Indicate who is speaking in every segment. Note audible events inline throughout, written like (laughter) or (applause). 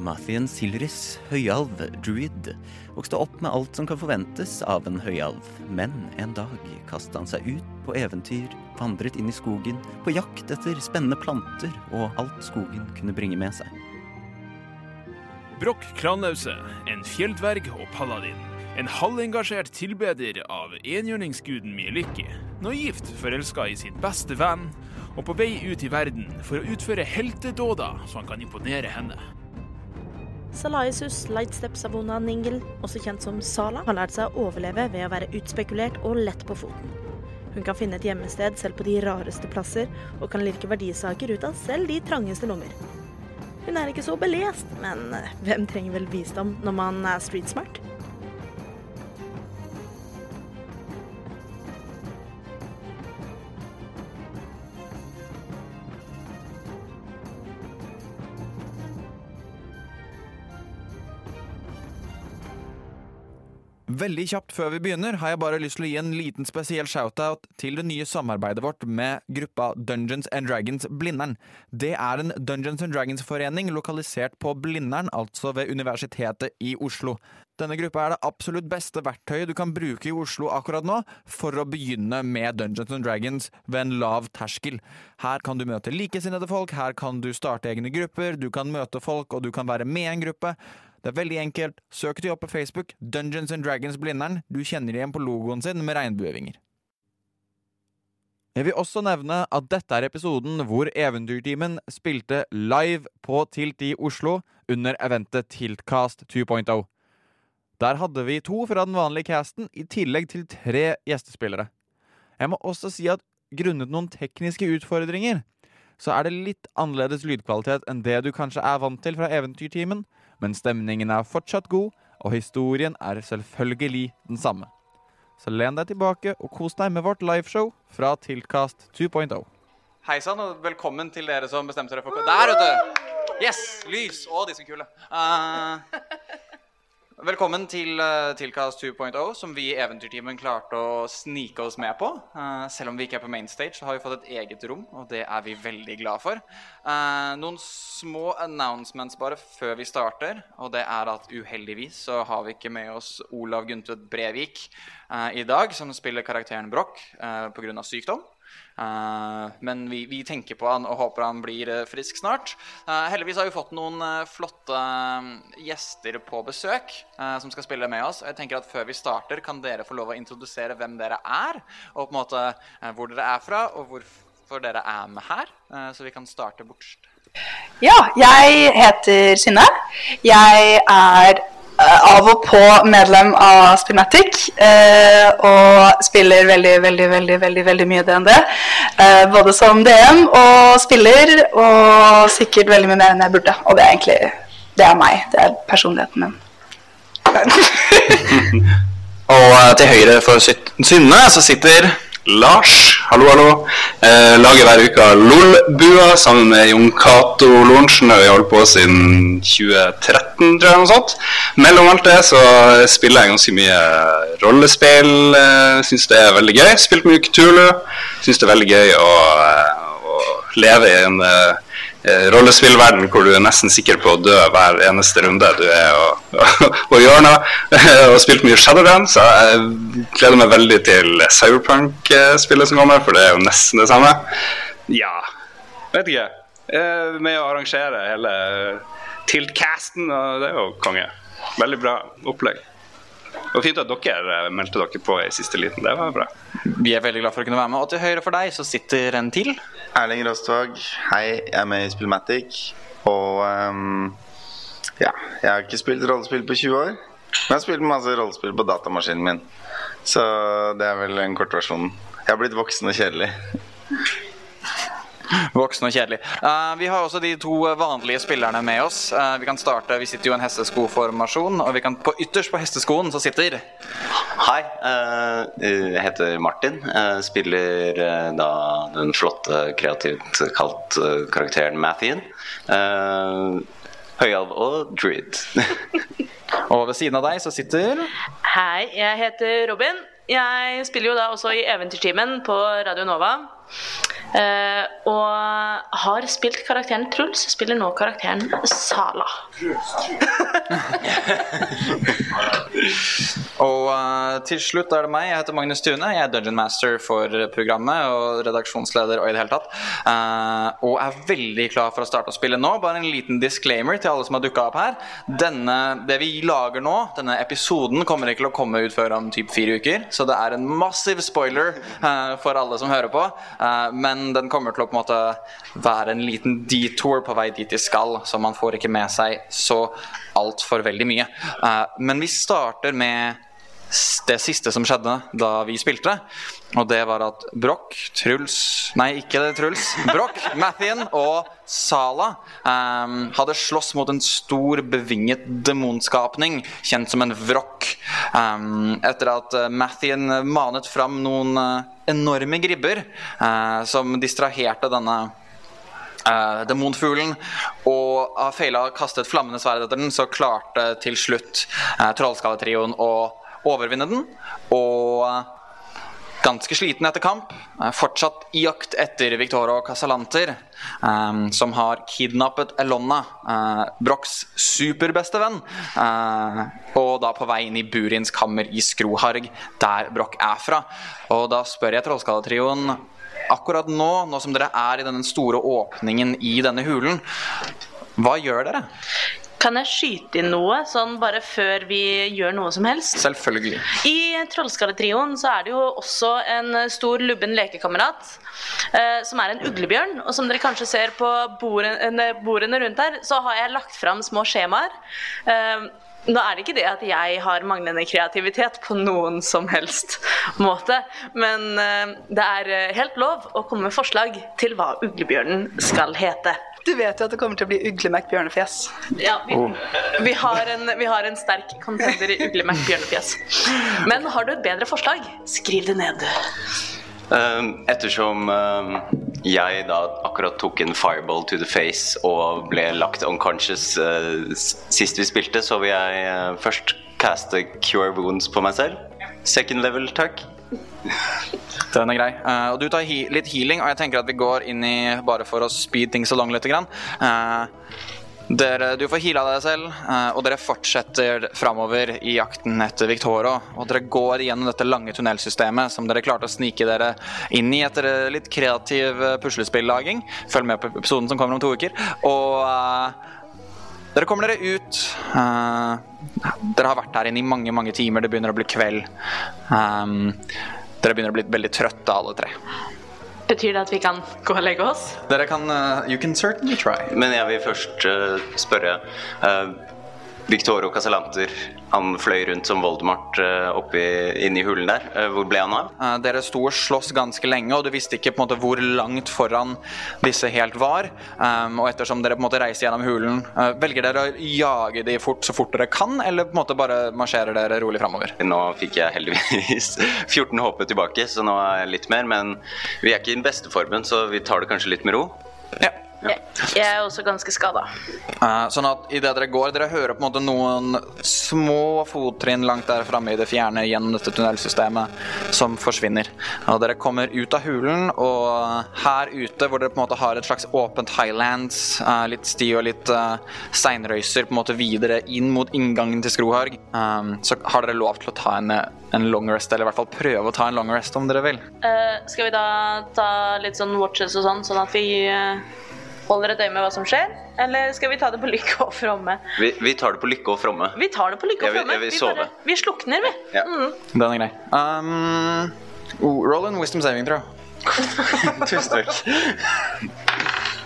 Speaker 1: Mathien Silris, høyalv, druid, vokste opp med alt som kan forventes av en høyalv, men en dag kastet han seg ut på eventyr, vandret inn i skogen, på jakt etter spennende planter og alt skogen kunne bringe med seg.
Speaker 2: Brokk Kranause, en fjelldverg og paladin. En halvengasjert tilbeder av enhjørningsguden Mieliki. Naivt forelska i sin beste venn, og på vei ut i verden for å utføre heltedåder så han kan imponere henne.
Speaker 3: Salaisus lightstep-sabona Ningel, også kjent som Sala, har lært seg å overleve ved å være utspekulert og lett på foten. Hun kan finne et gjemmested selv på de rareste plasser, og kan lirke verdisaker ut av selv de trangeste lommer. Hun er ikke så belest, men eh, hvem trenger vel visdom når man er streetsmart?
Speaker 4: Veldig kjapt før vi begynner har jeg bare lyst til å gi en liten spesiell shoutout til det nye samarbeidet vårt med gruppa Dungeons and Dragons Blindern. Det er en Dungeons and Dragons-forening lokalisert på Blindern, altså ved Universitetet i Oslo. Denne gruppa er det absolutt beste verktøyet du kan bruke i Oslo akkurat nå for å begynne med Dungeons and Dragons ved en lav terskel. Her kan du møte likesinnede folk, her kan du starte egne grupper, du kan møte folk og du kan være med i en gruppe. Det er veldig enkelt. Søk de opp på Facebook, Dungeons and Dragons Blindern. Du kjenner de igjen på logoen sin med regnbuevinger. Jeg vil også nevne at dette er episoden hvor Eventyrtimen spilte live på Tilt i Oslo under eventet Tiltcast 2.0. Der hadde vi to fra den vanlige casten, i tillegg til tre gjestespillere. Jeg må også si at grunnet noen tekniske utfordringer, så er det litt annerledes lydkvalitet enn det du kanskje er vant til fra Eventyrtimen, men stemningen er fortsatt god, og historien er selvfølgelig den samme. Så len deg tilbake og kos deg med vårt liveshow fra Tiltkast 2.0. Hei sann, og velkommen til dere som bestemte dere for Der, vet du! Yes! Lys og de som kule. Eh, velkommen til eh, Tiltkast 2.0, som vi i Eventyrtimen klarte å snike oss med på. Eh, selv om vi ikke er på mainstage, så har vi fått et eget rom, og det er vi veldig glad for. Eh, noen små announcements bare før vi starter, og det er at uheldigvis så har vi ikke med oss Olav Guntvedt Brevik eh, i dag, som spiller karakteren Broch eh, på grunn av sykdom. Eh, men vi, vi tenker på han og håper han blir eh, frisk snart. Eh, heldigvis har vi fått noen eh, flotte eh, gjester på besøk eh, som skal spille med oss. Og jeg tenker at Før vi starter, kan dere få lov å introdusere hvem dere er, og på en måte eh, hvor dere er fra, og hvorfor dere er med her. Eh, så vi kan starte bortst.
Speaker 5: Ja, jeg heter Synne. Jeg er eh, av og på medlem av Spillmatic. eh, og spiller veldig, veldig, veldig veldig, veldig mye DND. eh, både som DM og spiller, og sikkert veldig mye mer enn jeg burde. Og det er egentlig det er meg. Det er personligheten min.
Speaker 6: Og eh, til høyre for Syt- Synne så sitter Lars. Hallo, hallo. Eh, lager hver uke LOL-bua sammen med Jon Cato Lorentzen. og Vi har holdt på siden 2013, tror jeg. noe sånt. Mellom alt det så spiller jeg ganske mye rollespill. Eh, Syns det er veldig gøy. Spilt mye Cthulhu. Syns det er veldig gøy å, eh, å leve i en eh, eh, rollespillverden hvor du er nesten sikker på å dø hver eneste runde du er og, og, og gjør noe. og spilt mye Shadowrun, så jeg gleder meg veldig til Cyberpunk-spillet som kommer, for det er jo nesten det samme. Ja, vet ikke. Eh, Med å arrangere hele Tilt-casten, og det er jo konge. Veldig bra opplegg. Og fint at dere eh, meldte dere på i siste liten. Det var bra.
Speaker 4: Vi er veldig glad for å kunne være med. Og til høyre for deg så sitter en til.
Speaker 7: Erling Rostvåg, hei, jeg er med i Spillmatic. Og ehm, ja, jeg har ikke spilt rollespill på 20 år. Men jeg har spilt masse rollespill på datamaskinen min. Så det er vel en kort versjon. Jeg har blitt voksen og kjedelig.
Speaker 4: Voksen og kjedelig. Eh, vi har også de to vanlige spillerne med oss. Eh, vi kan starte, vi sitter jo i en hesteskoformasjon, og vi kan på ytterst på hesteskoen så sitter
Speaker 8: Hei, eh, jeg heter Martin. eh, spiller eh, da den flotte, kreativt kalt eh, karakteren Mathien. Uh, Høyalv og druid. (laughs)
Speaker 4: Og ved siden av deg så sitter
Speaker 9: Hei, jeg heter Robin. Jeg spiller jo da også i Eventyrtimen på Radio Nova. Eh, og har spilt karakteren Truls, spiller nå karakteren Sala.
Speaker 7: Og eh, til slutt er det meg. Jeg heter Magnus Tune. Jeg er dungeon master for programmet og redaksjonsleder og i det hele tatt. Eh, og er veldig klar for å starte å spille nå. Bare en liten disclaimer til alle som har dukka opp her. Denne, det vi lager nå, denne episoden, kommer ikke til å komme ut før om typ fire uker. Så det er en massiv spoiler eh, for alle som hører på. Eh, men den kommer til å på en måte være en liten detour på vei dit de skal, så man får ikke med seg så altfor veldig mye. Eh, men vi starter med s- det siste som skjedde da vi spilte. Og det var at Broch, Truls Nei, ikke det Truls. Broch, Mathien og Sala ehm, hadde slåss mot en stor, bevinget demonskapning kjent som en vrokk. Ehm, etter at eh, Mathien manet fram noen eh, enorme gribber eh, som distraherte denne Eh, demonfuglen og av feila kastet flammende sverd etter den, så klarte til slutt eh, Trollskalletrioen å overvinne den. Og eh, ganske sliten etter kamp, eh, fortsatt i jakt etter Victorio Casalanter, eh, som har kidnappet Elonna, eh, Brochs superbeste venn, eh, og da på vei inn i Burins kammer i Skroharg, der Broch er fra. Og da spør jeg Trollskalletrioen akkurat nå, nå som dere er i denne store åpningen i denne hulen, hva gjør dere?
Speaker 9: Kan jeg skyte inn noe, sånn bare før vi gjør noe som helst?
Speaker 7: Selvfølgelig.
Speaker 9: I Trollskalletrioen så er det jo også en stor lubben lekekamerat eh, som er en uglebjørn. Og som dere kanskje ser på bordene, bordene rundt her, så har jeg lagt fram små skjemaer. Eh, nå er det ikke det at jeg har manglende kreativitet på noen som helst måte, men eh, det er eh, helt lov å komme med forslag til hva uglebjørnen skal hete.
Speaker 10: Du vet jo at det kommer til å bli Uglemek bjørnefjes.
Speaker 9: Ja, vi, vi, har en, vi har en sterk contender i Uglemerk bjørnefjes. Men har du et bedre forslag, skriv det ned.
Speaker 8: Eh, ettersom eh, jeg da akkurat tok en fireball to the face og ble lagt unconscious eh, s- sist vi spilte, så vil jeg eh, først caste cure wounds på meg selv. Second level, takk.
Speaker 7: Den er grei. Eh, og du tar he litt healing, og jeg tenker at vi går inn i bare for å speed things along litt. Grann. Eh, dere, du får heala deg selv, eh, og dere fortsetter framover i jakten etter Victoro. Og dere går igjennom dette lange tunnelsystemet som dere klarte å snike dere inn i etter eh, litt kreativ eh, puslespillaging. Følg med på episoden som kommer om to uker. Og eh, Dere kommer dere ut. eh, dere har vært her inne i mange mange timer. Det begynner å bli kveld. Ehm, dere begynner å bli veldig trøtte, alle tre.
Speaker 9: Betyr det at vi kan gå og legge oss?
Speaker 7: Dere kan eh, You can certainly try.
Speaker 8: Men jeg vil først eh, spørre eh, Victorio Casalanter, han fløy rundt som Voldemort uh, oppi, inni hulen der. Eh, hvor ble han av?
Speaker 7: Eh, dere sto og sloss ganske lenge, og du visste ikke på en måte hvor langt foran disse helt var. Ehm, og ettersom dere på en måte reiser gjennom hulen, eh, velger dere å jage de fort så fort dere kan, eller på en måte bare marsjerer dere rolig framover?
Speaker 8: Nå fikk jeg heldigvis (laughs) 14 HP tilbake, så nå er jeg litt mer. Men vi er ikke i den beste formen, så vi tar det kanskje litt med ro.
Speaker 7: Ja.
Speaker 9: Jeg, jeg er også ganske skada.
Speaker 7: Eh, sånn at idet dere går, dere hører på en måte noen små fottrinn langt der framme i det fjerne gjennom dette tunnelsystemet som forsvinner. Og dere kommer ut av hulen, og her ute hvor dere på en måte har et slags åpent highlands, eh, litt sti og litt eh, steinrøyser på en måte videre inn mot inngangen til Skroharg, eh, så har dere lov til å ta en, en long rest, eller i hvert fall prøve å ta en long rest om dere vil.
Speaker 9: Eh, skal vi da ta litt sånn watches og sånn, sånn at vi eh, holder et øye med hva som skjer? Eller skal vi ta det på lykke og fromme?
Speaker 8: Vi, vi tar det på lykke og fromme.
Speaker 9: Vi tar det på lykke
Speaker 8: Jeg
Speaker 9: og
Speaker 8: vil-
Speaker 9: fromme.
Speaker 8: jeg vil
Speaker 9: Vi
Speaker 8: sove.
Speaker 9: bare- Vi slukner, vi.
Speaker 8: Ja.
Speaker 9: Mm.
Speaker 7: Den er grei. Um, oh, roll in wisdom saving, tror jeg.
Speaker 8: Tusen takk.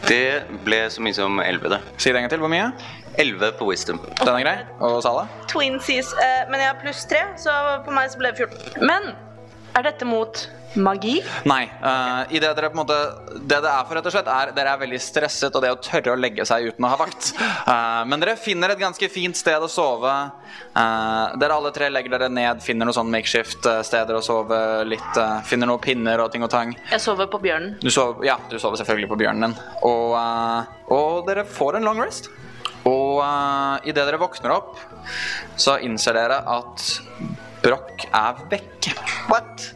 Speaker 8: Det ble så mye som 11, det.
Speaker 7: Si det en gang til. Hvor mye?
Speaker 8: 11 på wisdom.
Speaker 7: Den er grei. Og Sala?
Speaker 9: Twinsies. eh, men jeg har pluss tre, så på meg så ble det 14. Men Er dette mot magi?
Speaker 7: Nei. eh, i det, dere på en måte, det det er for, rett og slett, er dere er veldig stresset, og det å tørre å legge seg uten å ha vakt. Eh, men dere finner et ganske fint sted å sove. Eh, dere alle tre legger dere ned, finner noen sånn makeshift-steder å sove litt. eh, finner noen pinner og ting og tang.
Speaker 9: Jeg sover på bjørnen.
Speaker 7: Du sover, ja, du sover selvfølgelig på bjørnen din. Og, eh, og dere får en long rest. Og uh, idet dere våkner opp, så innser dere at Broch er vekk. What?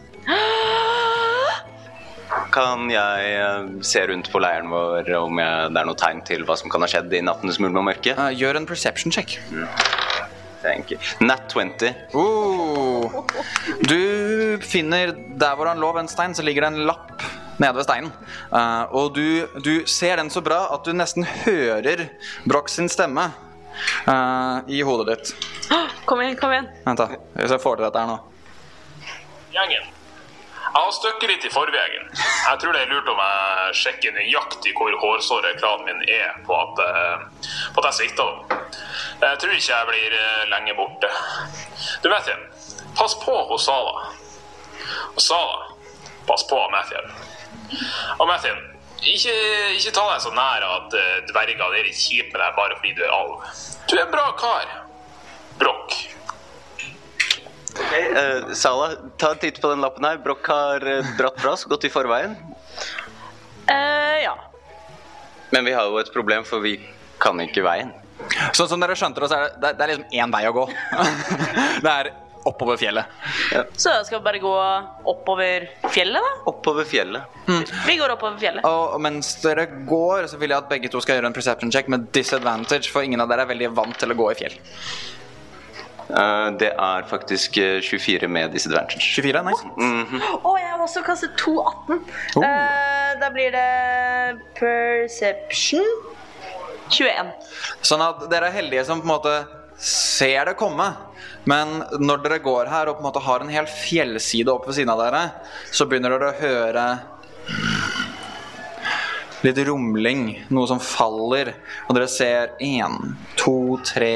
Speaker 8: Kan jeg eh, se rundt på leiren vår om jeg, det er noe tegn til hva som kan ha skjedd i nattens mulm og mørke?
Speaker 7: Eh, gjør en perception check.
Speaker 8: Thank you. Nat 20.
Speaker 7: Oh. Du finner der hvor han lå ved en stein, så ligger det en lapp nede ved steinen. Eh, og du, du ser den så bra at du nesten hører Broch sin stemme eh, i hodet ditt.
Speaker 9: Kom igjen, kom igjen.
Speaker 7: Vent, da. Hvis jeg får til dette her nå.
Speaker 11: Gjengen. Jeg har støkket litt i forveien. Jeg tror det er lurt om jeg sjekker nøyaktig hvor hårsårekladen min er på at, eh, på at jeg svikta dem. Jeg tror ikke jeg blir eh, lenge borte. Du, Matthew, pass på hos Sala. Og Sala, pass på Matthew. Og Matthew, ikke, ikke ta deg så nær at eh, dverger er litt kjipe med deg bare fordi du er alv. Du er en bra kar. Brokk.
Speaker 8: Hey, eh, Sala, ta en titt på den lappen her. Broch har eh, dratt fra oss, gått i forveien.
Speaker 9: Eh, ja.
Speaker 8: Men vi har jo et problem, for vi kan ikke veien.
Speaker 7: Sånn som dere skjønte det, så er det, det, det er liksom én vei å gå. (laughs) det er oppover fjellet.
Speaker 9: Så skal vi bare gå oppover fjellet, da?
Speaker 8: Oppover fjellet.
Speaker 7: Mm.
Speaker 9: Vi går oppover fjellet.
Speaker 7: Og mens dere går, så vil jeg at begge to skal gjøre en perception check med disadvantage, for ingen av dere er veldig vant til å gå i fjell.
Speaker 8: Eh, det er faktisk eh, 24 med disadvantage.
Speaker 7: 24, nice.
Speaker 9: Å, jeg har også kastet 2,18.
Speaker 7: Oh.
Speaker 9: Eh, da blir det perception 21.
Speaker 7: Sånn at dere er heldige som på en måte ser det komme. Men når dere går her og på en måte har en hel fjellside opp ved siden av dere, så begynner dere å høre litt rumling, noe som faller. Og dere ser én, to, tre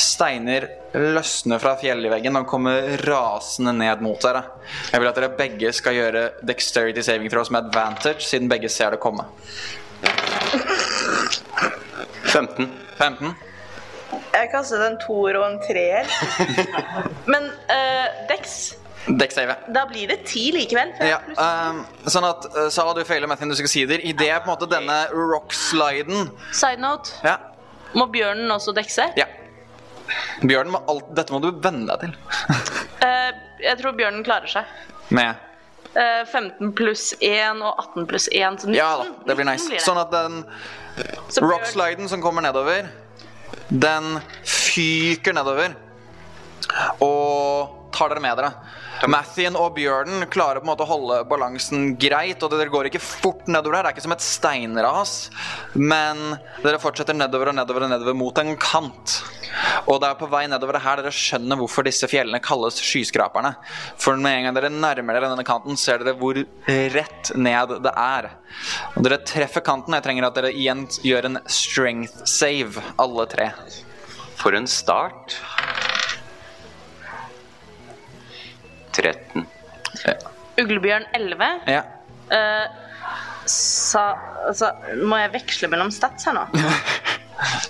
Speaker 7: steiner løsne fra fjellveggen og kommer rasende ned mot dere. Jeg vil at dere begge skal gjøre dexterity saving throws med advantage, siden begge ser det komme.
Speaker 8: 15.
Speaker 7: 15.
Speaker 9: Jeg kastet en toer og en
Speaker 7: (laughs)
Speaker 9: treer. Men eh, Dex
Speaker 7: Dex-save.
Speaker 9: Da blir det ti likevel. for jeg
Speaker 7: Ja,
Speaker 9: har pluss-
Speaker 7: ehm, sånn at eh, Sala, du feiler Matthew sider. I det på en måte denne rocksliden
Speaker 9: Side note.
Speaker 7: ja,
Speaker 9: Må bjørnen også dekse?
Speaker 7: ja. Bjørnen, må alt, dette må du venne deg til. (laughs)
Speaker 9: Eh, jeg tror bjørnen klarer seg.
Speaker 7: Med
Speaker 9: Eh, 15 pluss 1 og 18 pluss 1. Så 19,
Speaker 7: Ja da, det blir
Speaker 9: 19
Speaker 7: nice. Sånn at den
Speaker 9: Så bjørn-
Speaker 7: rocksliden som kommer nedover, den fyker nedover og tar dere med dere. Mathien og bjørnen klarer på en måte å holde balansen greit, og dere går ikke fort nedover her. Det er ikke som et steinras, men dere fortsetter nedover og nedover og nedover mot en kant. Og det er på vei nedover her dere skjønner hvorfor disse fjellene kalles skyskraperne. For med en gang dere nærmer dere denne kanten, ser dere hvor rett ned det er. Og dere treffer kanten. Jeg trenger at dere igjen gjør en strength save, alle tre.
Speaker 8: For en start. 13.
Speaker 9: Uglebjørn 11.
Speaker 7: Ja.
Speaker 9: Eh, sa, altså, må jeg veksle mellom stats her nå?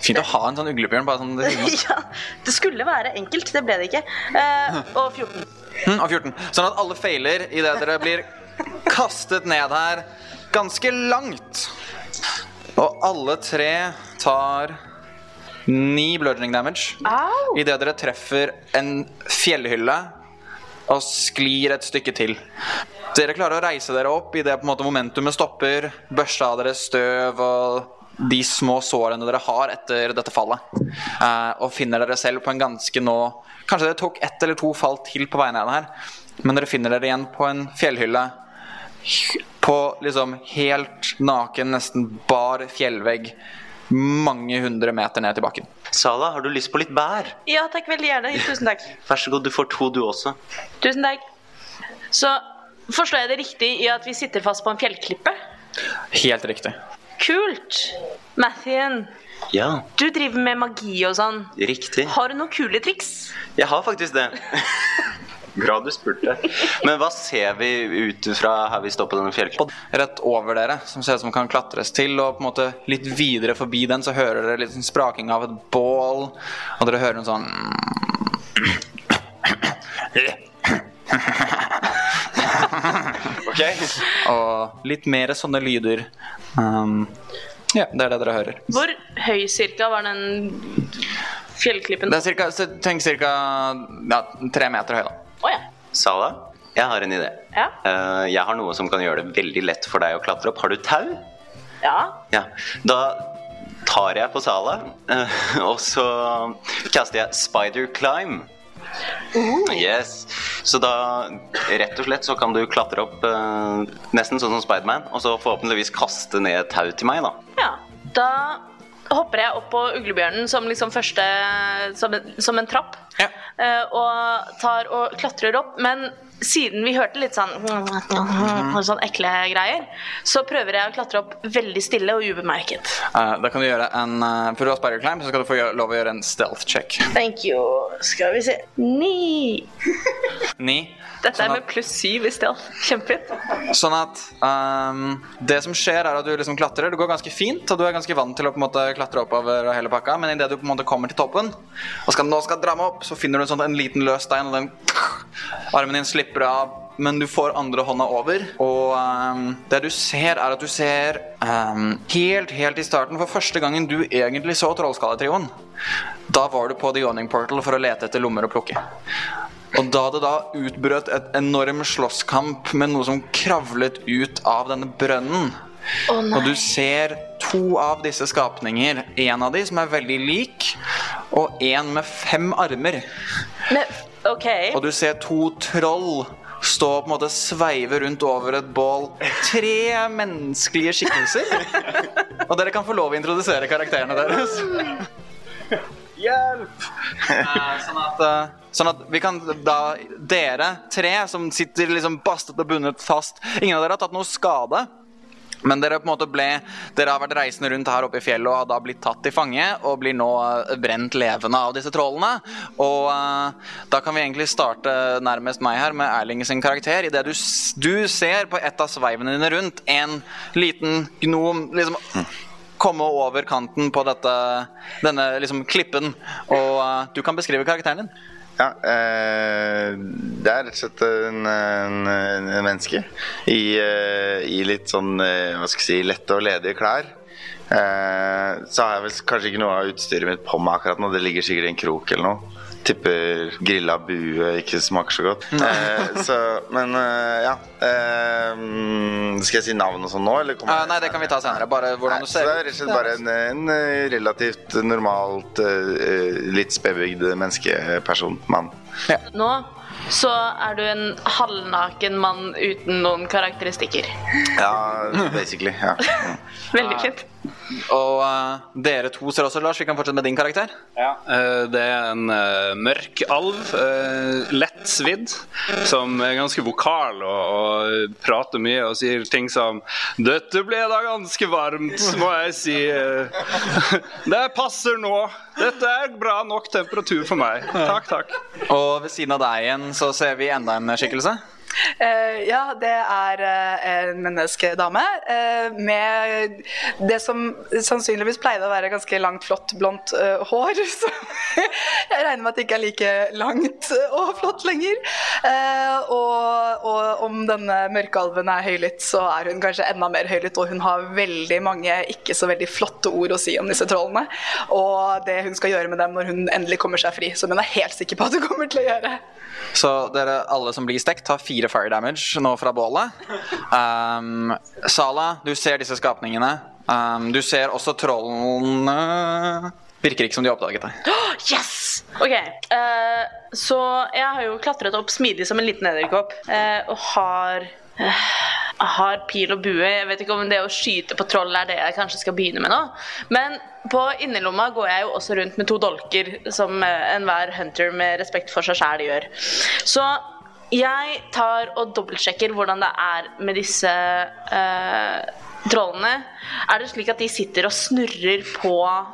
Speaker 7: Fint å ha en sånn uglebjørn. bare sånn det ligner.
Speaker 9: (laughs) ja, det skulle være enkelt, det ble det ikke.
Speaker 7: (laughs)
Speaker 9: Eh, og 14.
Speaker 7: Mm, og 14. Sånn at alle feiler idet dere blir kastet ned her ganske langt. Og alle tre tar ni bludgeoning damage
Speaker 9: Au!
Speaker 7: idet dere treffer en fjellhylle og sklir et stykke til. Dere klarer å reise dere opp idet på en måte momentumet stopper, børste av dere støv og de små sårene dere har etter dette fallet, eh, og finner dere selv på en ganske nå Kanskje dere tok ett eller to fall til på vei ned her, men dere finner dere igjen på en fjellhylle på liksom helt naken, nesten bar fjellvegg mange hundre meter ned til bakken.
Speaker 8: Sala, har du lyst på litt bær?
Speaker 9: Ja takk, veldig gjerne. Tusen takk.
Speaker 8: Vær så god, du får to du også.
Speaker 9: Tusen takk. Så forstår jeg det riktig i at vi sitter fast på en fjellklippe?
Speaker 7: Helt riktig.
Speaker 9: Kult! Mathien,
Speaker 8: Ja,
Speaker 9: du driver med magi og sånn.
Speaker 8: riktig.
Speaker 9: Har du noen kule triks?
Speaker 8: Jeg har faktisk det. (laughs) Bra du spurte. Men hva ser vi ut fra her vi står på denne fjelltoppen?
Speaker 7: rett over dere, som ser ut som kan klatres til. Og på en måte litt videre forbi den så hører dere litt sånn spraking av et bål. Og dere hører en sånn
Speaker 8: Ok.
Speaker 7: Og litt mer sånne lyder. Um, ja, det er det dere hører.
Speaker 9: Hvor høy cirka var den fjellklippen?
Speaker 7: Det er cirka, så tenk cirka ja, tre meter høy, da.
Speaker 9: Å ja.
Speaker 8: Sala, jeg har en idé.
Speaker 9: Ja.
Speaker 8: Eh, jeg har noe som kan gjøre det veldig lett for deg å klatre opp. Har du tau?
Speaker 9: ja.
Speaker 8: Ja. Da tar jeg på Sala, eh, (laughs) og så kaster jeg Spider Climb. Yes. Så da rett og slett så kan du klatre opp eh, nesten sånn som Spiderman, og så forhåpentligvis kaste ned tau til meg, da.
Speaker 9: Ja. Da hopper jeg opp på uglebjørnen som liksom første Som, en- som en trapp.
Speaker 7: Ja.
Speaker 9: Eh, og tar og klatrer opp. Men siden vi hørte litt sånn Sånn ekle greier, så prøver jeg å klatre opp veldig stille og ubemerket.
Speaker 7: Eh, da kan du gjøre en eh, For du har spider climb, så skal du få gjøre, lov å gjøre en stealth check.
Speaker 9: Thank you. Skal vi se Ni.
Speaker 7: Ni.
Speaker 9: Dette
Speaker 7: Sånn
Speaker 9: er
Speaker 7: at-
Speaker 9: med pluss syv i stealth. Kjempefint.
Speaker 7: Sånn at ehm, Det som skjer, er at du liksom klatrer. Det går ganske fint, og du er ganske vant til å på en måte klatre oppover og hele pakka, men idet du på en måte kommer til toppen og skal, nå skal jeg dra meg opp, så finner du en, sånn, en liten løs stein, og den (sniffs) Armen din slipper av, men du får andre hånda over. Og ehm, det du ser, er at du ser ehm, helt, helt i starten, for første gangen du egentlig så Trollskalletrioen, da var du på The Yawning Portal for å lete etter lommer å plukke. Og da det da utbrøt et enorm slåsskamp med noe som kravlet ut av denne brønnen. og du ser to av disse skapninger. En av de som er veldig lik, og en med fem armer.
Speaker 9: Men OK.
Speaker 7: Og du ser to troll stå og på en måte sveive rundt over et bål. Tre menneskelige skikkelser. Og dere kan få lov å introdusere karakterene deres. Hjelp! sånn, at, eh, sånn at vi kan da Dere tre som sitter liksom bastet og bundet fast Ingen av dere har tatt noe skade. Men dere på en måte ble Dere har vært reisende rundt her oppe i fjellet og har da blitt tatt til fange og blir nå eh, brent levende av disse trollene. Og eh, da kan vi egentlig starte nærmest meg her med Erling sin karakter. Idet du, s- du ser på et av sveivene dine rundt en liten gnom liksom komme over kanten på dette, denne liksom klippen. Og eh, du kan beskrive karakteren din.
Speaker 1: Ja, eh, det er rett og slett en, en, en menneske i, eh, i litt sånn eh, hva skal jeg si, lette og ledige klær. Eh, så har jeg vel kanskje ikke noe av utstyret mitt på meg akkurat nå. Det ligger sikkert i en krok eller noe. Tipper grilla bue ikke smaker så godt. Eh, så, men eh, ja eh, Skal jeg si navn og sånn nå, eller? kommer
Speaker 7: Eh,
Speaker 1: jeg-
Speaker 7: nei, det kan vi ta senere. Bare hvordan
Speaker 1: Nei,
Speaker 7: du
Speaker 1: så
Speaker 7: ser
Speaker 1: det er rett og slett bare en, en eh, relativt normalt, eh, eh, litt spedbygd menneskeperson. Mann.
Speaker 9: Nå så er du en halvnaken mann uten noen karakteristikker.
Speaker 7: (laughs)
Speaker 1: Ja, basically. Ja.
Speaker 9: Veldig fint.
Speaker 7: Og eh, dere to ser også, Lars. Vi kan fortsette med din karakter.
Speaker 6: Eh, Det er en eh, mørk alv, eh, lett svidd, som er ganske vokal og, og prater mye og sier ting som Dette ble da ganske varmt, må jeg si. eh. (laughs) Det passer nå. Dette er bra nok temperatur for meg. Takk, takk.
Speaker 7: Og ved siden av deg igjen så ser vi enda en skikkelse.
Speaker 10: Eh, ja, det er eh, en menneskedame eh, med det som sannsynligvis pleide å være ganske langt, flott, blondt eh, hår. (laughs) Så jeg regner med at det ikke er like langt og flott lenger. Eh, og, og om denne mørkealven er høylytt, så er hun kanskje enda mer høylytt. Og hun har veldig mange ikke så veldig flotte ord å si om disse trollene. Og det hun skal gjøre med dem når hun endelig kommer seg fri, som hun er helt sikker på at hun kommer til å gjøre.
Speaker 7: Så dere alle som blir stekt, har fire fire damage nå fra bålet. Um, Sala, du ser disse skapningene. Um, du ser også trollene Virker ikke som de har oppdaget deg.
Speaker 9: Yes! OK. eh, så jeg har jo klatret opp smidig som en liten edderkopp eh, og har eh, har pil og bue. Jeg vet ikke om det å skyte på troll er det jeg kanskje skal begynne med nå. Men på innerlomma går jeg jo også rundt med to dolker, som eh, enhver hunter med respekt for seg sjæl gjør. Så jeg tar og dobbeltsjekker hvordan det er med disse eh, trollene, er det slik at de sitter og snurrer på,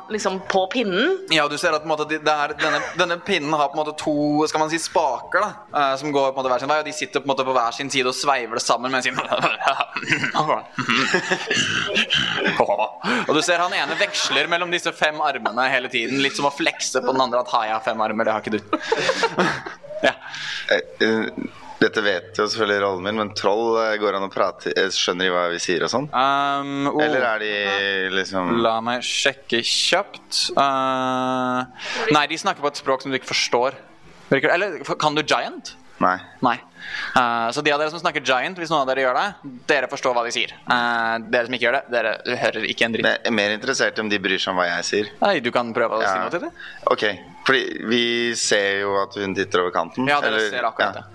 Speaker 9: liksom, på pinnen?
Speaker 7: Ja, du ser at på en måte, de- det er, denne, denne pinnen har på en måte to skal man si, spaker da, eh, som går på en måte hver sin vei. Og de sitter på en måte på hver sin side og sveiver det sammen mens de (laughs) Og du ser han ene veksler mellom disse fem armene hele tiden. Litt som å flekse på den andre at har jeg fem armer, det har ikke du. (laughs)
Speaker 1: Eh, eh, Dette vet jo selvfølgelig rollen min, men troll eh, går an å prate eh, Skjønner de hva vi sier og sånn?
Speaker 7: Um, oh.
Speaker 1: Eller er de liksom
Speaker 7: La meg sjekke kjapt. Eh, nei, de snakker på et språk som du ikke forstår. Virker- Eller kan du giant?
Speaker 1: Nei.
Speaker 7: Nei. Eh, så de av dere som snakker giant, hvis noen av dere gjør det, dere forstår hva de sier. Eh, dere som ikke gjør det, dere hører ikke en dritt.
Speaker 1: Men jeg er mer interessert i om de bryr seg om hva jeg sier.
Speaker 7: Nei, du kan prøve å si
Speaker 1: Ja.
Speaker 7: noe til det.
Speaker 1: Ok, fordi vi ser jo at hun titter over kanten.
Speaker 7: Ja, dere ser akkurat
Speaker 1: ja.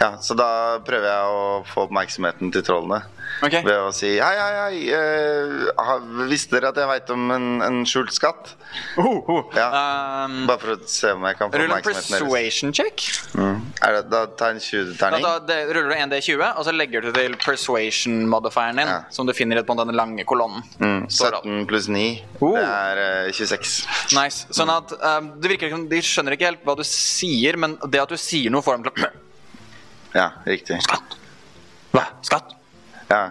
Speaker 1: Ja, så da prøver jeg å få oppmerksomheten til trollene.
Speaker 7: Ok.
Speaker 1: Ved å si hei, hei, hei, eh, har- visste dere at jeg veit om en, en skjult skatt?
Speaker 7: Ja.
Speaker 1: Bare for å se om jeg kan få
Speaker 7: Um, Rull en
Speaker 1: oppmerksomheten deres.
Speaker 7: persuasion check.
Speaker 1: Mm. Er det, da tar jeg en
Speaker 7: Da,
Speaker 1: 20-terning.
Speaker 7: da det, ruller du 1D20, og så legger du til persuasion-modifieren din, som du finner i på den lange kolonnen.
Speaker 1: Mm. 17 pluss 9.
Speaker 7: Oh.
Speaker 1: Det er eh, 26.
Speaker 7: Nice.
Speaker 1: Mm.
Speaker 7: Sånn at um, det virker som De skjønner ikke helt hva du sier, men det at du sier noe, får dem til å (clears throat)
Speaker 1: Ja, riktig. Skatt.
Speaker 7: Hva? Skatt?
Speaker 1: Ja.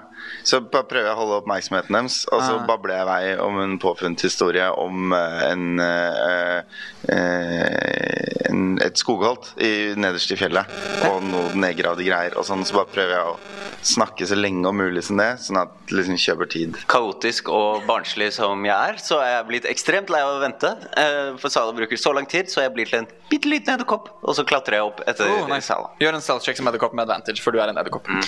Speaker 1: Så bare prøver jeg å holde oppmerksomheten deres, og så
Speaker 7: Ah.
Speaker 1: babler jeg i vei om en påfunnet historie om eh, en, eh, eh, en et skogholt i, nederst i fjellet, og noe nedgravde greier og sånn. Så bare prøver jeg å snakke så lenge og mulig som det, sånn at det liksom kjøper tid.
Speaker 8: Kaotisk og barnslig som jeg er, så er jeg blitt ekstremt lei av å vente. Eh, For Sala bruker så lang tid, så jeg blir til en bitte liten edderkopp. Og så klatrer jeg opp etter
Speaker 7: Oh, nice.
Speaker 8: Sala.
Speaker 7: Gjør en stealth check som edderkopp med advantage, for du er en edderkopp.
Speaker 1: Mm.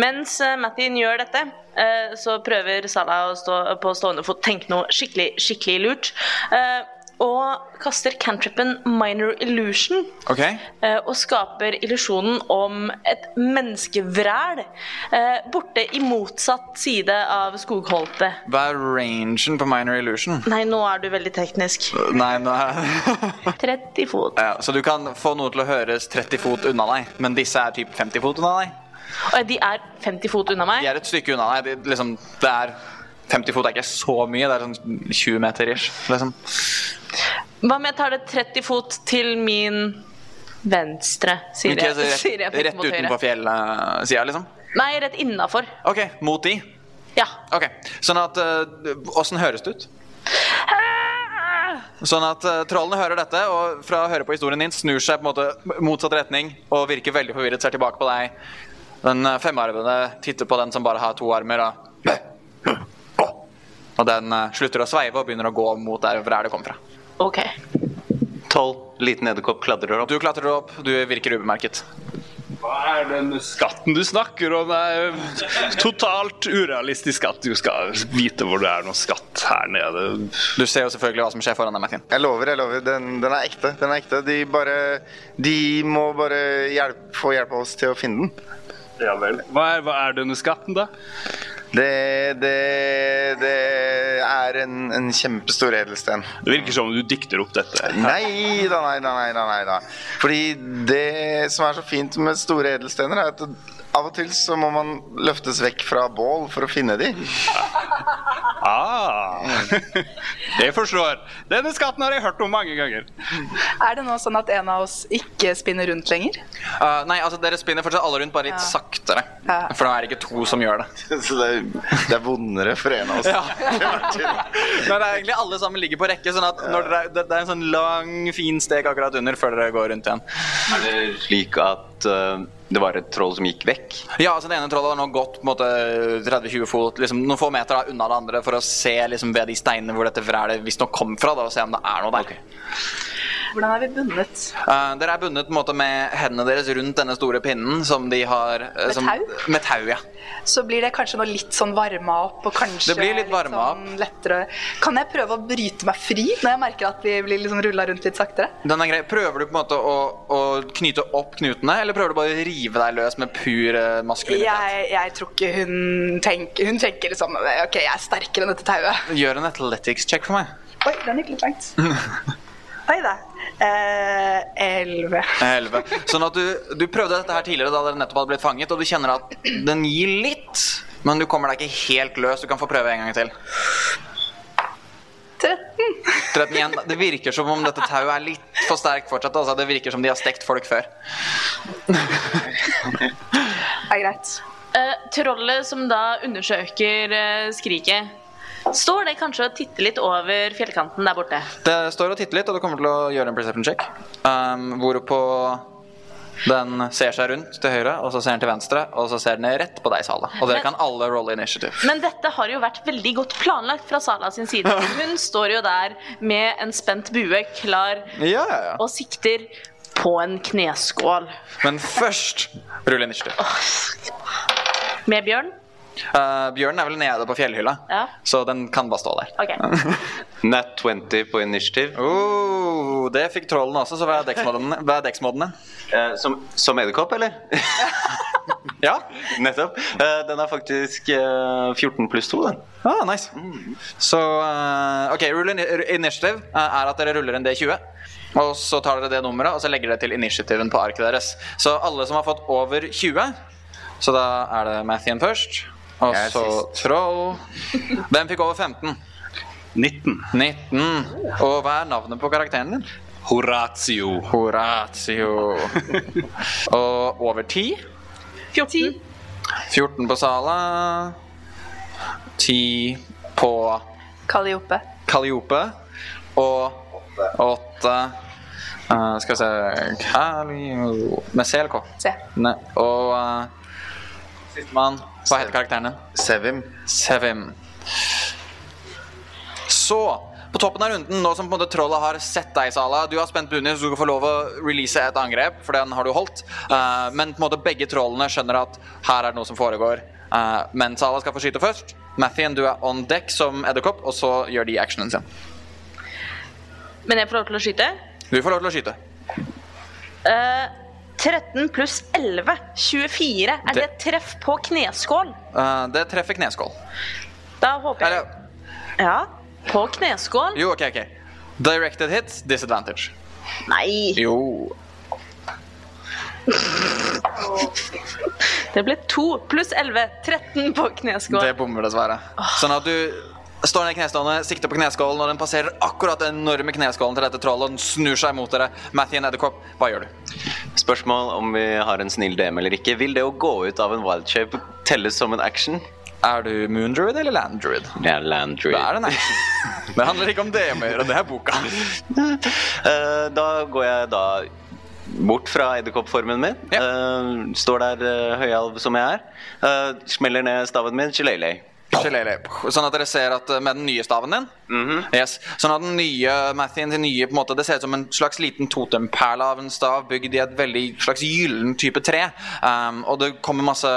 Speaker 9: Mens eh, Mattin gjør dette, eh, så prøver Salah å stå på stående fot tenke noe skikkelig, skikkelig lurt. eh, Og kaster cantripen minor illusion
Speaker 7: Ok?
Speaker 9: eh, og skaper illusjonen om et menneskevræl eh, borte i motsatt side av skogholtet.
Speaker 7: Hva er rangen på minor illusion?
Speaker 9: Nei, nå er du veldig teknisk.
Speaker 7: (laughs) Nei, nå er
Speaker 9: 30
Speaker 7: (laughs)
Speaker 9: fot.
Speaker 7: ja, Så du kan få noe til å høres 30 fot unna deg, men disse er typ 50 fot unna deg?
Speaker 9: Og de er 50 fot unna meg.
Speaker 7: De er et stykke unna deg. Det, liksom, det er 50 fot er ikke så mye, det er sånn 20 meter ish. Liksom.
Speaker 9: Hva om jeg tar det 30 fot til min venstre, sier
Speaker 7: Ikke
Speaker 9: jeg.
Speaker 7: så rett,
Speaker 9: sier jeg pekte
Speaker 7: rett
Speaker 9: mot høyre.
Speaker 7: utenpå fjellsida, liksom?
Speaker 9: Nei, rett innafor.
Speaker 7: OK, mot de.
Speaker 9: Ja.
Speaker 7: Ok, Sånn at Åssen høres det ut? Sånn at eh, trollene hører dette og fra å høre på historien din snur seg på en måte motsatt retning og virker veldig forvirret, ser tilbake på deg. Den eh, femarvede titter på den som bare har to armer, og, og den eh, slutter å sveive og begynner å gå mot der hvor det kom fra.
Speaker 9: Ok. Eh,
Speaker 8: Tolv. Liten edderkopp klatrer opp.
Speaker 7: Du klatrer opp, du virker ubemerket.
Speaker 6: Hva er den skatten du snakker om? Det er totalt urealistisk at du skal vite hvor det er noe skatt her nede.
Speaker 7: Du ser jo selvfølgelig hva som skjer foran deg, Martin.
Speaker 1: Jeg lover, jeg lover. Den, den er ekte. Den er ekte. De bare De må bare hjelp, få hjelp av oss til å finne den.
Speaker 6: Ja vel. Hva er, hva er denne skatten, da?
Speaker 1: Det, det, det er en, en kjempestor edelsten.
Speaker 6: Det virker som om du dikter opp dette.
Speaker 1: Nei da, nei da, nei da, nei da. Fordi det som er så fint med store edelstener, er at av og til så må man løftes vekk fra bål for å finne
Speaker 8: (laughs)
Speaker 1: de.
Speaker 6: Ah, (laughs) jeg forstår. Denne skatten har jeg hørt om mange ganger.
Speaker 10: Er det nå sånn at en av oss ikke spinner rundt lenger?
Speaker 7: Eh, nei, altså dere spinner fortsatt alle rundt, bare litt saktere.
Speaker 10: Ja.
Speaker 7: For nå er det ikke to som gjør det.
Speaker 1: Så det er, det er vondere for en av oss.
Speaker 7: Ja. Nei, det er egentlig alle sammen ligger på rekke, sånn at når dere, det, det er en sånn lang, fin stek akkurat under før dere går rundt igjen.
Speaker 8: Er det slik at eh, det var et troll som gikk vekk?
Speaker 7: Ja, altså det ene trollet har nå gått på en måte 30-20 fot, liksom noen få meter da, unna det andre for å se liksom ved de steinene hvor dette vrælet visstnok kom fra, da, og se om det er noe der.
Speaker 10: Hvordan er vi bundet?
Speaker 7: Eh, dere er bundet på en måte med hendene deres rundt denne store pinnen som de har eh,
Speaker 10: Med
Speaker 7: som,
Speaker 10: tau?
Speaker 7: Med tau, ja.
Speaker 10: Så blir det kanskje noe litt sånn varma opp, og kanskje
Speaker 7: Det blir litt varma opp.
Speaker 10: sånn lettere. Kan jeg prøve å bryte meg fri når jeg merker at vi blir liksom rulla rundt litt saktere?
Speaker 7: Den er grei. Prøver du på en måte å, å knyte opp knutene, eller prøver du bare å rive deg løs med pur eh, maskulinitet?
Speaker 10: Jeg, jeg tror ikke hun tenker Hun tenker liksom OK, jeg er sterkere enn dette tauet.
Speaker 7: Gjør en athletics check for meg.
Speaker 10: Oi, den gikk litt
Speaker 7: (laughs)
Speaker 10: langt. Oi da. Eh, Elleve.
Speaker 7: Elleve. Sånn at du, du prøvde dette her tidligere da dere nettopp hadde blitt fanget, og du kjenner at den gir litt, Men du kommer deg ikke helt løs. Du kan få prøve en gang til. 13 igjen. Det virker som om dette tauet er litt for sterkt fortsatt. Altså. Det virker som de har stekt folk før.
Speaker 10: Det er greit.
Speaker 9: Eh, trollet som da undersøker eh, skriket, står det kanskje og titter litt over fjellkanten der borte?
Speaker 7: Det står og titter litt, og du kommer til å gjøre en perception check. Um, hvorpå den ser seg rundt til høyre, og så ser den til venstre, og så ser den rett på deg, Sala. Og dere
Speaker 9: Men-
Speaker 7: kan alle rolle initiative.
Speaker 9: Men dette har jo vært veldig godt planlagt fra Sala sin side. Hun står jo der med en spent bue klar
Speaker 7: Ja, ja, ja.
Speaker 9: og sikter på en kneskål
Speaker 7: Men først rull initiative.
Speaker 9: med bjørn.
Speaker 7: Uh, bjørnen er vel nede på fjellhylla,
Speaker 9: Ja,
Speaker 7: så den kan bare stå der.
Speaker 9: ok.
Speaker 8: Nat 20 på initiativ.
Speaker 7: (laughs) Oh, det fikk trollen også, så hva er deksmodene? Hva er deksmodene?
Speaker 8: Eh, som som edderkopp, eller? (laughs)
Speaker 7: ja,
Speaker 8: nettopp. Eh, den er faktisk eh, 14 pluss 2, den.
Speaker 7: Ah, nice. Så eh, OK, rull in initiative eh, er at dere ruller en D20. Og så tar dere det nummeret og så legger dere til initiativen på arket deres. Så alle som har fått over 20 Så da er det Mathien først. Og
Speaker 6: Jeg er
Speaker 7: så Troll. Hvem fikk over 15?
Speaker 6: 19.
Speaker 7: 19. Og hva er navnet på karakteren din?
Speaker 6: Horatio.
Speaker 7: Horatio. Og over 10?
Speaker 9: 14.
Speaker 7: 14 på Sala. 10 på
Speaker 10: Kalliope.
Speaker 7: Calliope og åtte eh, Skal vi se Callio... Med CLK.
Speaker 10: Se.
Speaker 7: Ne, og uh, sistemann Hva heter karakteren din?
Speaker 1: Sevim.
Speaker 7: Sevim. Så på toppen av runden, nå som på en måte trollet har sett deg, Sala Du har spent buen din, så du skal få lov å release et angrep, for den har du holdt. Eh, men på en måte begge trollene skjønner at her er det noe som foregår. Eh, men Sala skal få skyte først. Mathien, du er on deck som edderkopp, og så gjør de actionen sin.
Speaker 9: Men jeg får lov til å skyte.
Speaker 7: Du får lov til å skyte.
Speaker 9: Eh, 13 pluss 11, 24. Er det treff på kneskål?
Speaker 7: Eh, det treffer kneskål.
Speaker 9: Da håper jeg
Speaker 7: Eller,
Speaker 9: Ja, på kneskål?
Speaker 7: jo, ok, ok. Directed hit, disadvantage.
Speaker 9: Nei.
Speaker 7: Jo.
Speaker 9: Det ble 2 pluss 11. 13 på kneskål.
Speaker 7: Det bommer dessverre. Sånn at du står ned i knestående, sikter på kneskålen, og den passerer akkurat den enorme kneskålen til dette trollet, og den snur seg mot dere. Mathien Edderkopp, hva gjør du?
Speaker 8: Spørsmål om vi har en snill DM eller ikke. Vil det å gå ut av en wild shape telles som en action?
Speaker 7: Er du moondruid eller landdruid?
Speaker 8: Det er land
Speaker 7: Det er (laughs) en action. Det handler ikke om det å gjøre, det er boka.
Speaker 8: (laughs) Eh, da går jeg da bort fra edderkoppformen min. Eh, står der eh, høyalv som jeg er. Eh, smeller ned staven min. Chilele.
Speaker 7: Shillelay. Sånn at dere ser at eh, med den nye staven din Yes. Sånn at den nye Mathien, den nye på en måte, det ser ut som en slags liten totemperle av en stav bygd i et veldig slags gyllen type tre. Um, og det kommer masse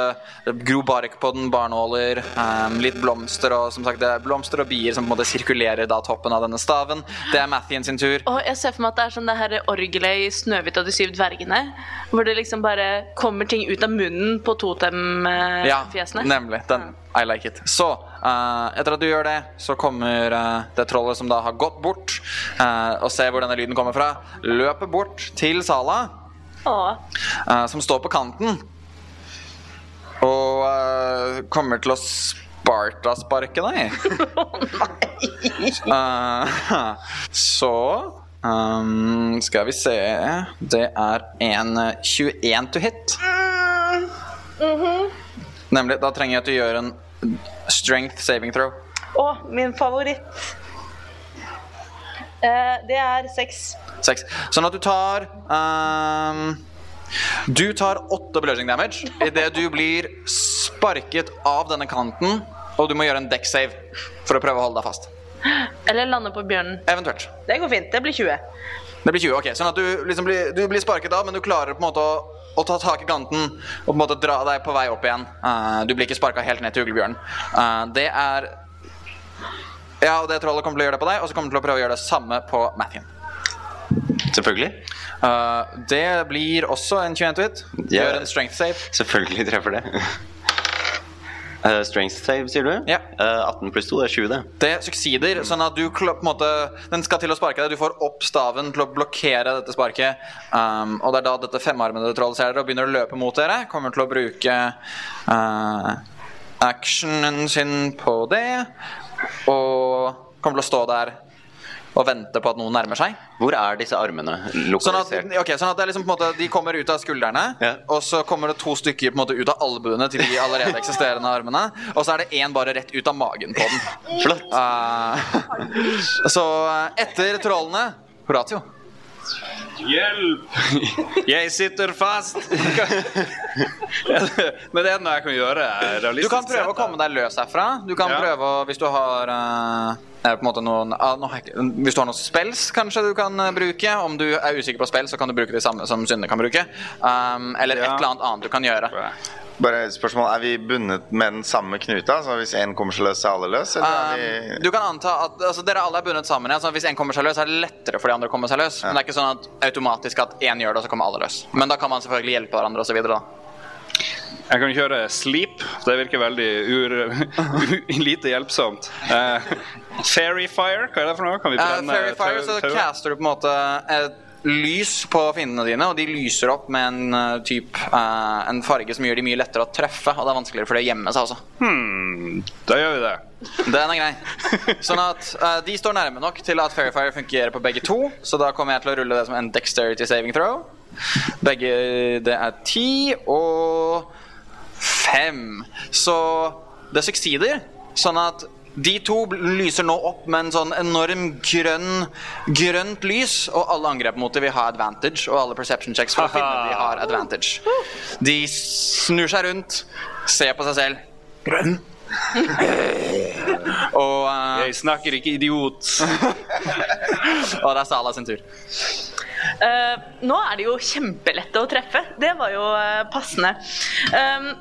Speaker 7: grobark på den, barnåler, um, litt blomster og som sagt, det er blomster og bier som på en måte sirkulerer da toppen av denne staven. Det er Mathien sin tur.
Speaker 9: Og jeg ser for meg at det er sånn det her orgelet i 'Snøhvit og de syv dvergene'. Hvor det liksom bare kommer ting ut av munnen på
Speaker 7: Ja,
Speaker 9: totemfjesene.
Speaker 7: nemlig. Den, I like it. Så, eh, etter at du gjør det, så kommer eh, det trollet som da har gått bort, eh, og ser hvor denne lyden kommer fra, løper bort til Sala,
Speaker 9: Åh.
Speaker 7: eh, som står på kanten, og eh, kommer til å Sparta-sparke deg. Eh, så ehm, skal vi se Det er en eh, 21 to hit. Nemlig. Da trenger jeg at du gjør en strength saving throw.
Speaker 9: Å, min favoritt. Eh, det er seks.
Speaker 7: Seks. Sånn at du tar ehm, Du tar åtte bludging damage idet du blir sparket av denne kanten, og du må gjøre en deck save for å prøve å holde deg fast.
Speaker 9: Eller lande på bjørnen.
Speaker 7: Eventuelt.
Speaker 9: Det går fint. Det blir 20.
Speaker 7: Det blir 20, ok. Sånn at du, liksom blir, du blir sparket av, men du klarer på en måte å, å ta tak i kanten og på en måte dra deg på vei opp igjen. Eh, du blir ikke sparka helt ned til uglebjørnen. Eh, det er Ja, og det trollet kommer til å gjøre det på deg, og så kommer det til å prøve å gjøre det samme på Mathien.
Speaker 8: Selvfølgelig.
Speaker 7: Eh, det blir også en 21 to hit.
Speaker 8: Ja.
Speaker 7: Gjør en strength save.
Speaker 8: Selvfølgelig treffer det. (laughs) Eh, strength save, sier du?
Speaker 7: Ja.
Speaker 8: Eh, 18 pluss 2 er 20, det.
Speaker 7: Det succeeder, sånn at du kl- på en måte Den skal til å sparke deg. Du får opp staven til å blokkere dette sparket. Um, og det er da dette femarmede trollet ser dere og begynner å løpe mot dere. Kommer til å bruke eh, actionen sin på det. Og kommer til å stå der og vente på at noen nærmer seg.
Speaker 8: Hvor er disse armene
Speaker 7: Sånn at,
Speaker 8: lokalisert?
Speaker 7: ok, sånn at det er liksom på en måte, De kommer ut av skuldrene,
Speaker 8: Ja.
Speaker 7: og så kommer det to stykker på en måte ut av albuene til de allerede eksisterende armene. Og så er det én bare rett ut av magen på den.
Speaker 1: (laughs)
Speaker 8: Flott.
Speaker 7: Eh, så eh, etter trollene Horatio.
Speaker 6: Hjelp! (laughs) Jeg sitter fast! (laughs) Men det er noe jeg kan gjøre. eh,
Speaker 7: Du kan prøve å komme deg løs herfra. Du kan
Speaker 6: Ja.
Speaker 7: prøve å, Hvis du har eh, eh, på en måte noen ah, nå har jeg ikke- Hvis du har noen spells kanskje du kan eh, bruke. Om du er usikker på spill, så kan du bruke de samme som Synne kan bruke. Um, eller et
Speaker 6: Ja.
Speaker 7: eller annet annet du kan gjøre.
Speaker 1: Bare et spørsmål, Er vi bundet med den samme knuta? Så hvis én kommer seg løs, er alle løs? Eller er
Speaker 7: Um, du kan anta at altså, Dere alle er bundet sammen. Ja, så hvis én kommer seg løs, er det lettere for de andre å komme seg løs. Men det er ikke sånn at automatisk at én gjør det, og så kommer alle løs. Men da kan man selvfølgelig hjelpe hverandre og så videre, da.
Speaker 6: Jeg kan kjøre sleep. Det virker veldig ur, (laughs) lite hjelpsomt. Eh, fairy fire, hva er det for noe? Kan vi
Speaker 7: Uh,
Speaker 6: brenne
Speaker 7: Fairy Fire, så
Speaker 6: tau- tauet?
Speaker 7: caster du på en måte et lys på finnene dine, og de lyser opp med en eh, typ, eh, en farge som gjør de mye lettere å treffe, og det er vanskeligere for de å gjemme seg også.
Speaker 6: Hmm, da gjør vi det.
Speaker 7: Den er grei. Sånn at eh, de står nærme nok til at Fairy Fire fungerer på begge to, så da kommer jeg til å rulle det som en dexterity saving throw. Begge Det er ti og fem. Så det succeeder. Sånn at de to bl- lyser nå opp med en sånn enorm grønn, grønt lys, og alle angrep mot dem vil ha advantage, og alle perception checks for å finne de har advantage. De snur seg rundt, ser på seg selv. Grønn. Og, eh,
Speaker 6: Jeg snakker ikke idiot.
Speaker 7: og det er Sala sin tur.
Speaker 9: Eh, nå er det jo kjempelette å treffe. Det var jo eh, passende. Um,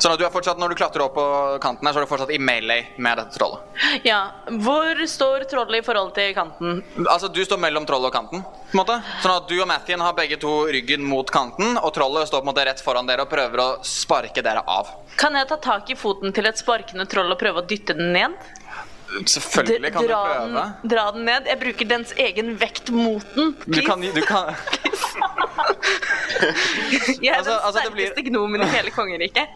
Speaker 7: Sånn at du er fortsatt, Når du klatrer opp på kanten, her, så er du fortsatt i melee med dette trollet.
Speaker 9: ja, hvor står trollet i forhold til kanten?
Speaker 7: Altså, Du står mellom trollet og kanten. på en måte. Sånn at Du og Mathien har begge to ryggen mot kanten, og trollet står på en måte rett foran dere og prøver å sparke dere av.
Speaker 9: Kan jeg ta tak i foten til et sparkende troll og prøve å dytte den ned?
Speaker 7: Selvfølgelig kan du
Speaker 9: dra,
Speaker 7: prøve.
Speaker 9: Den, dra den ned. Jeg bruker dens egen vekt mot den.
Speaker 7: Du kan, du kan,
Speaker 9: Jeg er
Speaker 7: Altså-
Speaker 9: den
Speaker 7: altså, det blir-
Speaker 9: sterkeste gnomen i hele kongeriket.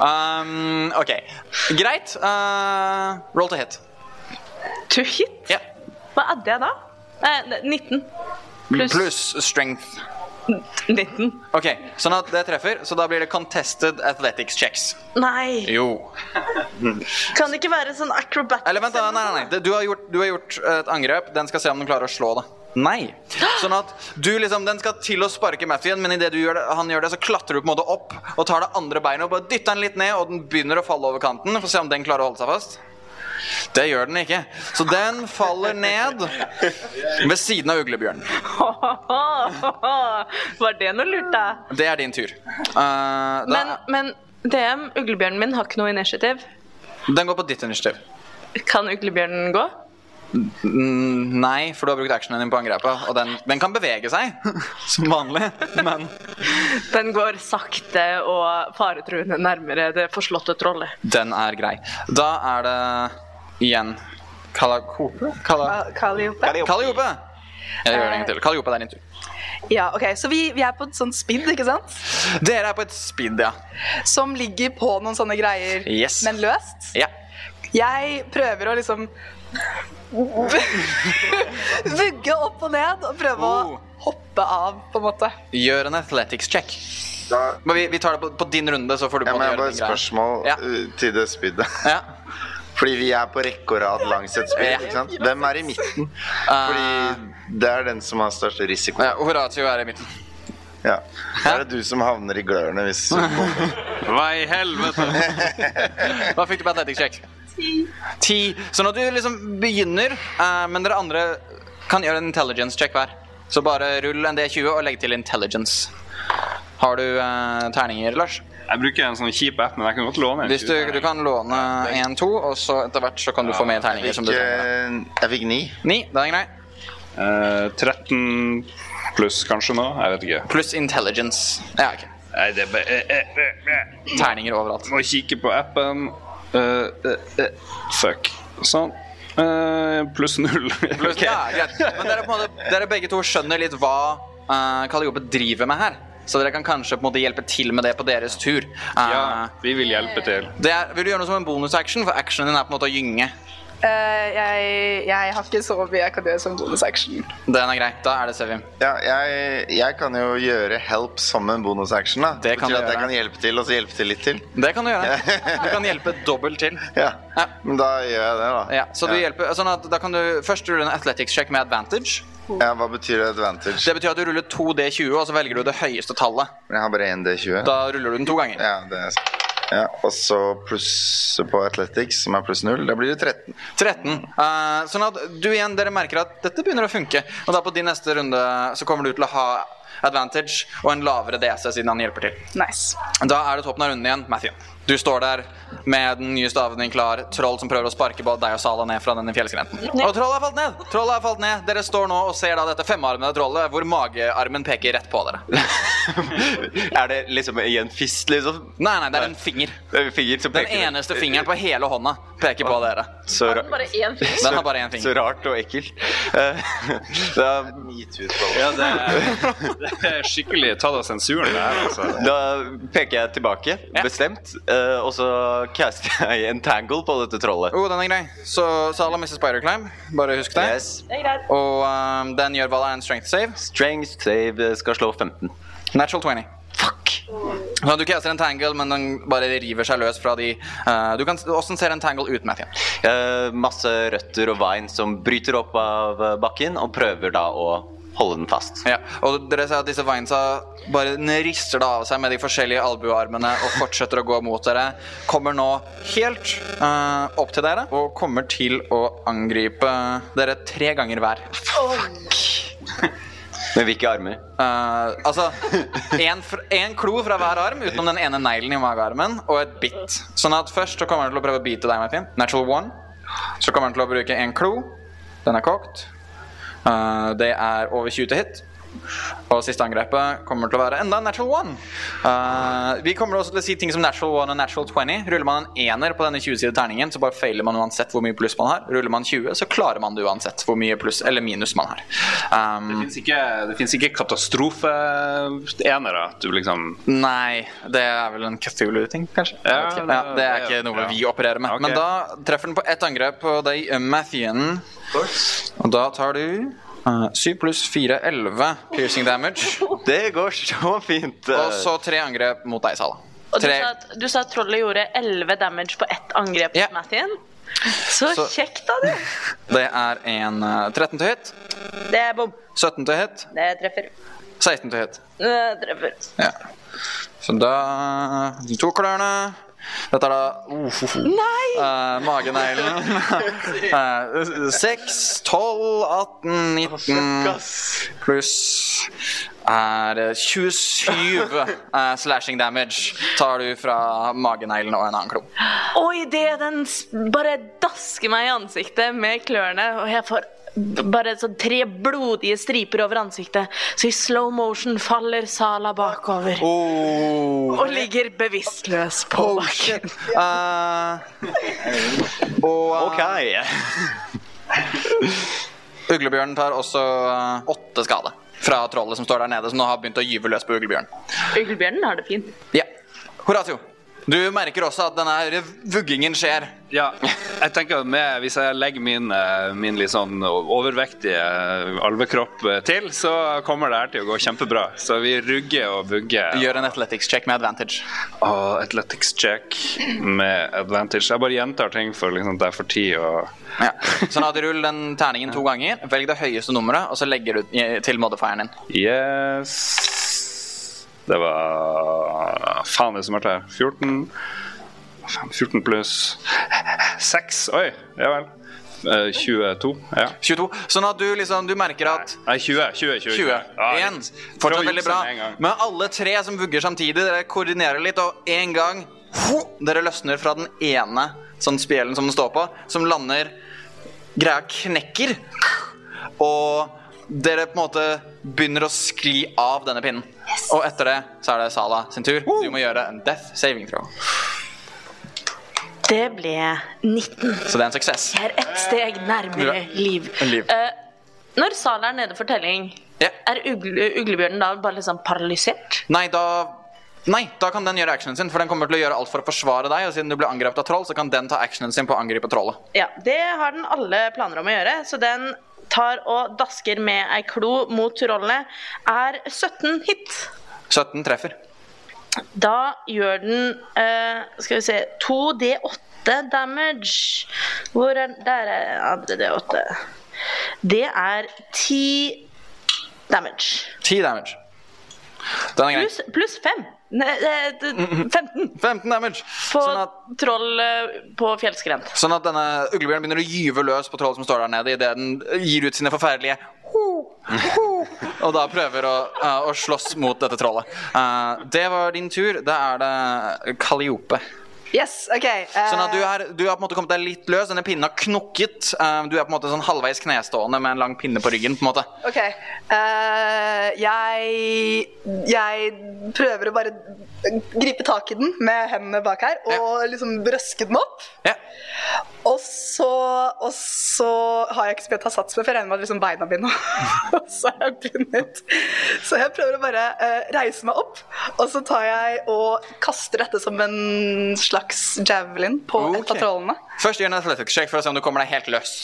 Speaker 7: um, OK. Greit. Uh, roll to hit.
Speaker 9: To hit?
Speaker 7: Ja.
Speaker 9: Hva adde jeg da? Eh, ne- 19. Pluss
Speaker 7: Pluss strength.
Speaker 9: 19.
Speaker 7: OK, sånn at det treffer, så da blir det contested athletics checks.
Speaker 9: Nei,
Speaker 7: Jo.
Speaker 9: kan det ikke være sånn acrobat?
Speaker 7: Eller vent, da, nei, nei, nei. Det- Du har, gjort, du har gjort eh, et angrep. Den skal se om den klarer å slå deg. Nei. Sånn at du liksom, Den skal til å sparke Mathien, men idet han gjør det, så klatrer du på en måte opp og tar det andre beinet og bare dytter den litt ned, og den begynner å falle over kanten. Få se om den klarer å holde seg fast. Det gjør den ikke. Så den faller ned ved siden av uglebjørnen.
Speaker 9: (laughs) Var det noe lurt, da?
Speaker 7: Det er din tur. Eh, da,
Speaker 9: Men, men DM, uglebjørnen min har ikke noe initiativ.
Speaker 7: den går på ditt initiativ.
Speaker 9: Kan uglebjørnen gå?
Speaker 7: Mm, Nei, for du har brukt actionen din på angrepet, og den, den kan bevege seg (laughs) som vanlig, men
Speaker 9: Den går sakte og faretruende nærmere det forslåtte trollet.
Speaker 7: Den er grei. Da er det igjen Kalakope? Kala...
Speaker 10: Kaliope.
Speaker 7: Kaliope! Jeg gjør det en gang til. Kaliope, det er din tur.
Speaker 10: Ja, ok, Så vi, vi er på et sånt speed, ikke sant?
Speaker 7: Dere er på et speed, ja.
Speaker 10: Som ligger på noen sånne greier,
Speaker 7: Yes.
Speaker 10: men løst.
Speaker 7: ja.
Speaker 10: Jeg prøver å liksom (laughs) Vugge opp og ned og prøve
Speaker 7: Oh.
Speaker 10: å hoppe av, på en måte.
Speaker 7: Gjør en athletics check.
Speaker 1: Da-
Speaker 7: Men vi, vi tar det på, på din runde, så får du
Speaker 1: Ja,
Speaker 7: på
Speaker 1: men
Speaker 7: en
Speaker 1: jeg har
Speaker 7: måte
Speaker 1: bare
Speaker 7: gjøre
Speaker 1: et
Speaker 7: din greie.
Speaker 1: spørsmål
Speaker 7: Ja.
Speaker 1: uh, til det spydet.
Speaker 7: Ja.
Speaker 1: (laughs) Fordi vi er på rekke og rad langs et spyd.
Speaker 7: Ja. Uh,
Speaker 1: ikke sant? Hvem er i midten? Fordi det er den som har størst risiko.
Speaker 7: Ja, Horatio er i midten.
Speaker 1: Ja. Da er det du som havner i glørne
Speaker 7: (laughs)
Speaker 1: hvis
Speaker 6: Hva i helvete?
Speaker 7: Hva fikk du på athletics check? Ti. Så når du liksom begynner, eh, men dere andre kan gjøre en intelligence check hver. Så bare rull en D20 og legg til intelligence. Har du eh, terninger, Lars?
Speaker 6: Jeg bruker en sånn kjip app, men jeg kan godt låne en.
Speaker 7: Hvis du, du kan låne en, to, og så etter hvert så kan du få mer terninger som du
Speaker 1: Ikke,
Speaker 7: trenger.
Speaker 1: Jeg fikk ni.
Speaker 7: Ni, det er grei.
Speaker 6: Eh, 13 pluss kanskje nå? Jeg vet ikke.
Speaker 7: Pluss intelligence. Ja, ok.
Speaker 6: Nei, det er bare eh, eh, eh, eh.
Speaker 7: Terninger overalt.
Speaker 6: Må kikke på appen. Eh, eh, eh. Fuck. Sånn. Eh, pluss null. (laughs)
Speaker 7: Pluss, ja, greit. Men dere, på en måte, dere begge to skjønner litt hva uh, Kaliope eh, driver med her. Så dere kan kanskje på en måte hjelpe til med det på deres tur. ja,
Speaker 6: vi vil hjelpe til.
Speaker 7: Det er, vil du gjøre noe som en bonusaction? For actionen din er på en måte å gynge.
Speaker 10: Eh, jeg, jeg har ikke så mye jeg kan gjøre som bonusaction.
Speaker 7: Den er grei. Da er det Sevim.
Speaker 1: Ja, jeg, jeg kan jo gjøre help som en bonusaction. da. Det
Speaker 7: kan
Speaker 1: Betyr
Speaker 7: du
Speaker 1: at jeg
Speaker 7: gjøre.
Speaker 1: kan hjelpe til, og så hjelpe til litt til.
Speaker 7: Det kan du gjøre. Du kan hjelpe dobbelt til.
Speaker 1: Ja, men da gjør jeg det, da.
Speaker 7: Ja, så du hjelper, sånn at da kan du først rulle en athletics check med advantage.
Speaker 1: Ja, Hva betyr advantage?
Speaker 7: Det betyr at du ruller 2D20, og så velger du det høyeste tallet.
Speaker 1: Men Jeg har bare 1D20.
Speaker 7: Da ruller du den to ganger.
Speaker 1: Ja, det er sant. Ja, og så pluss på Athletics, som er pluss null. Da blir det 13.
Speaker 7: 13. Eh, sånn at du igjen, dere merker at dette begynner å funke. Og da på din neste runde så kommer du til å ha advantage og en lavere DC siden han hjelper til.
Speaker 10: Nice.
Speaker 7: Da er det toppen av runden igjen, Matthew. Du står der med den nye staven din klar. Troll som prøver å sparke både deg og Sala ned fra denne fjellskrenten. Og trollet har falt ned! Trollet har falt ned. Dere står nå og ser da dette femarmede trollet hvor magearmen peker rett på dere.
Speaker 8: (laughs) Er det liksom i en fist, liksom?
Speaker 7: Nei, nei, det er en finger.
Speaker 8: En finger som
Speaker 7: Den
Speaker 8: peker ut.
Speaker 7: eneste fingeren på hele hånda peker på dere.
Speaker 8: Så ra-
Speaker 9: Bare én finger.
Speaker 7: Den har bare én finger.
Speaker 8: Så rart og ekkelt. Eh, (laughs) da,
Speaker 6: Ja, det er, (laughs) det er skikkelig tatt av sensuren, det her, altså.
Speaker 8: da peker jeg tilbake, bestemt, eh, og så caster jeg en tangle på dette trollet.
Speaker 7: Oh, den er grei. Så Sala mister spiderclimb. Bare husk det.
Speaker 8: Yes.
Speaker 9: Det er greit.
Speaker 7: Og um, den gjør hva det er en strength save.
Speaker 8: Strength save eh, skal slå 15.
Speaker 7: Natural 20. Fuck. Så du caster en tangle, men den bare river seg løs fra de eh, Du kan Åssen ser en tangle ut, Matthew?
Speaker 8: Eh, masse røtter og vine som bryter opp av eh, bakken, og prøver da å holde den fast.
Speaker 7: Ja, og dere ser at disse vinesa bare rister det av seg med de forskjellige albuearmene og fortsetter å gå mot dere. Kommer nå helt eh, opp til dere og kommer til å angripe dere tre ganger hver.
Speaker 8: Men hvilke armer?
Speaker 7: Eh, altså en, fr- en klo fra hver arm utenom den ene neglen i magearmen, og et bitt. Sånn at først så kommer han til å prøve å bite deg, Martin. Natural one. Så kommer han til å bruke en klo. Den er kokt. Eh, det er over 20 til hit. Og siste angrepet kommer til å være enda en natural one. Eh, vi kommer også til å si ting som natural one og natural 20. Ruller man en ener på denne 20-side terningen, så bare feiler man uansett hvor mye pluss man har. Ruller man 20, så klarer man det uansett hvor mye pluss eller minus man har. Um,
Speaker 6: Det fins ikke, det finnes ikke katastrofeenere. Du liksom
Speaker 7: Nei, det er vel en Cthulhu-ting, kanskje.
Speaker 6: Ja,
Speaker 7: Jeg vet ikke. ja, det er
Speaker 6: det-
Speaker 7: ikke noe
Speaker 6: ja.
Speaker 7: vi opererer med.
Speaker 6: Ok.
Speaker 7: Men da treffer den på ett angrep på deg, eh, Mathien. Og da tar du eh, 7 pluss 4, 11 piercing (laughs) damage.
Speaker 8: Det går så fint. eh.
Speaker 7: Og så tre angrep mot deg, Sala.
Speaker 9: Og du
Speaker 7: Tre.
Speaker 9: sa, at, du sa at trollet gjorde 11 damage på ett angrep
Speaker 7: Ja.
Speaker 9: mot Mathien. Så,
Speaker 7: Så-
Speaker 9: kjekt, da, du.
Speaker 7: Det er en eh, 13 til hit,
Speaker 9: Det er bom.
Speaker 7: 17 til hit,
Speaker 9: Det treffer.
Speaker 7: 16 til hit.
Speaker 9: Det treffer.
Speaker 7: Ja. Så da De to klørne. Dette er da uff, uff, uff. Eh, mageneglen. Eh, Seks, tolv, 18, 19 pluss er eh, 27 eh, slashing damage tar du fra mageneglen og en annen klo.
Speaker 9: Og idet den s- bare dasker meg i ansiktet med klørne, og jeg får b- bare sånn tre blodige striper over ansiktet, så i slow motion faller Sala bakover
Speaker 7: Oh.
Speaker 9: og ligger bevisstløs på bakken.
Speaker 7: Eh, og eh,
Speaker 8: OK.
Speaker 7: uglebjørnen tar også eh, åtte skade fra trollet som står der nede, som nå har begynt å gyve løs på uglebjørnen.
Speaker 9: Uglebjørnen har det fint.
Speaker 7: Ja. Horatio, du merker også at denne her vuggingen skjer.
Speaker 6: Ja, jeg tenker at med, Hvis jeg legger min, eh, min litt sånn overvektige alvekropp eh, til, så kommer det her til å gå kjempebra. Så vi rugger og vugger.
Speaker 7: Gjør en athletics check med advantage.
Speaker 6: Og athletics check med advantage. Jeg bare gjentar ting for liksom, at jeg får tid og
Speaker 7: (laughs) Ja. Sånn at rull den terningen to ganger, velg det høyeste nummeret, og så legger du i- til modifieren din.
Speaker 6: Yes. Det var Faen, det er så mørkt her. 14 Faen, 14 pluss 6. Oi, ja vel. Eh, 22. Ja.
Speaker 7: 22. Sånn at du liksom, du merker at
Speaker 6: Nei, 20. 20, 20,
Speaker 7: 20.
Speaker 6: Ja,
Speaker 7: Én.
Speaker 6: litt. Prøv å
Speaker 7: Fortsatt
Speaker 6: jukse
Speaker 7: veldig bra.
Speaker 6: med en gang.
Speaker 7: Men alle tre som vugger samtidig, dere koordinerer litt, og én gang ho, Dere løsner fra den ene sånn spjelen som den står på, som lander Greia knekker, og dere på en måte begynner å skli av denne pinnen. Og etter det så er det Sala sin tur. Du må gjøre en death saving throw.
Speaker 9: Det ble 19.
Speaker 7: Så det er en suksess.
Speaker 9: Jeg er ett steg nærmere liv.
Speaker 7: Liv.
Speaker 9: Eh, når Sala er nede for telling, Er ugle, uglebjørnen da bare liksom paralysert?
Speaker 7: Nei, da Nei, da kan den gjøre actionen sin, for den kommer til å gjøre alt for å forsvare deg. Og siden du ble angrepet av troll, så kan den ta actionen sin på å angripe trollet.
Speaker 9: Ja, det har den alle planer om å gjøre, så den tar og dasker med ei klo mot trollene. Er 17 hit.
Speaker 7: 17 treffer.
Speaker 9: Da gjør den eh, Skal vi se 2D8 damage. Hvor er Der er andre D8. Det er 10 damage.
Speaker 7: 10 damage. Den er grei.
Speaker 9: Pluss plus 5. Nei, eh, d- 15
Speaker 7: 15 damage.
Speaker 9: på troll eh, på fjellskrent.
Speaker 7: Sånn at denne uglebjørnen begynner å gyve løs på trollet som står der nede, idet den gir ut sine forferdelige (laughs) og da prøver å, eh, å slåss mot dette trollet. Eh, det var din tur. Da er det Kaliope.
Speaker 5: Yes, OK. eh,
Speaker 7: Sånn at du, er, du har på en måte kommet deg litt løs. Denne pinnen har knokket. Eh, du er på en måte sånn halvveis knestående med en lang pinne på ryggen. på en måte
Speaker 5: OK. eh, jeg Jeg prøver å bare gripe tak i den med hendene bak her og liksom røske den opp. Og så, og så har jeg ikke så mye å ta sats med, for jeg regner med at liksom beina mine (laughs) Og så er jeg bundet. Så jeg prøver å bare eh, reise meg opp, og så tar jeg og kaster dette som en slags javelin på et av trollene.
Speaker 7: Først gjør en athletics check for å se om du kommer deg helt løs.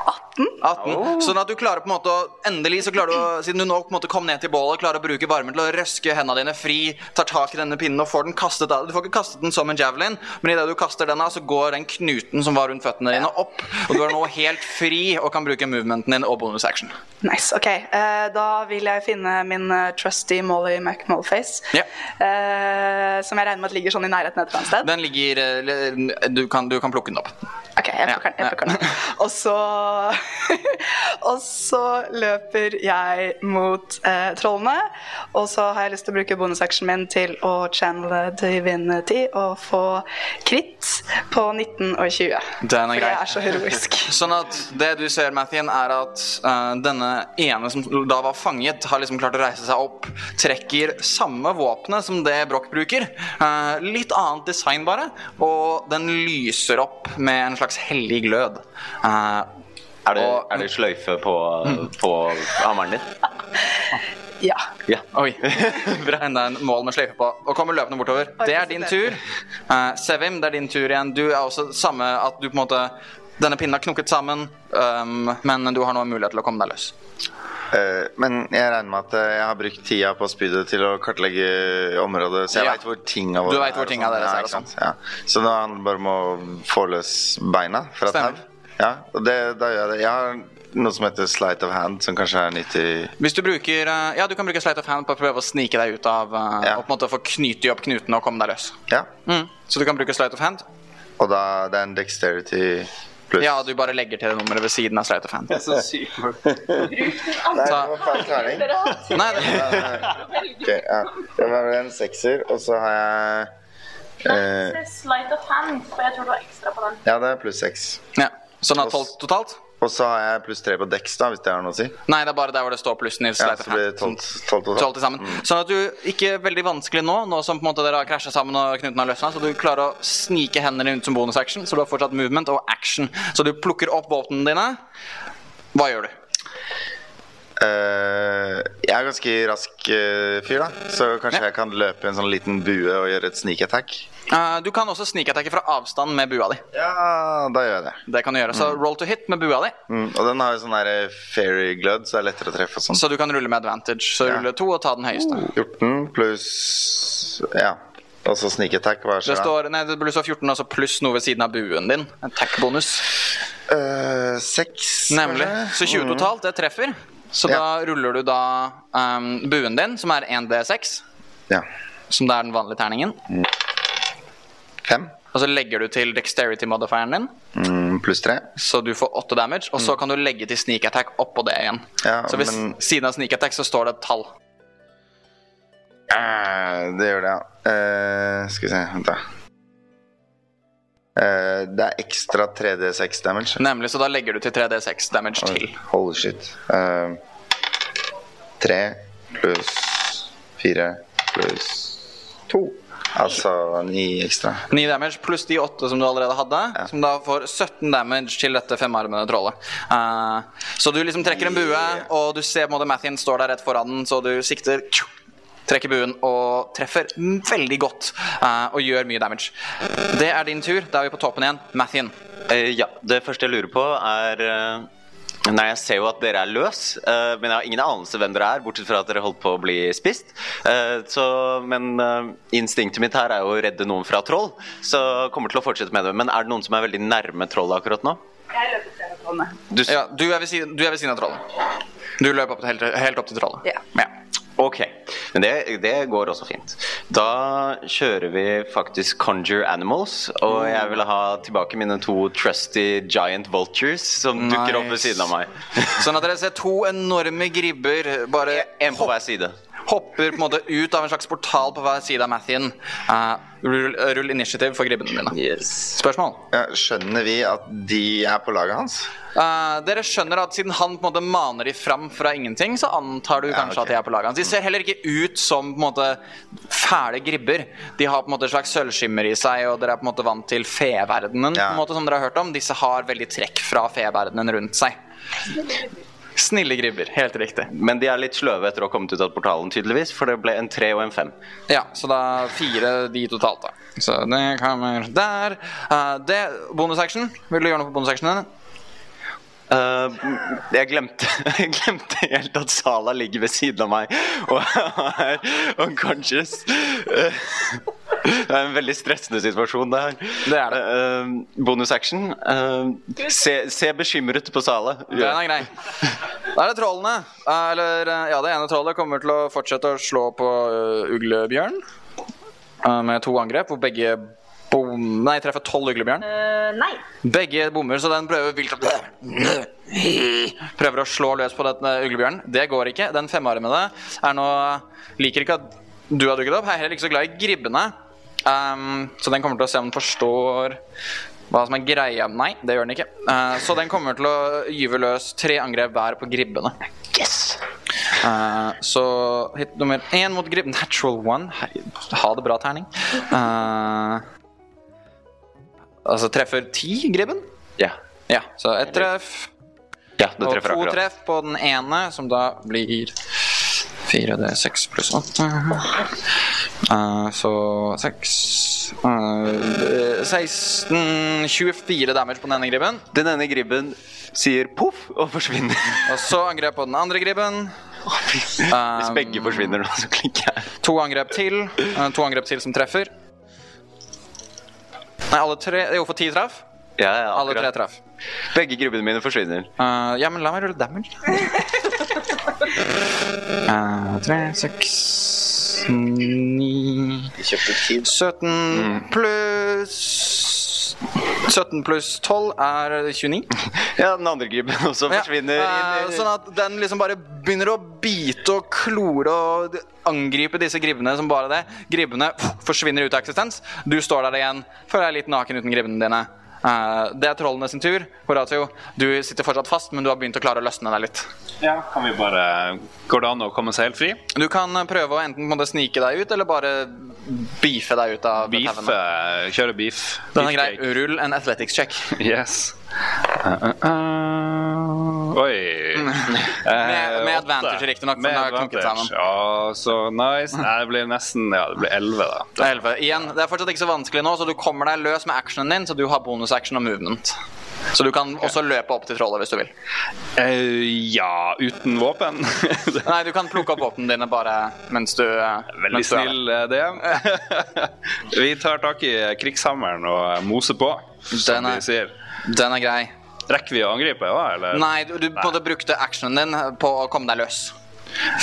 Speaker 7: 18. Sånn at du klarer på en måte å Endelig, så klarer du å, siden du nå på en måte kom ned til bålet, klarer å bruke varmen til å røske hendene dine fri, tar tak i denne pinnen og får den kastet av. Du får ikke kastet den som en javelin, men idet du kaster den av, så går den knuten som var rundt føttene dine, opp. Og du er nå helt fri og kan bruke movementen din og bonus action.
Speaker 5: Nice, ok. Eh, da vil jeg finne min eh, trusty Molly McMollface,
Speaker 7: Ja.
Speaker 5: eh, som jeg regner med at ligger sånn i nærheten et eller annet sted.
Speaker 7: Den ligger eh, le- Du kan, du kan plukke den opp.
Speaker 5: Ok, jeg plukker den. Jeg plukker den. Og så (laughs) Og så løper jeg mot eh, trollene. Og så har jeg lyst til å bruke bonusactionen min til å channele divinity og få kritt på 19 og 20.
Speaker 7: Den er grei.
Speaker 5: jeg er så heroisk.
Speaker 7: (laughs) Sånn at det du ser, Mathien, er at eh, denne ene som da var fanget, har liksom klart å reise seg opp, trekker samme våpenet som det Broch bruker. eh, litt annet design, bare. Og den lyser opp med en slags hellig glød. Eh,
Speaker 8: Er det, er det sløyfe på, på hammeren din?
Speaker 5: Ja.
Speaker 8: Ja.
Speaker 7: Oi. (laughs) Bra. Enda en mål med sløyfe på. Og kommer løpende bortover.
Speaker 5: Oi,
Speaker 7: Det er din tur. Eh, Sevim, det er din tur igjen. Du er også samme at du på en måte Denne pinnen har knokket sammen, ehm, men du har nå en mulighet til å komme deg løs.
Speaker 1: Eh, men jeg regner med at eh, jeg har brukt tida på spydet til å kartlegge området, så jeg
Speaker 7: Ja.
Speaker 1: vet hvor tinga våre
Speaker 7: Du vet hvor tinga
Speaker 1: og sånn.
Speaker 7: deres er
Speaker 1: Ja,
Speaker 7: og
Speaker 1: ikke sant? Ja. Så nå handler det bare om å få løs beina fra et
Speaker 7: Stemmer.
Speaker 1: tau. Ja, og det, da gjør jeg det. Jeg har noe som heter sleight of hand, som kanskje er nyttig
Speaker 7: Hvis du bruker eh, Ja, du kan bruke Slate of Hand på å prøve å snike deg ut av eh, Og på en måte få knyte opp knutene og komme deg løs.
Speaker 1: Ja.
Speaker 7: Mm. Så du kan bruke Slate of Hand.
Speaker 1: Og da det er en dexterity pluss.
Speaker 7: Ja, du bare legger til det nummeret ved siden av Slate of Hand.
Speaker 1: så sykt. Nei, det var feil klaring.
Speaker 7: Nei,
Speaker 1: Ok, ja. Det var en sekser, og så har jeg eh,
Speaker 9: Slight of hand, for jeg tror du har ekstra på den.
Speaker 1: Ja, det er pluss seks.
Speaker 7: Ja. Sånn at tolv totalt?
Speaker 1: Og så har jeg pluss tre på dex, da, hvis det har noe å si.
Speaker 7: Nei, det er bare der hvor det står plussen i
Speaker 1: Ja, så
Speaker 7: Slate of Hand.
Speaker 1: blir det tolv tolv totalt. Mm.
Speaker 7: Tolv til sammen. Sånn at du ikke er veldig vanskelig nå, nå som på en måte dere har krasja sammen og knuten har løsna, så du klarer å snike hendene rundt som bonusaction, så du har fortsatt movement og action. Så du plukker opp våpnene dine. Hva gjør du?
Speaker 1: Eh, jeg er ganske rask eh, fyr, da, så kanskje jeg kan løpe i en sånn liten bue og gjøre et sneak attack.
Speaker 7: Eh, du kan også snikeattacke fra avstand med bua di.
Speaker 1: Ja, da gjør jeg det.
Speaker 7: Det kan du gjøre. Så roll to hit med bua di.
Speaker 1: Mm, og den har jo sånn der, eh, fairy glød, så det er lettere å treffe og sånn.
Speaker 7: Så du kan rulle med advantage. Så rulle to og ta den høyeste.
Speaker 1: Uh. 14 pluss Ja. Og så sneak attack, hva
Speaker 7: Det
Speaker 1: skjer da?
Speaker 7: står, nei, det burde stå 14 altså pluss noe ved siden av buen din. Attack-bonus.
Speaker 1: Eh, Seks.
Speaker 7: Nemlig.
Speaker 1: kanskje?
Speaker 7: Så 20
Speaker 1: Mm.
Speaker 7: totalt, det treffer. Så da ruller du da ehm, buen din, som er 1D6,
Speaker 1: Ja.
Speaker 7: som det er den vanlige terningen.
Speaker 1: Fem.
Speaker 7: Og så legger du til dexterity-modifieren din,
Speaker 1: Mm, pluss tre.
Speaker 7: så du får 8 damage. Og så kan du legge til sneak attack oppå det igjen.
Speaker 1: Mm. Ja,
Speaker 7: Så ved
Speaker 1: men-
Speaker 7: siden av sneak attack så står det et tall.
Speaker 1: Eh, det gjør det, ja. Eh, skal vi se, vent, da. Eh, det er ekstra 3D6 damage.
Speaker 7: Nemlig, så da legger du til 3D6 damage til.
Speaker 1: Holy shit. Eh, Tre pluss fire pluss to
Speaker 12: Altså ni ekstra.
Speaker 7: 9 damage pluss de 8 som du allerede hadde, som da får 17 damage til dette femarmede trollet. Eh, så du liksom trekker en bue, og du ser på en måte Mathien står der rett foran den, så du sikter tju, Trekker buen og treffer veldig godt eh, og gjør mye damage. Det er din tur. Da er vi på toppen igjen. Mathien.
Speaker 1: Eh, ja, det første jeg lurer på er eh, Nei, jeg ser jo at dere er løs, eh, men jeg har ingen anelse hvem dere er, bortsett fra at dere holdt på å bli spist. Eh, så, men eh, instinktet mitt her er jo å redde noen fra troll, så jeg kommer til å fortsette med det. Men er det noen som er veldig nærme trollet akkurat nå?
Speaker 13: Jeg løper til telefonen.
Speaker 7: Du, ja, du, er ved siden, du er ved siden av trollet. Du løp opp, helt, helt opp til trollet.
Speaker 13: Ja.
Speaker 1: Ok, men det, det går også fint. Da kjører vi faktisk Conjure Animals, og jeg vil ha tilbake mine to trusty giant vultures som dukker opp ved
Speaker 7: Nice.
Speaker 1: siden av meg.
Speaker 7: Sånn at dere ser to enorme gribber bare
Speaker 1: En på hver side.
Speaker 7: hopper på en måte ut av en slags portal på hver side av Mathien. Eh, rull, rull initiativ for gribbene dine. Spørsmål?
Speaker 12: Ja, skjønner vi at de er på laget hans?
Speaker 7: Eh, dere skjønner at siden han på en måte maner de fram fra ingenting, så antar du kanskje at de er på laget hans. De ser heller ikke ut som på en måte fæle gribber. De har på en måte et slags sølvskimmer i seg, og dere er på en måte vant til feverdenen på en måte som dere har hørt om. Disse har veldig trekk fra feverdenen rundt seg. Snille gribber, helt riktig.
Speaker 1: Men de er litt sløve etter å ha kommet ut av portalen, tydeligvis, for det ble en tre og en fem.
Speaker 7: Ja, så da fire de totalt, da. Så det kommer der. Eh, det, bonusaction. Vil du gjøre noe på bonusactionen din?
Speaker 1: Eh, jeg, glemte, (laughs) jeg glemte helt at Sala ligger ved siden av meg og er unconscious. Eh, det er en veldig stressende situasjon, det her. Eh,
Speaker 7: Det er det.
Speaker 1: bonus action. eh, se, se bekymret på Sala.
Speaker 7: Den er grei. Da er det trollene. Eh, Eller, eh, ja, det ene trollet kommer til å fortsette å slå på eh, uglebjørn eh, med to angrep, hvor begge bom... Nei, treffer tolv uglebjørn.
Speaker 9: Eh, nei.
Speaker 7: Begge bommer, så den prøver vilt å Prøver å slå løs på denne uglebjørnen. Det går ikke. Den femarmede er nå Liker ikke at du har dukket opp. Jeg er heller ikke så glad i gribbene. Ehm, så den kommer til å se om den forstår hva som er greia Nei, det gjør den ikke. Eh, så den kommer til å gyve løs tre angrep hver på gribbene. Yes! så hit nummer én mot gribb. Natural one. Herregud, ha det bra, terning. Eh, altså treffer ti gribben?
Speaker 1: Ja.
Speaker 7: Ja, så ett treff.
Speaker 1: Ja, det
Speaker 7: og
Speaker 1: treffer
Speaker 7: to
Speaker 1: akkurat.
Speaker 7: treff på den ene, som da blir 4 det er 6 pluss 8 Så 6 16 24 damage på den ene gribben.
Speaker 1: Den ene gribben sier poff og forsvinner.
Speaker 7: Og så angrep på den andre gribben. Um,
Speaker 1: Hvis begge forsvinner nå, så klikker jeg.
Speaker 7: To angrep til. eh, to angrep til som treffer. Nei, alle tre Jo, for ti traff.
Speaker 1: Ja, ja,
Speaker 7: Alle
Speaker 1: akkurat.
Speaker 7: tre traff.
Speaker 1: Begge grubbene mine forsvinner.
Speaker 7: Eh, ja, men la meg rulle
Speaker 1: (laughs)
Speaker 7: damage. Eh, tre, seks, ni 17
Speaker 1: Mm.
Speaker 7: pluss 17 pluss 12 er
Speaker 1: (laughs)
Speaker 7: 29.
Speaker 1: Ja, den andre gribben også
Speaker 7: Ja,
Speaker 1: forsvinner.
Speaker 7: eh,
Speaker 1: inn i-
Speaker 7: sånn at den liksom bare begynner å bite og klore og angripe disse gribbene som bare det. Gribbene forsvinner ut av eksistens. Du står der igjen, føler deg litt naken uten gribbene dine. Eh, det er trollene sin tur. Horatio, du sitter fortsatt fast, men du har begynt å klare å løsne deg litt.
Speaker 6: Ja, kan vi bare Går det an å komme seg helt fri?
Speaker 7: Du kan eh, prøve å enten på en måte snike deg ut, eller bare beefe deg ut av
Speaker 6: Beef,
Speaker 7: tauene.
Speaker 6: eh, kjøre beef.
Speaker 7: Den er grei. Mm.
Speaker 6: Beefcake.
Speaker 7: Rull en athletics check.
Speaker 6: Yes. Eh, eh, eh. Oi.
Speaker 7: Mm. Med- med
Speaker 6: (laughs) Eh,
Speaker 7: advantage,
Speaker 6: åtte.
Speaker 7: riktig nok, for
Speaker 6: Med
Speaker 7: den har klunket
Speaker 6: advantage.
Speaker 7: sammen. Mm.
Speaker 6: Ja, så nice. Nei, det blir nesten Ja, det blir elleve, da.
Speaker 7: Det er 11. Igjen, det er fortsatt ikke så vanskelig nå, så du kommer deg løs med actionen din, så du har bonusaction og movement. Så du kan også løpe opp til trollet hvis du vil.
Speaker 6: Eh, ja, uten våpen. (laughs)
Speaker 7: Nei, du kan plukke opp våpnene dine bare mens du
Speaker 6: Veldig snill eh, DM. (laughs) vi tar tak i eh, krigshammeren og eh, moser på, som
Speaker 7: Den er-
Speaker 6: de sier.
Speaker 7: Den er grei.
Speaker 6: Rekker vi å angripe, da? Eller?
Speaker 7: Nei, du, du på en måte brukte actionen din på å komme deg løs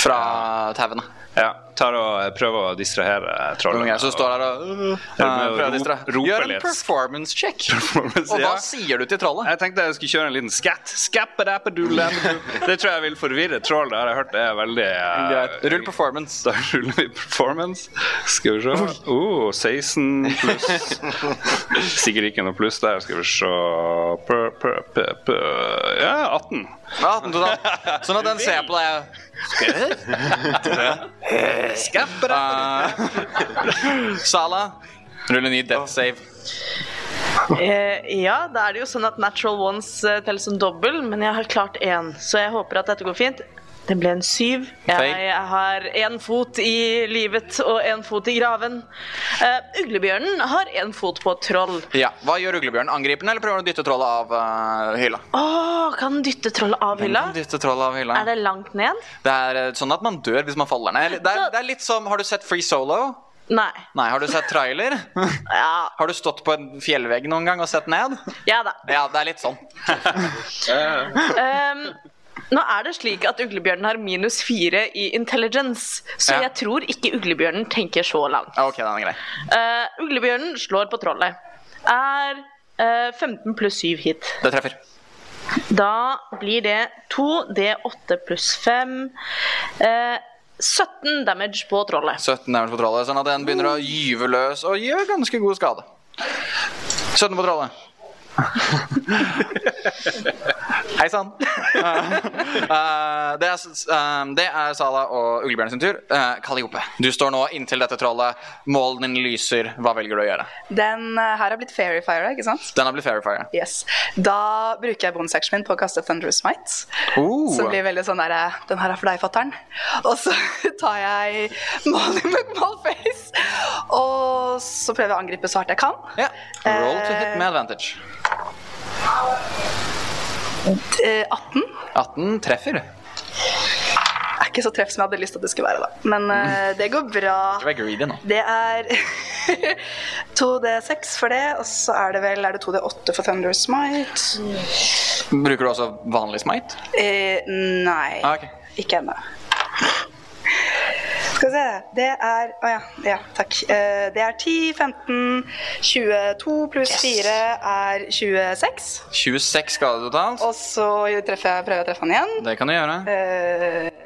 Speaker 7: fra tauene.
Speaker 6: Ja, tar og eh, prøver å distrahere eh, trollet.
Speaker 7: Unger som står der og øh,
Speaker 6: Eller
Speaker 7: prøver å
Speaker 6: rop-
Speaker 7: distrahere.
Speaker 6: roper
Speaker 7: Gjør en
Speaker 6: litt.
Speaker 7: performance check.
Speaker 6: (laughs) Performance,
Speaker 7: Og hva
Speaker 6: ja.
Speaker 7: sier du til trollet?
Speaker 6: Jeg tenkte jeg skulle kjøre en liten
Speaker 7: (laughs)
Speaker 6: skatt. Skappadappadoolan. Det tror jeg vil forvirre troll. Det har jeg hørt det er veldig eh,
Speaker 7: Rull performance.
Speaker 6: Da ruller vi (laughs) performance. Skal vi se. Oh, 16
Speaker 7: (laughs)
Speaker 6: pluss. Sikkert ikke noe pluss der. Skal vi se Pø, pø, pø, pø. Ja, 18.
Speaker 7: sånn Ja, den totalt. Sånn at den ser på deg. Eh, Sala, rulle ny death save.
Speaker 9: Eh, ja, da er det jo sånn at natural ones eh, teller som dobbel, men jeg har klart én, så jeg håper at dette går fint. Det ble en syv. Jeg,
Speaker 7: Feil.
Speaker 9: har én fot i livet og én fot i graven. Eh, uglebjørnen har én fot på et troll.
Speaker 7: Ja, Hva gjør uglebjørnen? Angriper den, eller prøver den å dytte trollet av eh, hylla?
Speaker 9: Å, kan den dytte trollet av
Speaker 7: Den
Speaker 9: hylla?
Speaker 7: kan Dytte trollet av hylla.
Speaker 9: Er det langt ned?
Speaker 7: Det er eh, sånn at man dør hvis man faller ned. Det er, det er litt som Har du sett Free Solo?
Speaker 9: Nei.
Speaker 7: Nei, Har du sett trailer?
Speaker 9: Ja.
Speaker 7: Har du stått på en fjellvegg noen gang og sett ned?
Speaker 9: Ja da.
Speaker 7: Ja, det er litt sånn.
Speaker 9: Ehm, nå er det slik at uglebjørnen har minus fire i intelligence, så
Speaker 7: Ja.
Speaker 9: jeg tror ikke uglebjørnen tenker så langt.
Speaker 7: Ok, den er grei.
Speaker 9: Eh, uglebjørnen slår på trollet. Er eh, 15 pluss 7 hit.
Speaker 7: Det treffer.
Speaker 9: Da blir det 2 D8 pluss 5 eh, 17 damage på trollet.
Speaker 7: 17 damage på trollet, sånn at den begynner å gyve løs og gjør ganske god skade. 17 på trollet. Hei sann. Eh, det, er s- eh, det er Sala og Uglebjørn sin tur. Uh, Kaliope, du står nå inntil dette trollet. Målen din lyser. Hva velger du å gjøre?
Speaker 5: Den eh, her har blitt Fairy Fire, ikke sant?
Speaker 7: Den har blitt Fairy Fire.
Speaker 5: Yes. Da bruker jeg bonusaction min på å kaste Thunderous Might.
Speaker 7: Oh.
Speaker 5: Så det blir veldig sånn derre Den her er for deg, fatter'n. Og så (laughs) tar jeg Molly McMallface. Og så prøver jeg å angripe så hardt jeg kan.
Speaker 7: Roll to hit med advantage.
Speaker 5: D- eh, 18
Speaker 7: 18 treffer.
Speaker 5: er ikke så treff som jeg hadde lyst til at det skulle være, da. Men eh, det går bra.
Speaker 7: Du er greedy nå.
Speaker 5: Det er (laughs) 2D6 for det, og så er det vel Er det 2D8 for Thunderous Might?
Speaker 7: Bruker du også vanlig smite?
Speaker 5: Eh, nei.
Speaker 7: Ah, ok.
Speaker 5: Ikke ennå. Skal vi se Det er Å ja. ja. Takk. Eh, det er 10, 15, 22 pluss 4 er 26.
Speaker 7: 26 skade totalt.
Speaker 5: Og så treffer jeg, prøver jeg å treffe han igjen.
Speaker 7: Det kan du gjøre.
Speaker 5: Eh,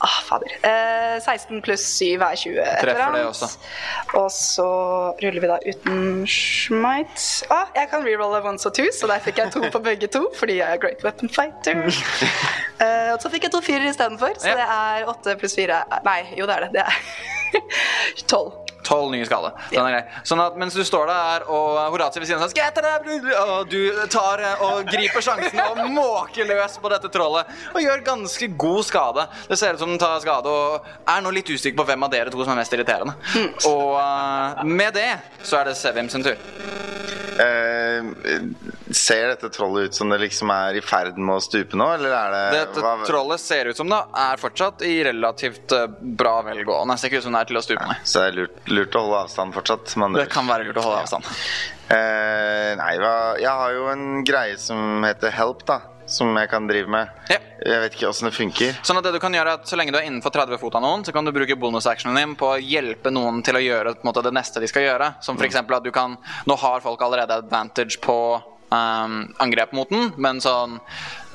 Speaker 5: ah, fader. Eh, 16 pluss 7 er 20. et eller
Speaker 7: Treffer det
Speaker 5: annet.
Speaker 7: også.
Speaker 5: Og så ruller vi da uten smite. Ah, jeg kan rerolle ones og twos, så der fikk jeg to på begge to. Fordi jeg er great weapon
Speaker 7: (laughs)
Speaker 5: fighter. Eh, og så fikk jeg to fyrer istedenfor, så det er åtte pluss fire Nei, jo det er det. Det er (laughs) tolv.
Speaker 7: 12 nye skade. Den er grei. Sånn at mens du står der og Horatio ved siden av deg sånn, Og du tar eh, og griper sjansen og måker løs på dette trollet og gjør ganske god skade. Det ser ut som den tar skade og er nå litt usikker på hvem av dere to som er mest irriterende. Og eh, med det så er det Sevim sin tur.
Speaker 1: Eh, ser dette trollet ut som det liksom er i ferd med å stupe nå, eller er det
Speaker 7: Dette trollet ser ut som det er fortsatt i relativt eh, bra velgående. Ser ikke ut som det er til å stupe, nei.
Speaker 1: Så det er lurt, lurt å holde avstand fortsatt?
Speaker 7: Det kan være lurt å holde avstand.
Speaker 1: Eh, nei, hva, jeg har jo en greie som heter help, da. Som jeg kan drive med. Jeg vet ikke åssen det funker.
Speaker 7: Sånn at det du kan gjøre er at Så lenge du er innenfor 30 fot av noen, så kan du bruke bonusactionen din på å hjelpe noen til å gjøre på en måte, det neste de skal gjøre. Som
Speaker 1: Mm.
Speaker 7: f.eks. at du kan Nå har folk allerede advantage på ehm, angrep mot den, men sånn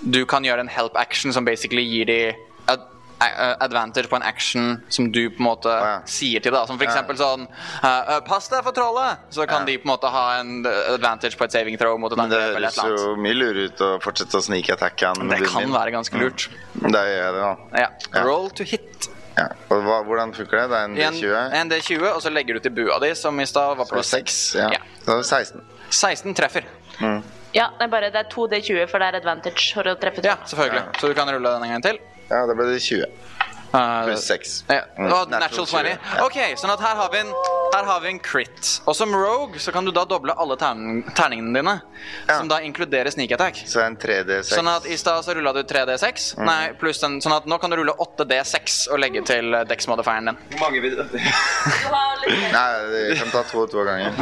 Speaker 7: Du kan gjøre en help action som basically gir de ad a- advantage på en action som du på en måte sier til det. da. Som for
Speaker 14: Ja.
Speaker 7: eksempel sånn eh, eh, Pass deg for trollet! Så kan de på en måte ha en eh, advantage på et saving throw mot et
Speaker 1: Men det
Speaker 7: angrep eller et
Speaker 1: høres
Speaker 7: eller annet.
Speaker 1: jo mye lurere ut å fortsette å sneak-attacke han. Mm.
Speaker 7: Det kan være ganske lurt.
Speaker 1: Da gjør jeg det, da.
Speaker 7: Ja. Roll to hit.
Speaker 1: Ja. Og hva, hvordan funker det? Det er en
Speaker 7: En,
Speaker 1: D20?
Speaker 7: en D20, og så legger du til bua di, som i stad var pluss 6.
Speaker 1: Ja. Da er det 16.
Speaker 7: 16 treffer,
Speaker 1: Mm.
Speaker 9: Ja, det er bare det er 2 D20, for det er advantage for å treffe trollet.
Speaker 7: selvfølgelig. Så du kan rulle den en gang til. Eh,
Speaker 1: Ja, da ble det Mm. 20. Pluss 6.
Speaker 7: Ja. Og natural 20. Ok, sånn at her har vi en, her har vi en crit. Og som rogue så kan du da doble alle tern terningene dine, som da inkluderer sneak attack.
Speaker 1: Så en 3D6.
Speaker 7: Sånn at i stad så rulla du 3D6,
Speaker 1: Mm.
Speaker 7: nei, pluss den, sånn at nå kan du rulle 8D6 og legge til eh, dex-modifieren din. Hvor mange vil
Speaker 1: Nei, vi kan ta to og to av gangen.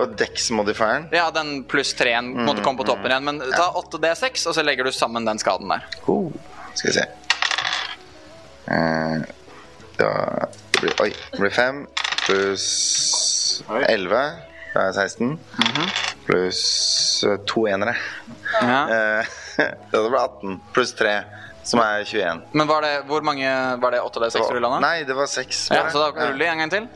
Speaker 1: Og dex-modifieren.
Speaker 7: Ja, den pluss 3-en
Speaker 1: Mm,
Speaker 7: måtte komme på toppen igjen, men ta 8D6, og så legger du sammen den skaden der.
Speaker 1: Skal vi se. Eh, da det blir, Oi. Det blir 5 pluss 11. Da er det 16. Pluss eh, to enere. Eh, (laughs) da blir det 18. Pluss 3, som er 21.
Speaker 7: Men var det, hvor mange var det 8D6 du rulla nå?
Speaker 1: Nei, det var 6.
Speaker 7: Ja, så da ruller de en gang til.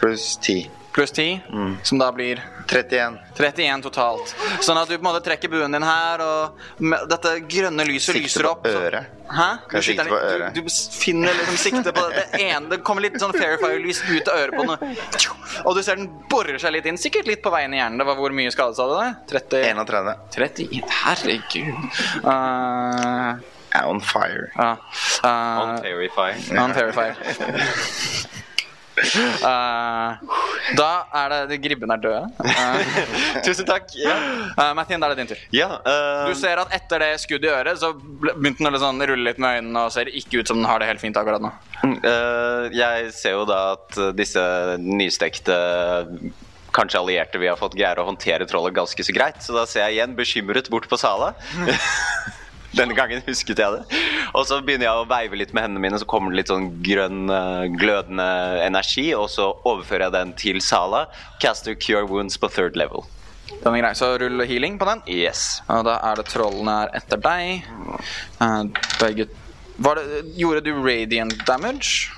Speaker 1: Pluss 10. Mm.
Speaker 7: Pluss 10, som da blir
Speaker 1: 31.
Speaker 7: 31 totalt. Sånn at du på en måte trekker buen din her, og med- dette grønne lyset lyser opp. så-
Speaker 1: øret.
Speaker 7: Hæ?
Speaker 1: Kan jeg sikte
Speaker 7: skyter
Speaker 1: på
Speaker 7: litt-
Speaker 1: øret?
Speaker 7: Du, du sikter liksom sikte på det, det ene Det kommer litt sånn Fairfire-lys ut av øret på den. Og du ser den borer seg litt inn. Sikkert litt på veien i hjernen. Det var hvor mye skade sa du? det? 30...
Speaker 1: 31.
Speaker 7: 30 Herregud. Uh,
Speaker 1: er on fire.
Speaker 7: Ja. Uh, on (laughs) terrifier. Uh, da er det de Gribben er død. Uh, tusen takk. Um, Uh, Mathien, da er det din tur.
Speaker 1: eh,
Speaker 7: du ser at etter det skuddet i øret, så ble- begynte den å litt sånn rulle litt med øynene og ser ikke ut som den har det helt fint akkurat nå.
Speaker 8: Eh, jeg ser jo da at disse nystekte Kanskje allierte vi har fått greier å håndtere trollet ganske så greit. Så da ser jeg igjen bekymret bort på Sala. (laughs) Denne gangen husket jeg det. Og så begynner jeg å veive litt med hendene mine, så kommer det litt sånn grønn, eh, glødende energi. Og så overfører jeg den til Sala. Caster cure wounds på third level.
Speaker 7: Den er grei, så rull healing på den.
Speaker 8: Yes.
Speaker 7: Og da er det trollene er etter deg. Uh, begge var det, Gjorde du radiant damage?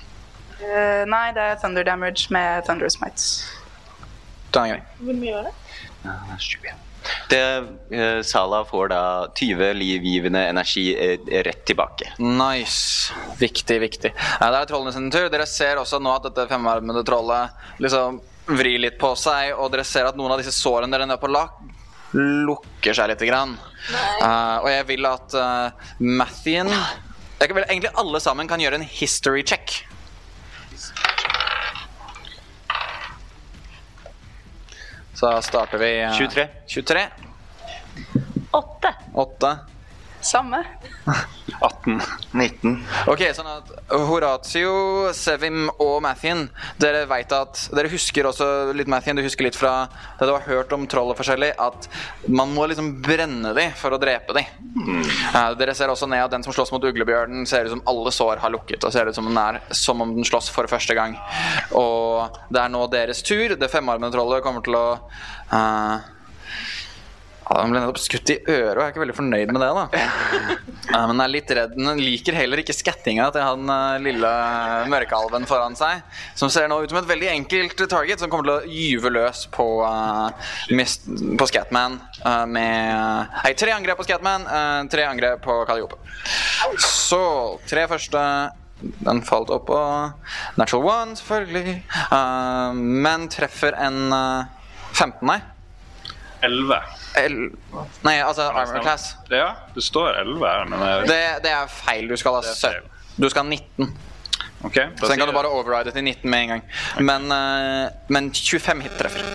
Speaker 10: Eh, nei, det er thunder damage med thunder smites.
Speaker 7: Den er grei.
Speaker 3: Hvor mye var det?
Speaker 8: Det, eh, Sala får da 20 livgivende energi eh, rett tilbake.
Speaker 7: Nice. Viktig, viktig. Ja, det er trollene sin tur. Dere ser også nå at dette femarmede trollet liksom vrir litt på seg, og dere ser at noen av disse sårene dere nede på lakk, lukker seg litt. Grann. Eh, og jeg vil at uh, Mathien Jeg vil egentlig alle sammen kan gjøre en history check. Så starter vi eh,
Speaker 8: 23.
Speaker 7: 23.
Speaker 9: 8.
Speaker 7: 8.
Speaker 10: Samme.
Speaker 6: 18.
Speaker 1: 19.
Speaker 7: Ok, sånn at Horatio, Sevim og Mathien Dere vet at Dere husker også litt Mathien, du husker litt fra det du har hørt om troll og forskjellig, at man må liksom brenne dem for å drepe dem. dere ser også ned at den som slåss mot uglebjørnen, ser ut som alle sår har lukket. Og ser ut som, den er, som om den slåss for første gang. Og det er nå deres tur. Det femarmede trollet kommer til å eh, ja, Han ble nettopp skutt i øret, og jeg er ikke veldig fornøyd med det. da Ja, Men jeg er litt redd. Den liker heller ikke skattinga til han eh, lille mørkealven foran seg. Som ser nå ut som et veldig enkelt target, som kommer til å gyve løs på, eh, mist, på Scatman. eh, med Nei, tre angrep på Scatman, eh, tre angrep på Kaliope. Så tre første Den falt oppå. Natural one, selvfølgelig. Eh, men treffer en eh, 15, nei.
Speaker 6: 11.
Speaker 7: El- nei, altså armor class.
Speaker 6: Ja, det står 11 her, men jeg-
Speaker 7: Det, det er feil. Du skal ha
Speaker 6: Det er
Speaker 7: 17.
Speaker 6: feil.
Speaker 7: Du skal ha 19.
Speaker 6: Ok,
Speaker 7: Så
Speaker 6: da
Speaker 7: den
Speaker 6: sier
Speaker 7: kan du bare override til 19 med en gang. Men, eh, men 25 hit treffer.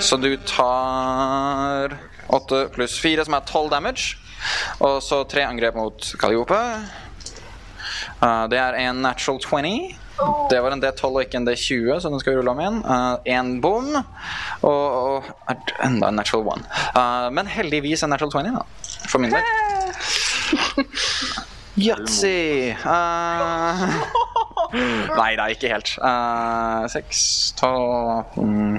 Speaker 7: Så du tar 8 pluss 4, som er 12 damage. Og så tre angrep mot Kaliope. Eh, det er en natural 20. Det var en D12 og ikke en D20, så den skal vi rulle om igjen. Én bom. Og, og er det enda en natural 1. men heldigvis en natural 20, da. For min del. Yatzy! Eh, Nei da, ikke helt. Uh, 6, 12 mm,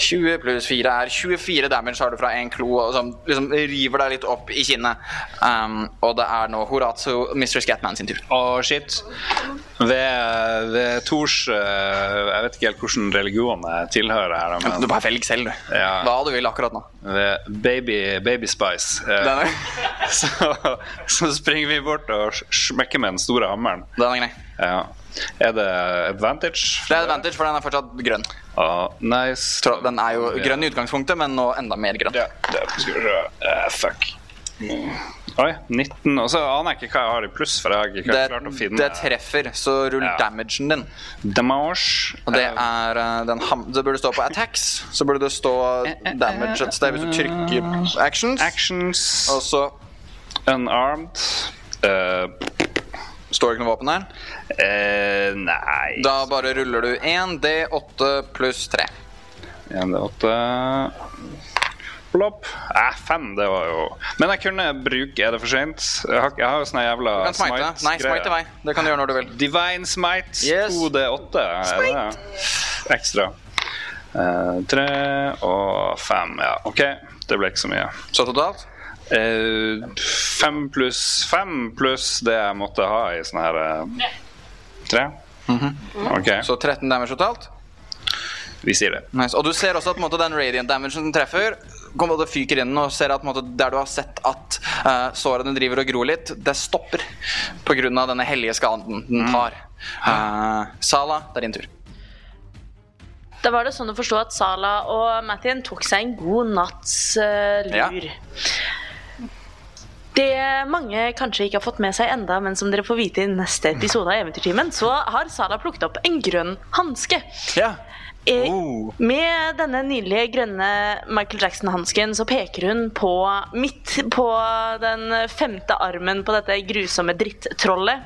Speaker 7: 20 pluss 4 er 24 damage har du fra en klo og som liksom river deg litt opp i kinnet. Um, og det er nå Horatio, Mr. Scatman sin tur.
Speaker 6: Å, shit. Ved, ved Tors eh, Jeg vet ikke helt hvilken religion jeg tilhører her. da, Men,
Speaker 7: Du bare velg selv, du.
Speaker 6: Ja.
Speaker 7: Hva du vil akkurat nå.
Speaker 6: ved baby, baby Spice. eh,
Speaker 7: Den er,
Speaker 6: (laughs) så, så springer vi bort og sj- smekker med den store hammeren.
Speaker 7: den er grei.
Speaker 6: Ja. Er det advantage?
Speaker 7: Det er advantage, for den er fortsatt grønn.
Speaker 6: Ah, nice.
Speaker 7: Tro- Den er jo grønn i utgangspunktet, men nå enda mer grønn.
Speaker 6: Ja, det skal vi se. Eh, fuck. Oi, 19. Og så aner jeg ikke hva jeg har i pluss, for jeg har ikke
Speaker 7: Det,
Speaker 6: klart å finne
Speaker 7: det treffer, så rull
Speaker 6: Ja.
Speaker 7: damagen din.
Speaker 6: damage.
Speaker 7: Og det er eh, den ham... Det burde stå på attacks, så burde det stå damage et sted hvis du trykker actions.
Speaker 6: Actions.
Speaker 7: Og så
Speaker 6: Unarmed. Eh,
Speaker 7: står det ikke noe våpen her.
Speaker 6: eh, nei
Speaker 7: Da bare ruller du 1 D8 pluss 3.
Speaker 6: 1, 8 Plopp. Eh, fem, det var jo Men jeg kunne bruke Er det for sent? Jeg har, jeg har jo sånne jævla
Speaker 7: Du kan smite. Nei, smite i vei. Det kan du gjøre når du vil.
Speaker 6: Divine Smite
Speaker 7: Yes.
Speaker 6: 2D8. er det? Ekstra. Eh, tre og fem, ja. OK, det ble ikke så mye.
Speaker 7: Så totalt?
Speaker 6: Eh, fem pluss fem pluss det jeg måtte ha i sånne her eh, Tre? OK.
Speaker 7: Så 13 damage totalt.
Speaker 6: Vi sier det.
Speaker 7: Nice. Og du ser også at på en måte, den radiant damagen den treffer, kommer og fyker inn og ser at på en måte, der du har sett at eh, sårene driver og gror litt, det stopper pga. denne hellige skaden den tar. Eh, Sala, det er din tur.
Speaker 9: Da var det sånn å forstå at Sala og Mathien tok seg en god natts eh, lur. Det mange kanskje ikke har fått med seg enda, men som dere får vite i neste episode av Eventyrtimen, så har Sala plukket opp en grønn hanske.
Speaker 7: Ja. Oh.
Speaker 9: Eh, Med denne nydelige grønne Michael Jackson-hansken så peker hun på midt på den femte armen på dette grusomme drittrollet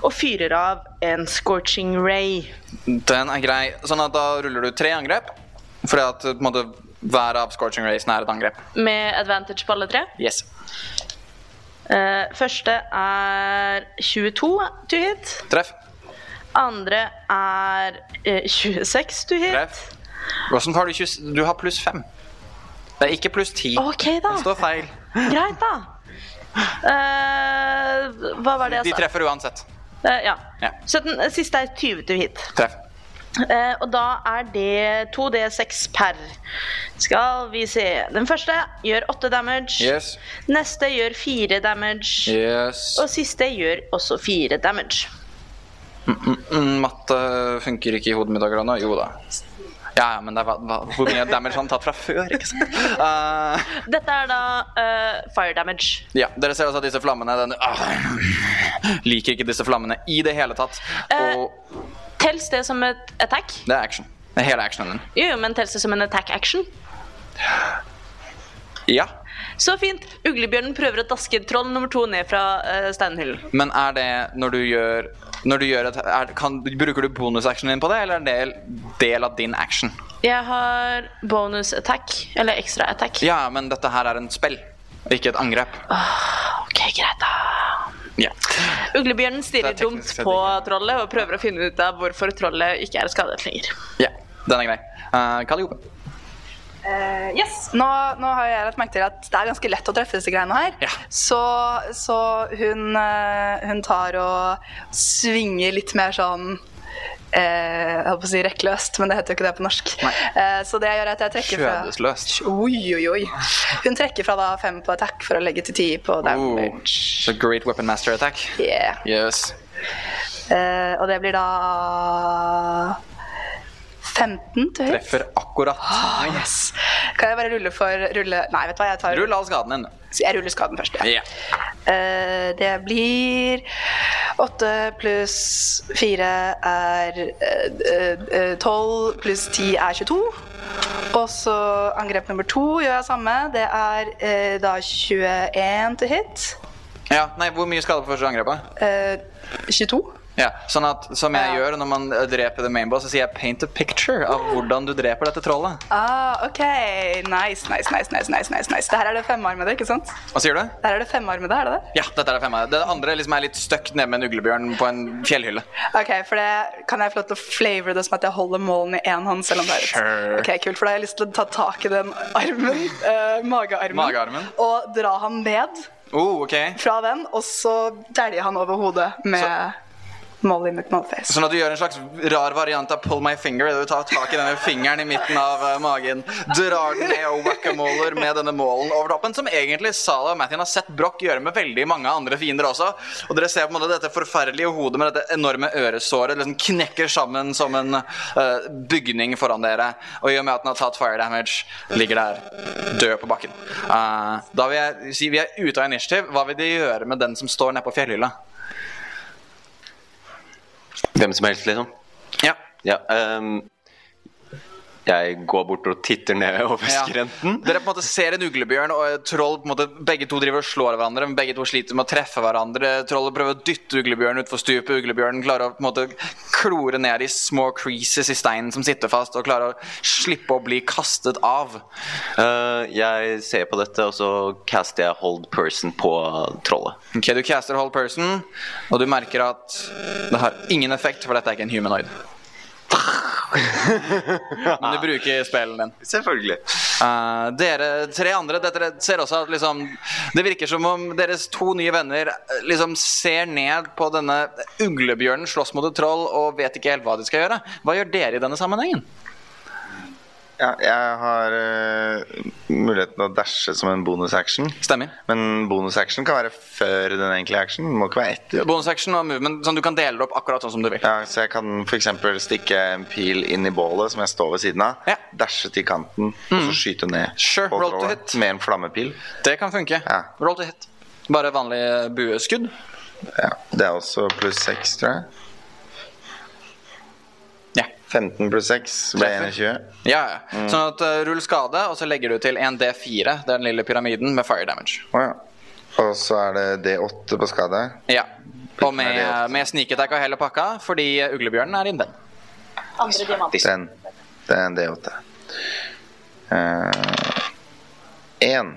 Speaker 9: og fyrer av en scorching ray.
Speaker 7: Den er grei. Sånn at da ruller du tre angrep. Fordi at på en måte, hver av scorching racene er et angrep.
Speaker 9: Med Eh, advantage på alle tre.
Speaker 7: Yes.
Speaker 9: Eh, første er 22 to hit.
Speaker 7: Treff.
Speaker 9: Andre er eh, 26 to hit.
Speaker 7: Treff. Hvordan har du 20? Du har pluss fem. Det er ikke pluss ti.
Speaker 9: OK, da.
Speaker 7: Det står feil.
Speaker 9: Greit, da. Eh, hva var det jeg
Speaker 7: De
Speaker 9: sa?
Speaker 7: treffer uansett.
Speaker 9: Eh, ja.
Speaker 7: Ja.
Speaker 9: Så den eh, siste er 20 to hit.
Speaker 7: Treff.
Speaker 9: Eh, og da er det 2D6 per. Skal vi se Den første gjør 8 damage.
Speaker 7: Yes.
Speaker 9: Neste gjør 4 damage.
Speaker 7: Yes.
Speaker 9: Og siste gjør også 4 damage.
Speaker 7: Mm, mm, matte funker ikke i hodet mitt akkurat nå. Jo da. Ja, ja, men det er hva, hva, hvor mye damage han har tatt fra før, ikke
Speaker 9: (laughs)
Speaker 7: sant? Eh,
Speaker 9: Dette er da eh, fire damage.
Speaker 7: ja, dere ser altså at disse flammene den, ah, Liker ikke disse flammene i det hele tatt.
Speaker 9: Eh.
Speaker 7: Og
Speaker 9: Tels det som et attack?
Speaker 7: det er action. Det er hele actionen din.
Speaker 9: Jo, jo, men tels det som en attack action?
Speaker 7: Ja.
Speaker 9: Så fint! Uglebjørnen prøver å daske troll nummer to ned fra uh, steinhyllen.
Speaker 7: Men er det når du gjør, når du gjør et, er, kan, Bruker du bonusactionen din på det, eller er det en del av din action?
Speaker 9: Jeg har bonus attack, eller ekstra attack.
Speaker 7: Ja, men dette her er en spill, ikke et angrep.
Speaker 9: Ok, greit da.
Speaker 7: Ja.
Speaker 9: Uglebjørnen stirrer
Speaker 7: Det er teknisk
Speaker 9: dumt
Speaker 7: sett
Speaker 9: på trollet og prøver å finne ut av hvorfor trollet ikke er skadet lenger.
Speaker 7: ja den er grei. Uh, Kaliope.
Speaker 5: Eh, yes. Nå, nå har jeg lagt merke til at det er ganske lett å treffe disse greiene her. Så, så hun, eh, hun tar og svinger litt mer sånn eh, Jeg holdt på å si rekkløst, men det heter jo ikke det på norsk. Eh, så det jeg gjør er at jeg trekker fra
Speaker 7: Skjødesløst.
Speaker 5: Oi, oi, oi. Hun trekker fra da fem på attack for å legge til ti på down.
Speaker 7: Oh, så great weapon master attack.
Speaker 5: Yeah.
Speaker 7: Yes.
Speaker 5: Eh, og det blir da 15 til høyt.
Speaker 7: Treffer akkurat.
Speaker 5: Åh, yes. Kan jeg bare rulle for rulle Nei, vet du hva, jeg tar
Speaker 7: Rull av skaden din.
Speaker 5: Så Jeg ruller skaden først, ja.
Speaker 7: Ja.
Speaker 5: Eh, det blir 8 pluss 4 er eh, eh, 12 pluss 10 er 22. Og så angrep nummer to gjør jeg samme. Det er eh, da 21 til hit.
Speaker 7: ja. Nei, hvor mye skade på første angrepet?
Speaker 5: Eh, 22.
Speaker 7: Ja, sånn at som jeg gjør når man dreper the main boss, så sier jeg 'paint a picture' av hvordan du dreper dette trollet.
Speaker 5: Ah, OK. Nice, nice, nice. nice, nice, nice, nice. Det her er det femarmede, ikke sant?
Speaker 7: Hva sier du?
Speaker 5: Der er det femarmede, er det det?
Speaker 7: Ja, dette er det femma. Det andre liksom er litt støkt nede med en uglebjørn på en fjellhylle.
Speaker 5: Ok, for det Kan jeg få lov til å flavor det som at jeg holder målen i én hånd? selv om det er
Speaker 7: Sure.
Speaker 5: et Ok, Kult, for da har jeg lyst til å ta tak i den armen, eh, magearmen,
Speaker 7: Magearmen.
Speaker 5: og dra han ned
Speaker 7: Oh, ok.
Speaker 5: fra den, og så dælje han over hodet med Molly McMullface.
Speaker 7: Sånn at du gjør en slags rar variant av 'pull my finger'. der Du tar tak i denne fingeren i midten av eh, magen, drar den ned og whack-a-moler med denne målen over toppen, som egentlig Salah og Mathien har sett Broch gjøre med veldig mange andre fiender også. Og dere ser på en måte dette forferdelige hodet med dette enorme øresåret liksom knekker sammen som en eh, bygning foran dere, og i og med at den har tatt fire damage, ligger der død på bakken. Eh, da vil jeg si vi er ute av initiativ. Hva vil de gjøre med den som står nede på fjellhylla?
Speaker 8: Hvem som helst, liksom?
Speaker 7: Ja.
Speaker 8: ehm, jeg går bort og titter ned (laughs) over skrenten.
Speaker 7: Dere på en måte ser en uglebjørn og et troll på en måte, Begge to driver og slår hverandre, men begge to sliter med å treffe hverandre. Trollet prøver å dytte uglebjørnen utfor stupet. Uglebjørnen klarer å på en måte, klore ned i små creases i steinen som sitter fast, og klarer å slippe å bli kastet av.
Speaker 8: Eh, jeg ser på dette, og så caster jeg hold person på trollet.
Speaker 7: Ok, Du caster hold person, og du merker at det har ingen effekt, for dette er ikke en humanoid. Men du bruker spillen din.
Speaker 8: Selvfølgelig.
Speaker 7: Eh, dere tre andre dere ser også at liksom, det virker som om deres to nye venner eh, liksom ser ned på denne uglebjørnen slåss mot et troll og vet ikke helt hva de skal gjøre. Hva gjør dere i denne sammenhengen?
Speaker 1: Ja, jeg har eh, muligheten til å dashe som en bonusaction.
Speaker 7: Stemmer.
Speaker 1: Men bonusaction kan være før den egentlige action. Den må ikke være etter.
Speaker 7: Bonusaction og movement, sånn du kan dele det opp akkurat sånn som du vil.
Speaker 1: Ja, så jeg kan f.eks. stikke en pil inn i bålet som jeg står ved siden av. Dashe til kanten,
Speaker 8: Mm.
Speaker 1: og så skyte ned.
Speaker 7: Sure, roll to
Speaker 1: båltrollet Med en flammepil.
Speaker 7: Det kan funke. Roll to hit. Bare vanlig bueskudd.
Speaker 1: Ja, Det er også pluss 6, tror jeg.
Speaker 7: Ja.
Speaker 1: 15 pluss 6 ble 21.
Speaker 7: Ja, ja. Sånn at eh, rull skade, og så legger du til en D4. Det er den lille pyramiden med fire damage.
Speaker 1: Å ja. Og så er det D8 på skade.
Speaker 7: Ja. Og med, eh, med sneakattack og hele pakka, fordi eh, uglebjørnen er in den.
Speaker 9: Andre diamant.
Speaker 1: Den. Eh, Det er en D8. Én.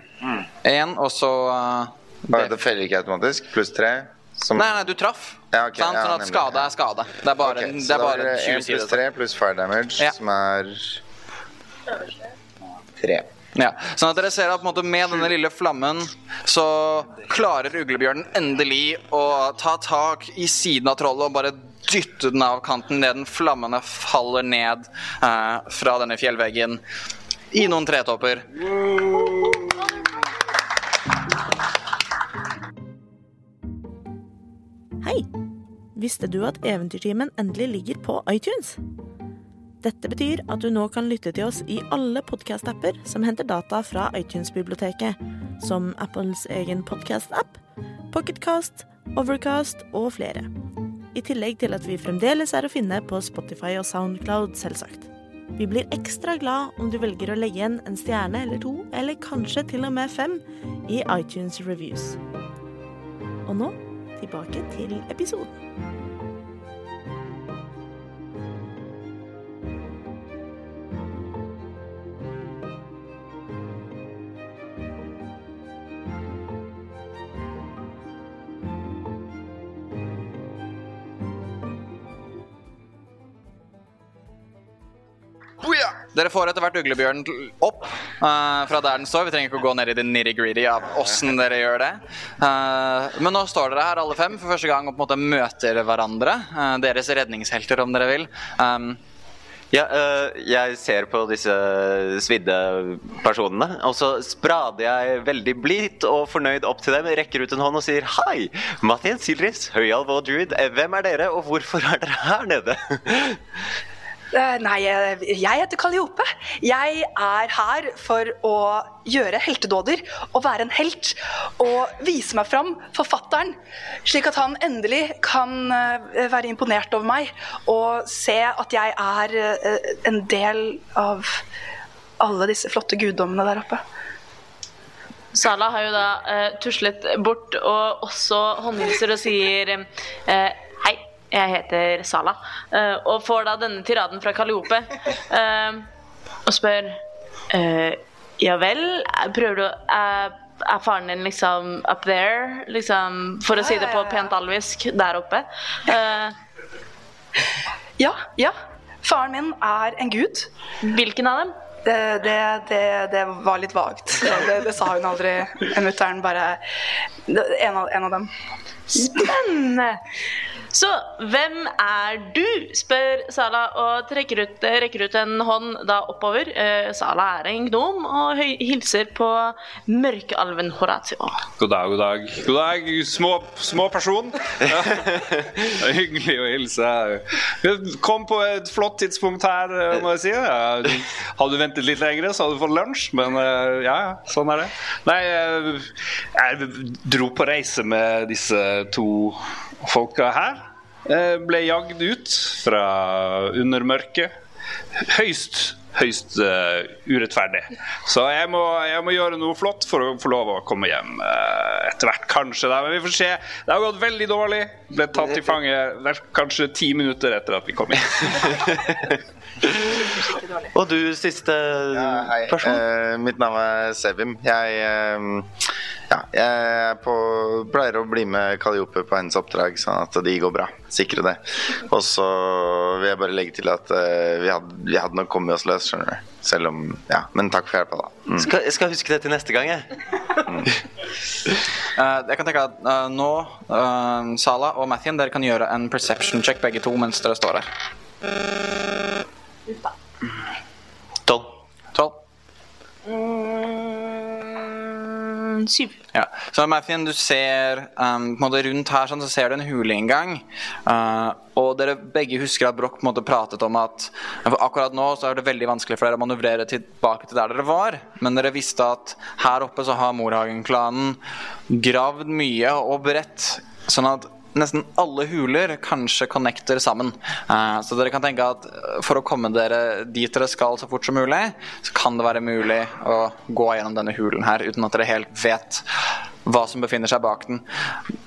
Speaker 7: Én, og så eh,
Speaker 1: Bare det feller ikke automatisk. Pluss tre. Som...
Speaker 7: Nei, nei, du traff.
Speaker 1: Ja, ok, ja,
Speaker 7: sant? Sånn at
Speaker 1: nemlig.
Speaker 7: skade er skade. Det er bare, det
Speaker 1: Så
Speaker 7: er
Speaker 1: da
Speaker 7: bare
Speaker 1: blir det
Speaker 7: 20
Speaker 1: en
Speaker 7: sider.
Speaker 1: pluss tre pluss fire damage, som er tre.
Speaker 7: Ja, sånn at dere ser at på en måte, med denne lille flammen så klarer uglebjørnen endelig å ta tak i siden av trollet og bare dytte den av kanten ned den flammene faller ned eh, fra denne fjellveggen i noen tretopper.
Speaker 3: Hei! Visste du at Eventyrtimen endelig ligger på iTunes? Dette betyr at du nå kan lytte til oss i alle podcast-apper som henter data fra iTunes-biblioteket, som Apples egen podcast-app, Pocketcast, Overcast og flere. I tillegg til at vi fremdeles er å finne på Spotify og Soundcloud, selvsagt. Vi blir ekstra glad om du velger å legge igjen en stjerne eller to, eller kanskje til og med fem, i iTunes Reviews. Og nå tilbake til episoden.
Speaker 7: Dere får etter hvert uglebjørnen til- opp eh, fra der den står. Vi trenger ikke å gå ned i det nitty-gritty av åssen dere gjør det. Eh, men nå står dere her alle fem for første gang og på en måte møter hverandre. eh, deres redningshelter, om dere vil. Um,
Speaker 8: Ja, øh, jeg ser på disse svidde personene, og så sprader jeg veldig blidt og fornøyd opp til dem, rekker ut en hånd og sier hei. Mathien Silris, Høyalv og Druid, eh, hvem er dere, og hvorfor er dere her nede?
Speaker 5: Eh, Nei, jeg jeg heter Kalliope. Jeg er her for å gjøre heltedåder og være en helt. Og vise meg fram forfatteren, slik at han endelig kan eh, være imponert over meg og se at jeg er eh, en del av alle disse flotte guddommene der oppe.
Speaker 9: Sala har jo da eh, tuslet bort og også håndhilser og sier eh, Hei, jeg heter Sala. eh, og får da denne tiraden fra Kalliope eh, og spør eh, Ja vel, prøver du å er- er faren din liksom up there? Liksom, for å si det på pent alvisk, der oppe. Eh,
Speaker 5: Ja, ja. Faren min er en gud.
Speaker 9: Hvilken av dem?
Speaker 5: Det, det, det, det var litt vagt. Det, det sa hun aldri. Mutter'n bare en av, en av dem.
Speaker 9: Spennende! Så hvem er du? spør Sala og trekker ut, eh, rekker ut en hånd da oppover. Eh, Sala er en gnom og høy, hilser på mørkealven Horatio.
Speaker 6: God dag, god dag. God dag, små, små person. Ja. Det er hyggelig å hilse. Vi Kom på et flott tidspunkt her, eh, må jeg si. Ja, Hadde du ventet litt lenger, så hadde du fått lunsj, men eh, ja, ja, sånn er det. Nei, eh, jeg dro på reise med disse to folka her. Eh, Ble jagd ut fra under mørket. Høyst Høyst eh, urettferdig. Så jeg må, jeg må gjøre noe flott for å få lov å komme hjem eh, etter hvert, kanskje. Da. Men vi får se. Det har gått veldig dårlig. Ble tatt til fange vel, kanskje ti minutter etter at vi kom inn.
Speaker 8: Og du, siste person?
Speaker 1: Eh, mitt navn er Sevim. Jeg, eh, ja, jeg er på, pleier å bli med Kalliope på hennes oppdrag, sånn at de går bra. Sikre det. Og så vil jeg bare legge til at eh, vi, hadde, vi hadde nok kommet oss løs, skjønner du. Selv om Ja, men takk for hjelpa, da. Mm.
Speaker 8: Skal, jeg skal huske det til neste gang, jeg.
Speaker 7: Eh, jeg kan tenke at eh, nå, eh, Sala og Mathien, dere kan gjøre en perception check begge to mens dere står her.
Speaker 8: Tolv.
Speaker 9: Mm, syv.
Speaker 7: Ja. Så Mathien, du ser um, på en måte rundt her sånn, så ser du en huleinngang. Uh, og dere begge husker at Broch på en måte pratet om at for akkurat nå så er det veldig vanskelig for dere å manøvrere tilbake til der dere var. Men dere visste at her oppe så har Morhagen-klanen gravd mye og bredt. Sånn at nesten alle huler kanskje connecter sammen. Eh, så dere kan tenke at eh, for å komme dere dit dere skal så fort som mulig, så kan det være mulig å gå gjennom denne hulen her uten at dere helt vet hva som befinner seg bak den.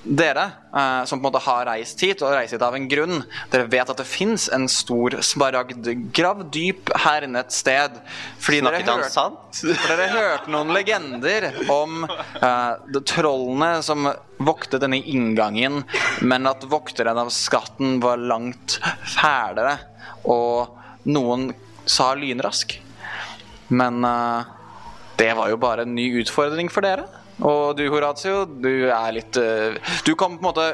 Speaker 7: Dere eh, som på en måte har reist hit, og reist hit av en grunn, dere vet at det fins en stor smaragdgrav dyp her inne et sted. Fordi
Speaker 8: Snakket
Speaker 7: dere
Speaker 8: han
Speaker 7: hørte-
Speaker 8: sant?
Speaker 7: for dere hørte noen legender om eh, de trollene som voktet denne inngangen, men at vokteren av skatten var langt fælere, og noen sa lynrask. Men eh, det var jo bare en ny utfordring for dere. Og du, Horatio, du er litt eh, Du kom på en måte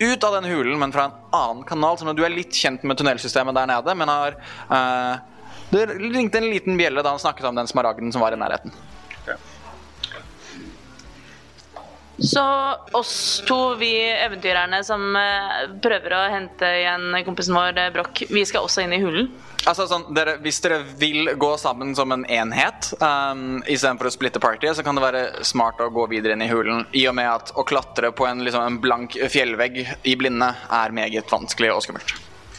Speaker 7: ut av den hulen, men fra en annen kanal. Sånn at du er litt kjent med tunnelsystemet der nede, men har eh, Det ringte en liten bjelle da han snakket om den smaragden som var i nærheten.
Speaker 9: Så oss to, vi eventyrerne som eh, prøver å hente igjen kompisen vår eh, Broch, vi skal også inn i hulen.
Speaker 7: Altså sånn, dere, Hvis dere vil gå sammen som en enhet um, istedenfor å splitte partiet, så kan det være smart å gå videre inn i hulen. I og med at å klatre på en, liksom, en blank fjellvegg i blinde er meget vanskelig og skummelt.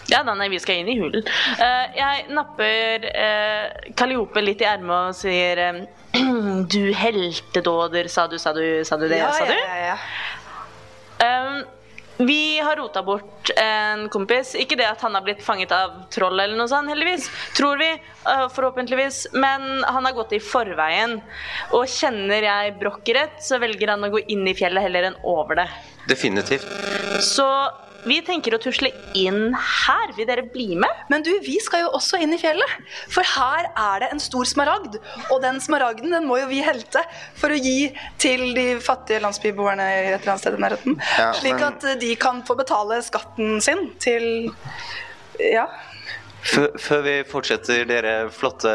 Speaker 9: Ja da, nei, vi skal inn i hulen. Eh, jeg napper eh, Calliope litt i ermet og sier eh, (clears throat) Du heltedåder, sa du, sa du, sa du det,
Speaker 5: Ja,
Speaker 9: sa du?
Speaker 5: ja, ja, ja.
Speaker 9: Um, vi har rota bort en kompis. Ikke det at han har blitt fanget av troll, eller noe sånt, heldigvis. Tror vi, uh, forhåpentligvis. Men han har gått i forveien. Og kjenner jeg Broch rett, så velger han å gå inn i fjellet heller enn over det.
Speaker 8: Definitivt.
Speaker 9: Så vi tenker å tusle inn her. Vil dere bli med?
Speaker 5: Men du, vi skal jo også inn i fjellet. For her er det en stor smaragd. Og den smaragden den må jo vi helte for å gi til de fattige landsbyboerne et eller annet sted i nærheten.
Speaker 1: Ja,
Speaker 5: Slik
Speaker 1: men-
Speaker 5: at eh, de kan få betale skatten sin til Ja.
Speaker 8: Før, før vi fortsetter, dere flotte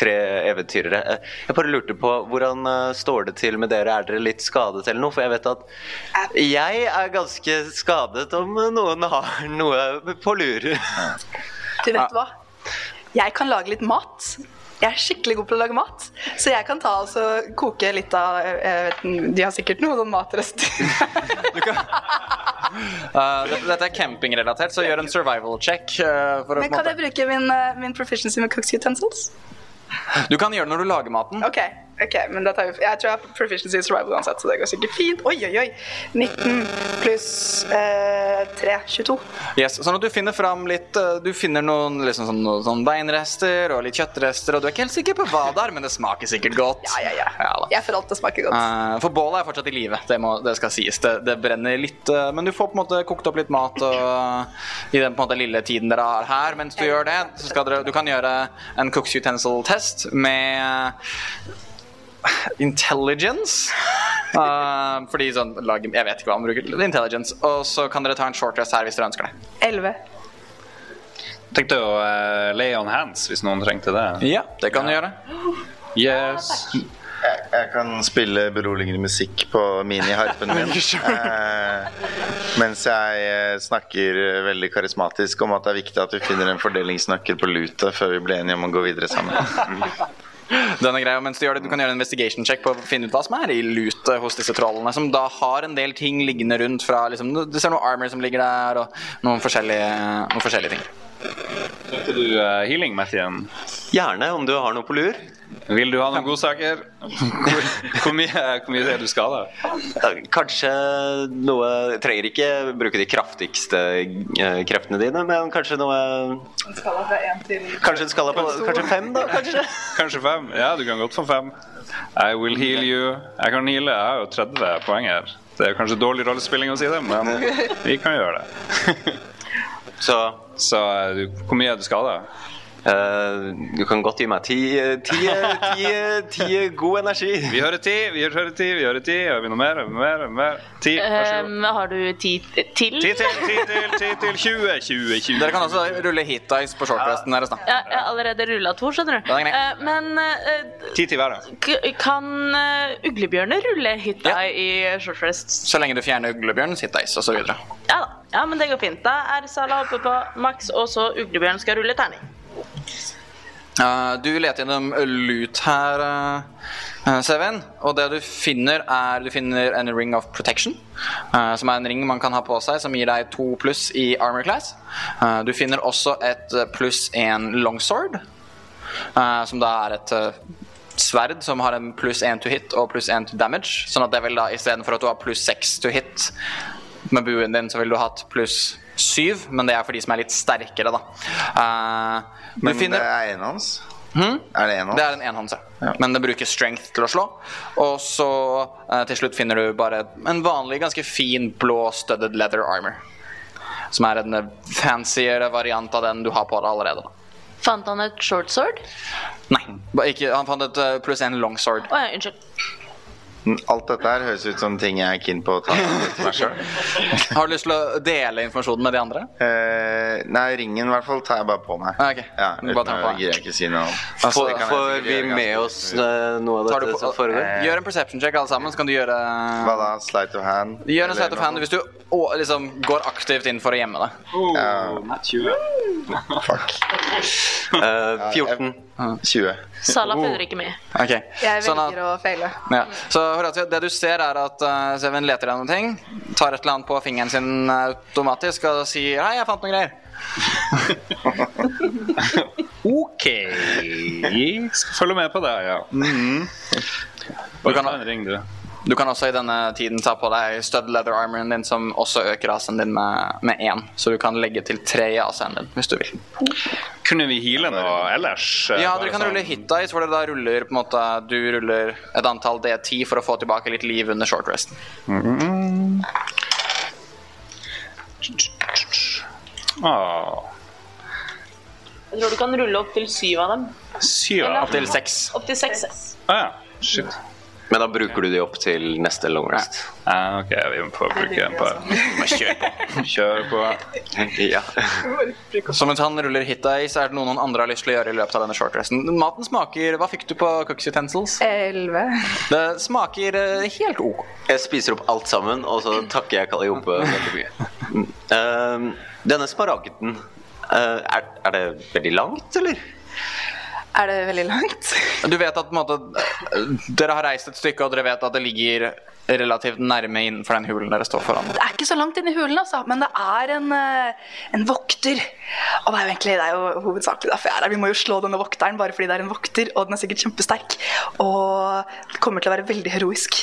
Speaker 8: tre eventyrere. eh, Jeg bare lurte på hvordan eh, står det til med dere? Er dere litt skadet eller noe? For jeg vet at jeg er ganske skadet om noen har noe på lur.
Speaker 5: Du vet hva? Jeg kan lage litt mat. Jeg er skikkelig god på å lage mat, så jeg kan ta og så koke litt av eh, jeg vet, ikke, De har sikkert noe sånn matrest.
Speaker 7: Uh, dette, dette er campingrelatert, så gjør en survival check. Uh, for å,
Speaker 5: Men
Speaker 7: på en
Speaker 5: kan jeg bruke min, eh, min proficiency med cooks utensils?
Speaker 7: måte- Du kan gjøre det når du lager maten.
Speaker 5: Ok, ok, men da tar vi Jeg tror jeg har proficiency i survival uansett, så det går sikkert fint. Oi, oi, oi. 19 pluss eh, 3. 22.
Speaker 7: Yes, sånn at du finner fram litt uh, Du finner noen liksom sånn, noen sånn beinrester og litt kjøttrester, og du er ikke helt sikker på hva det er, men det smaker sikkert godt.
Speaker 5: Ja, ja, ja.
Speaker 7: da.
Speaker 5: Jeg får alt til å smake godt.
Speaker 7: Eh, for bålet er fortsatt i live, det, må, det skal sies. Det, det brenner litt, eh, men du får på en måte kokt opp litt mat og, i den på en måte lille tiden dere har her. Mens du gjør det, så skal dere, du kan gjøre en cooks utensil-test med intelligence. Eh, fordi sånn lag, Jeg vet ikke hva man bruker. Intelligence. Og så kan dere ta en short rest her hvis dere ønsker det.
Speaker 5: 11.
Speaker 6: (laughs) Tenkte å eh, lay on hands hvis noen trengte det.
Speaker 7: Ja, det kan du gjøre.
Speaker 6: Yes.
Speaker 1: Jeg, jeg kan spille beroligende musikk på miniharpen min. eh, mens jeg eh, snakker eh, veldig karismatisk om at det er viktig at vi finner en fordelingsnøkkel på luta før vi blir enige om å gå videre sammen.
Speaker 7: Den er grei, og mens Du gjør det, du kan gjøre en investigation check på å finne ut hva som er i lutet hos disse trollene, som da har en del ting liggende rundt fra liksom, Du du ser noe armor som ligger der, og noen forskjellige, noen forskjellige ting.
Speaker 6: Trengte du eh, healing, Mathien?
Speaker 8: Gjerne, om du har noe på lur.
Speaker 6: Vil du ha noen godsaker? (laughs) Hvor, hvor, mye, hvor mye er du skada?
Speaker 8: Eh, Kanskje noe Trenger ikke bruke de kraftigste eh, kreftene dine, men kanskje noe
Speaker 5: Skala fra 1 til
Speaker 8: Kanskje en skala på Kanskje fem, da? Kanskje?
Speaker 6: Kanskje fem? Ja, du kan godt få fem. I will heal you. Jeg kan heale. Jeg har jo 30 poeng her. Det er kanskje dårlig rollespilling å si det, men vi kan gjøre det.
Speaker 8: Så
Speaker 6: Så eh, du, hvor mye er du skada?
Speaker 8: Eh, du kan godt gi meg ti, ti, ti, ti god energi.
Speaker 6: Vi hører ti, vi hører ti, vi hører ti. Har vi noe mer? Har vi noe mer? Har vi noe mer? Ti. Vær så god.
Speaker 9: Ehm, har du ti til?
Speaker 6: Ti til, ti til, ti til. 20, 20, 20.
Speaker 7: Dere kan også rulle hit dice på shortresten deres. da.
Speaker 9: Ja, jeg har allerede rulla to, skjønner du.
Speaker 7: Ja, det er greit.
Speaker 9: Eh, men eh,
Speaker 6: Ti til hver, da.
Speaker 9: k kan eh, uglebjørner rulle hytta i short rest?
Speaker 7: Så lenge du fjerner uglebjørnens hit dice osv.
Speaker 9: Ja da. Ja, men det går fint. Da er Sala oppe på maks, og så uglebjørn skal rulle terning.
Speaker 7: Uh, du leter gjennom lut her, eh, eh, Seven. Og det du finner, er du finner en ring of protection. eh, som er en ring man kan ha på seg som gir deg to pluss i armor class. Eh, du finner også et eh, pluss en longsword. eh, som da er et eh, sverd som har en pluss én to hit og pluss én to damage. Sånn at det vil da istedenfor at du har pluss seks to hit med buen din, så ville du hatt pluss syv. Men det er for de som er litt sterkere, da. Eh, du
Speaker 1: Men
Speaker 7: finner-
Speaker 1: det er en hans.
Speaker 7: Hm?
Speaker 1: Er det en hans?
Speaker 7: Det er en enhånds, ja. Men det bruker strength til å slå. Og så eh, til slutt finner du bare en vanlig, ganske fin blå studded leather armor. Som er en eh, fancyere variant av den du har på deg allerede. da.
Speaker 9: Fant han et short sword?
Speaker 7: Nei, ba- ikke, han fant et eh, pluss en longsword.
Speaker 9: Å ja, unnskyld.
Speaker 1: Alt dette her høres ut som ting jeg er keen på å
Speaker 8: (laughs)
Speaker 1: ta til meg sjøl.
Speaker 7: Har du lyst til å dele informasjonen med de andre?
Speaker 1: Eh, nei, ringen i hvert fall tar jeg bare på
Speaker 8: Ah,
Speaker 1: meg.
Speaker 7: Ok,
Speaker 1: Ja,
Speaker 7: du
Speaker 1: uten
Speaker 7: bare tar
Speaker 1: å
Speaker 7: på deg.
Speaker 1: greier jeg ikke si noe om.
Speaker 8: Får,
Speaker 1: Det kan jeg
Speaker 8: Altså, får
Speaker 1: sikkert
Speaker 8: vi
Speaker 1: gjøre
Speaker 8: med
Speaker 1: ganske
Speaker 8: oss eh, noe av
Speaker 7: Tar du
Speaker 8: dette
Speaker 7: på-
Speaker 8: som foregår?
Speaker 1: Eh,
Speaker 7: Gjør en perception check, alle sammen. Så kan du gjøre
Speaker 1: Hva da? Sleight of hand?
Speaker 7: Gjør en
Speaker 1: Eller
Speaker 7: sleight of
Speaker 1: noe
Speaker 7: hand hvis du å, liksom, går aktivt inn for å gjemme deg.
Speaker 6: Oh.
Speaker 8: Eh, 14.
Speaker 1: 20.
Speaker 9: Sala
Speaker 6: Oh.
Speaker 9: følger ikke med.
Speaker 7: Ok,
Speaker 5: Jeg
Speaker 7: sånn at-
Speaker 5: velger å feile.
Speaker 7: Ja. Så Horatio, det du ser er at eh, Seven leter etter noen ting, tar et eller annet på fingeren sin eh, automatisk og sier 'hei, jeg fant noen greier'.
Speaker 6: OK. Skal følge med på det, ja.
Speaker 7: Du
Speaker 6: Bare
Speaker 7: Mhm. kan-
Speaker 6: ta en ring, du.
Speaker 7: Du kan også i denne tiden ta på deg stud leather armoren din, som også øker AC-en din med- med én. Så du kan legge til tre i AC-en din hvis du vil.
Speaker 6: Kunne vi heale noe ellers? eh,
Speaker 7: Ja,
Speaker 6: bare
Speaker 7: dere kan
Speaker 6: sånn?
Speaker 7: rulle hit dice, hvor dere da ruller på en måte, du ruller et antall D10 for å få tilbake litt liv under short rest.
Speaker 6: Ah,
Speaker 9: Jeg tror du kan rulle opp til syv av dem.
Speaker 6: syv
Speaker 9: Eller-
Speaker 6: av
Speaker 7: Opptil seks.
Speaker 9: Opp til seks. ja.
Speaker 6: Ah, ja. Shit.
Speaker 8: Men da bruker du de opp til neste long rest.
Speaker 6: Ah, OK, vi må få bruke en par. Kjør på.
Speaker 8: (laughs) Ja.
Speaker 7: Så mens han ruller hit dice, er det noe noen andre har lyst til å gjøre i løpet av denne short resten. Maten smaker Hva fikk du på Cooks Utensils?
Speaker 5: Elleve.
Speaker 7: Det smaker eh, helt OK.
Speaker 8: Jeg spiser opp alt sammen, og så takker jeg Kaliope veldig mye. Mm. Eh, denne smaragden, eh, er, er det veldig langt, eller?
Speaker 5: Er det veldig langt?
Speaker 7: Du vet at på en måte, eh, dere har reist et stykke, og dere vet at det ligger relativt nærme innenfor den hulen dere står foran.
Speaker 5: Det er ikke så langt inn i hulen, altså, men det er en, eh, en vokter. Og det er jo egentlig det er jo hovedsakelig derfor jeg er her. Vi må jo slå denne vokteren bare fordi det er en vokter, og den er sikkert kjempesterk. Og kommer til å være veldig heroisk.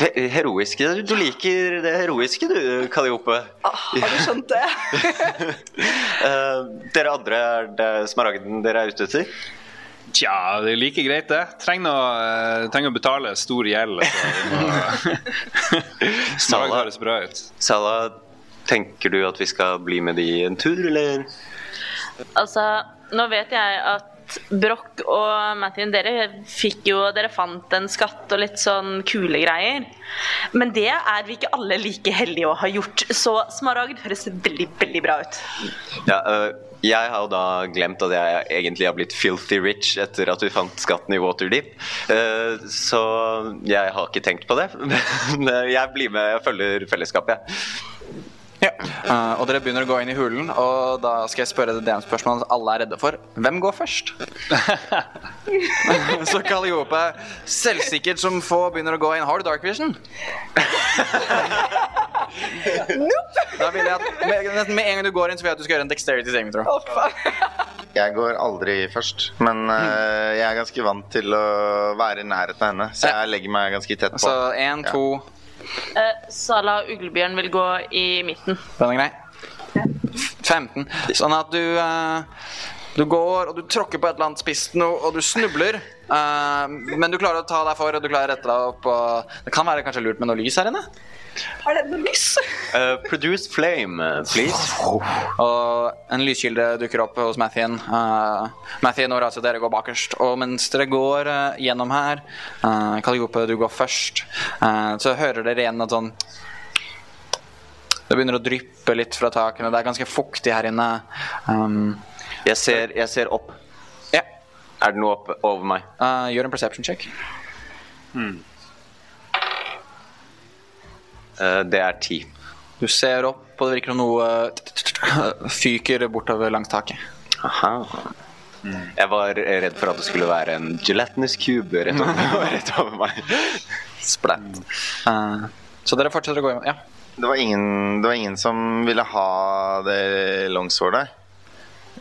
Speaker 8: He- Heroiske. Du liker det heroiske, du, Kaliope.
Speaker 5: Ah, har du skjønt
Speaker 7: (laughs)
Speaker 5: det?
Speaker 8: Eh, dere andre, er det smaragden dere er ute etter?
Speaker 6: Tja, det er like greit, det. Trenger å, eh, trenger å betale stor
Speaker 7: (laughs)
Speaker 6: gjeld. så vi må- Smaragd høres bra ut.
Speaker 8: Sala, tenker du at vi skal bli med de en tur, eller?
Speaker 9: Altså, nå vet jeg at Broch og Mattin, dere fikk jo Dere fant en skatt og litt sånn kule greier. Men det er vi ikke alle like heldige å ha gjort, så smaragd høres veldig, veldig bra ut.
Speaker 8: Ja, eh, jeg har jo da glemt at jeg egentlig har blitt filthy rich etter at vi fant skatten i Waterdeep. Eh, så jeg har ikke tenkt på det. (laughs) Men jeg blir med, jeg følger fellesskapet, jeg.
Speaker 7: Ja. Eh, og dere begynner å gå inn i hulen, og da skal jeg spørre det DM-spørsmålet alle er redde for. Hvem går først? Så Calliope, selvsikkert som få, begynner å gå inn. Har du dark vision? Da vil jeg at, med, med en gang du går inn, så vil jeg at du skal gjøre en dexterity saving, tror jeg.
Speaker 5: Å, faen.
Speaker 1: Jeg går aldri først, men
Speaker 8: Mm.
Speaker 1: eh, jeg er ganske vant til å være i nærheten av henne. Så jeg legger meg ganske tett på.
Speaker 7: Så
Speaker 8: Altså,
Speaker 7: én,
Speaker 1: Ja.
Speaker 7: to
Speaker 9: Eh, Sala og Uglebjørn vil gå i midten.
Speaker 7: Den er grei. 15. Sånn at du eh, Du går og du tråkker på et eller annet spisst noe, og du snubler. eh, men du klarer å ta deg for, og du klarer å rette deg opp. Og det kan være kanskje lurt med noe lys her inne?
Speaker 5: Har den noe lys?
Speaker 7: Uh,
Speaker 8: øh,
Speaker 7: produce flame, please. Og en lyskilde dukker opp hos Mathien. Uh, Mathien og Razia, dere går bakerst. Og mens dere går uh, gjennom her, uh, Calliope, du går først, uh, så hører dere igjen at sånn Det begynner å dryppe litt fra takene. Det er ganske fuktig her inne. Um,
Speaker 8: Jeg ser, jeg ser opp.
Speaker 7: Ja.
Speaker 8: Er det noe oppe over meg?
Speaker 7: uh, gjør en perception check.
Speaker 8: Eh, det er ti.
Speaker 7: Du ser opp, og det virker som noe uh, fyker bortover langs taket.
Speaker 8: Aha. Jeg var redd for at det skulle være en gelatinous cube rett over, rett over meg. Splatt.
Speaker 7: Eh, så dere fortsetter å gå Ja.
Speaker 1: Det var ingen, det var ingen som ville ha det longswordet.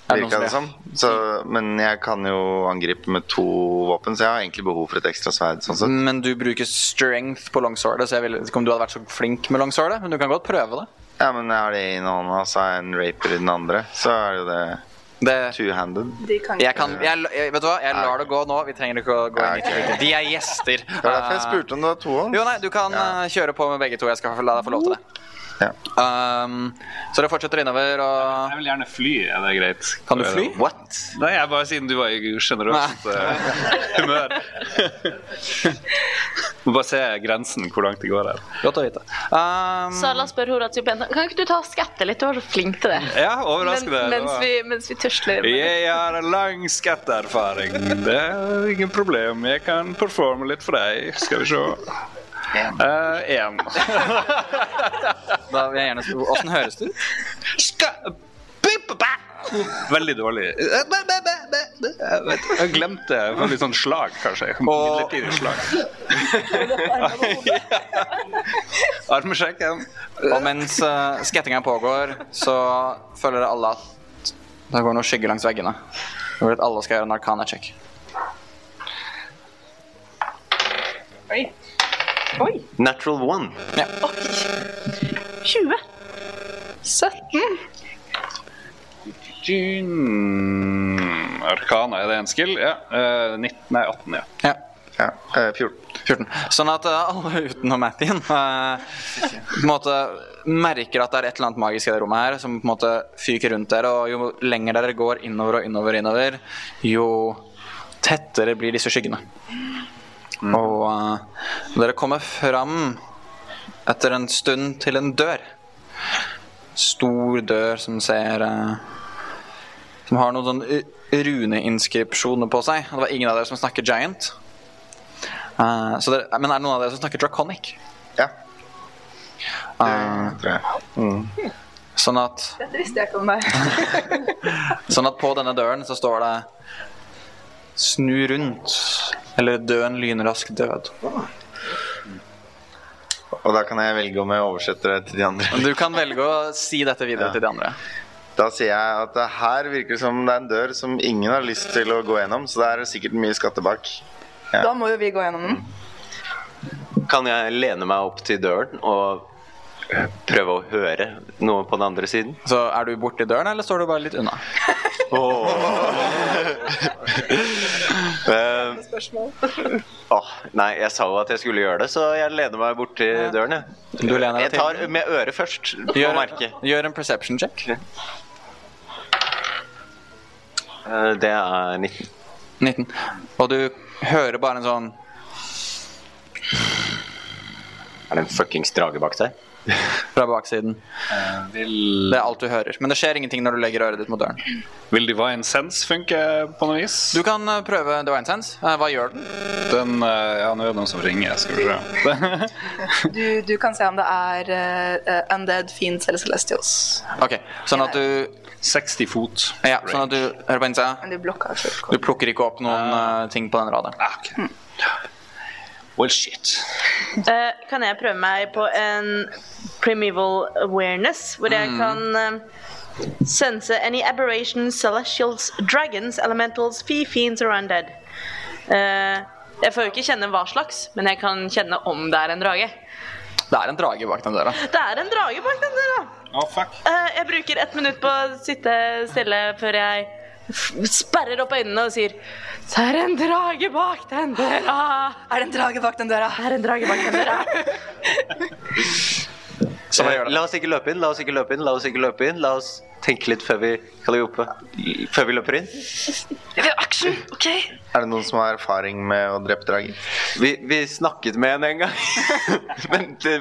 Speaker 7: Er det noen
Speaker 1: Virka det sånn?
Speaker 7: som
Speaker 1: som. Så, men jeg kan jo angripe med to våpen, så jeg har egentlig behov for et ekstra sverd. sånn sett.
Speaker 7: Men du bruker strength på longswordet, så jeg ville ikke om du hadde vært så flink med longswordet, men du kan godt prøve det.
Speaker 1: Ja, men jeg har det i den ene hånda, så har jeg en raper i den andre. Så er det jo det, two-handed.
Speaker 7: Jeg kan, jeg, jeg, vet du hva, jeg lar det gå nå. Vi trenger ikke å gå inn i det. De er gjester.
Speaker 1: Det var derfor jeg spurte om det var tohånd.
Speaker 7: Jo, nei, du kan eh, kjøre på med begge to. Jeg skal la deg få lov til det. Um, så dere fortsetter innover og
Speaker 6: Jeg vil gjerne fly. Er det greit?
Speaker 7: Kan du fly?
Speaker 6: What? Nei, jeg bare siden du var i sjenerøst eh, humør.
Speaker 7: (laughs)
Speaker 6: Må bare se grensen, hvor langt det går her.
Speaker 7: Godt å vite. Um,
Speaker 9: Sala spør Horatio Penta Kan ikke du ta og skatte litt? Du var så flink til det.
Speaker 6: Ja, overraskende.
Speaker 9: Men, mens, vi, mens vi tøsler. med det.
Speaker 6: Jeg har lang skatteerfaring. Det er ingen problem. Jeg kan performe litt for deg. Skal vi se. Eh, Én.
Speaker 7: Da vil jeg gjerne spørre Åssen høres det ut?
Speaker 6: Veldig dårlig. Jeg, vet, jeg glemte det var litt sånn slag, kanskje. Midlertidig slag. Armsjekken.
Speaker 7: Og mens uh, skettinga pågår, så føler dere alle at det går noen skygger langs veggene. Jeg vil at alle skal gjøre en arcana-check.
Speaker 9: Oi.
Speaker 8: Natural one.
Speaker 9: 20.
Speaker 5: 17.
Speaker 6: Mm, Arkana, er det en skill? Ja. eh, 19, nei, 18, ja.
Speaker 7: Ja.
Speaker 6: 14.
Speaker 7: 14. Sånn at eh, alle utenom Mathien eh, på en måte merker at det er et eller annet magisk i det rommet her som på en måte fyker rundt dere, og jo lenger dere går innover og innover, og innover jo tettere blir disse skyggene. Og eh, dere kommer fram etter en stund til en dør. Stor dør som ser eh, Som har noen sånn runeinskripsjoner på seg. Og det var ingen av dere som snakker giant. Eh, så dere, men er det noen av dere som snakker draconic?
Speaker 1: Ja.
Speaker 7: Eh,
Speaker 1: tror jeg.
Speaker 7: sånn, at,
Speaker 5: Dette visste jeg ikke om deg.
Speaker 7: sånn at på denne døren så står det Snu rundt, eller dø en lynrask død.
Speaker 1: Og da kan jeg velge om jeg oversetter det til de andre.
Speaker 7: Men du kan velge å si dette videre til de andre.
Speaker 1: Da sier jeg at det her virker det som det er en dør som ingen har lyst til å gå gjennom, så det er sikkert mye skatter bak. Ja.
Speaker 5: Da må jo vi gå gjennom den.
Speaker 8: Kan jeg lene meg opp til døren og prøve å høre noe på den andre siden?
Speaker 7: Så er du borti døren, eller står du bare litt unna?
Speaker 8: Eh,
Speaker 5: Spørsmål.
Speaker 8: åh, nei, jeg sa jo at jeg skulle gjøre det, så jeg lener meg bort til døren. jeg.
Speaker 7: Du lener deg
Speaker 8: Jeg tar
Speaker 7: til.
Speaker 8: med øret først, på
Speaker 7: Gjør,
Speaker 8: merket.
Speaker 7: gjør en perception check.
Speaker 8: Eh, det er 19.
Speaker 7: 19. Og du hører bare en sånn
Speaker 8: Er det en fuckings drage bak deg?
Speaker 7: fra baksiden. Eh,
Speaker 6: Vil,
Speaker 7: Det er alt du hører. Men det skjer ingenting når du legger øret ditt mot døren.
Speaker 6: vil Divine Sense funke på noe vis?
Speaker 7: Du kan eh, prøve Divine Sense. Eh, Hva gjør den?
Speaker 6: Den, eh, ja, nå er det noen som ringer. Skal vi se. (laughs)
Speaker 5: Du, du kan se om det er eh, undead, fiends eller celestials.
Speaker 7: Ok, Sånn at du
Speaker 6: 60 fot.
Speaker 7: Ja, sånn at du hører på innsida.
Speaker 5: Men de altså blokka jo fullt.
Speaker 7: Du plukker ikke opp noen eh, ting på den radaren.
Speaker 6: Ah, ok. Well, shit.
Speaker 9: Eh, kan jeg prøve meg på en primeval awareness, hvor jeg kan eh, sense any aberrations, celestials, dragons, elementals, fee, fiends or undead. Eh, jeg får jo ikke kjenne hva slags, men jeg kan kjenne om det er en drage.
Speaker 7: Det er en drage bak den døra.
Speaker 9: Det er en drage bak den døra!
Speaker 6: Å, fuck.
Speaker 9: Eh, jeg bruker ett minutt på å sitte stille før jeg f- sperrer opp øynene og sier Det er en drage bak den døra!
Speaker 5: Er det en drage bak den døra?
Speaker 9: Det er en drage bak den døra.
Speaker 7: Så hva
Speaker 8: Eh,
Speaker 7: gjør det?
Speaker 8: La oss ikke løpe inn, la oss ikke løpe inn, la oss ikke løpe inn. La oss tenke litt før vi, Calliope, før vi løper inn.
Speaker 1: Action, ok Er det noen som har erfaring med å drepe drager?
Speaker 8: Vi, vi snakket med henne en gang. (laughs) men, det,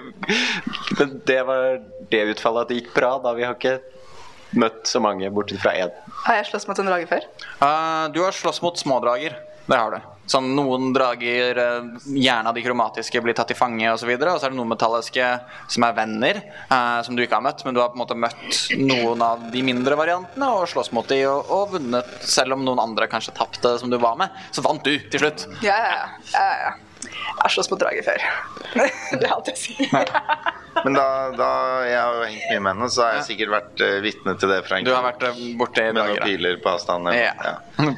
Speaker 8: men det var det utfallet at det gikk bra, da vi har ikke møtt så mange, bortsett fra én.
Speaker 5: Har jeg slåss mot en drage før?
Speaker 7: Eh, du har slåss mot smådrager. Det har du. Sånn Noen drager, eh, gjerne av de kromatiske, blir tatt til fange osv. Og, så videre, og så er det noen metalliske som er venner, eh, som du ikke har møtt. Men du har på en måte møtt noen av de mindre variantene og slåss mot de og, og vunnet. Selv om noen andre kanskje tapte, som du var med, så vant du til slutt.
Speaker 5: Ja, ja, ja. ja, ja. Jeg har slåss mot drager før. (laughs) det er alt jeg sier.
Speaker 1: Men da, da jeg har jo hengt mye med henne, så har jeg sikkert vært eh, vitne til det fra en Du har vært
Speaker 7: eh, borte i
Speaker 1: Med noen piler på avstand. eller- Ja.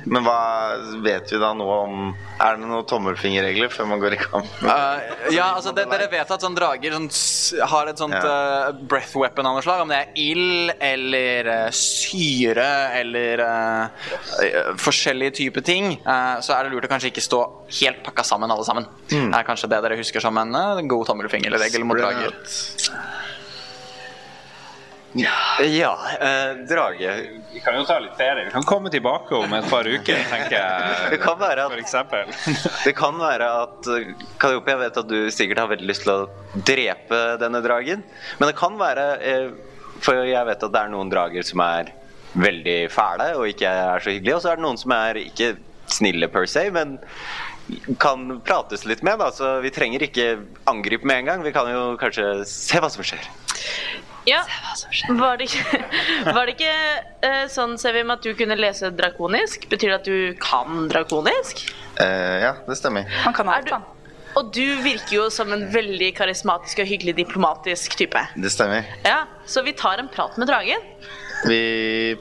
Speaker 1: Men hva vet vi da noe om Er det noen tommelfingerregler før man går i kamp?
Speaker 7: Eh, ja, altså det, Dere vet at sånn drager sånn, s- har et sånt eh, breath weapon av noe slag. Om det er ild eller eh, syre eller eh, eh, forskjellige typer ting, eh, så er det lurt å kanskje ikke stå helt pakka sammen alle sammen.
Speaker 15: Mm.
Speaker 7: Det er kanskje det dere husker som en eh, god tommelfingerregel mot
Speaker 8: Spread
Speaker 7: drager.
Speaker 8: Ja, eh, drage.
Speaker 6: Vi kan jo ta litt ferie. Vi kan komme tilbake om et par uker, tenker jeg.
Speaker 8: Det kan være
Speaker 6: For eksempel.
Speaker 8: Det kan være at eh, Calliope, jeg vet at du sikkert har veldig lyst til å drepe denne dragen. Men det kan være eh, For jeg vet at det er noen drager som er veldig fæle og ikke er så hyggelige. Og så er det noen som er ikke snille per se, men kan prates litt med. Da. Så vi trenger ikke angripe med en gang. Vi kan jo kanskje se hva som skjer.
Speaker 9: Ja. Var det ikke, (laughs) var det ikke eh, sånn, Sevim, at du kunne lese drakonisk? Betyr det at du kan drakonisk?
Speaker 1: Eh, ja, det stemmer.
Speaker 5: Han kan
Speaker 9: alt, han. Og du virker jo som en veldig karismatisk og hyggelig diplomatisk type.
Speaker 1: Det stemmer.
Speaker 9: Ja, Så vi tar en prat med dragen.
Speaker 1: Vi,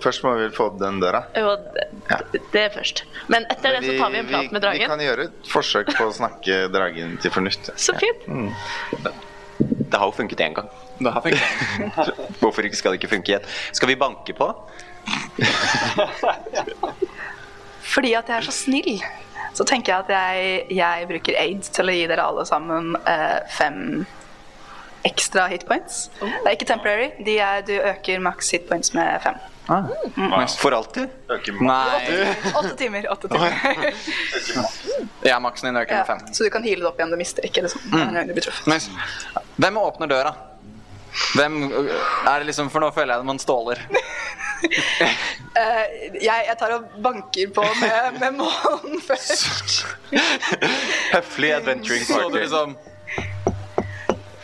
Speaker 1: først må vi få opp den døra.
Speaker 9: Og det, det først. Men etter det så tar vi en prat med
Speaker 1: Vi kan
Speaker 9: dragen.
Speaker 1: gjøre et forsøk på å snakke dragen til fornuft.
Speaker 9: Så fint.
Speaker 1: Mm.
Speaker 8: Det har jo funket én gang.
Speaker 7: Det har funket.
Speaker 8: (laughs) Hvorfor ikke skal det ikke funke igjen? Skal vi banke på?
Speaker 5: Fordi at jeg er så snill, så tenker jeg at jeg, jeg bruker aids til å gi dere alle sammen eh, fem ekstra hitpoints.
Speaker 7: Oh.
Speaker 5: Det er ikke temporary. De er, du øker maks hitpoints med fem.
Speaker 8: For alltid?
Speaker 7: Nei.
Speaker 5: Åtte timer. åtte (laughs) timer.
Speaker 7: Ja, maksen din øker
Speaker 5: ja.
Speaker 7: med fem.
Speaker 5: Så du kan heale det opp igjen. Du mister ikke, liksom.
Speaker 7: Mm.
Speaker 5: Nei, Du blir truffet.
Speaker 7: Nice. Hvem åpner døra? Hvem er det liksom For nå føler jeg at man ståler.
Speaker 5: Eh, jeg, jeg tar og banker på med, med (laughs) månen først.
Speaker 8: Høflig adventuring
Speaker 7: Så du liksom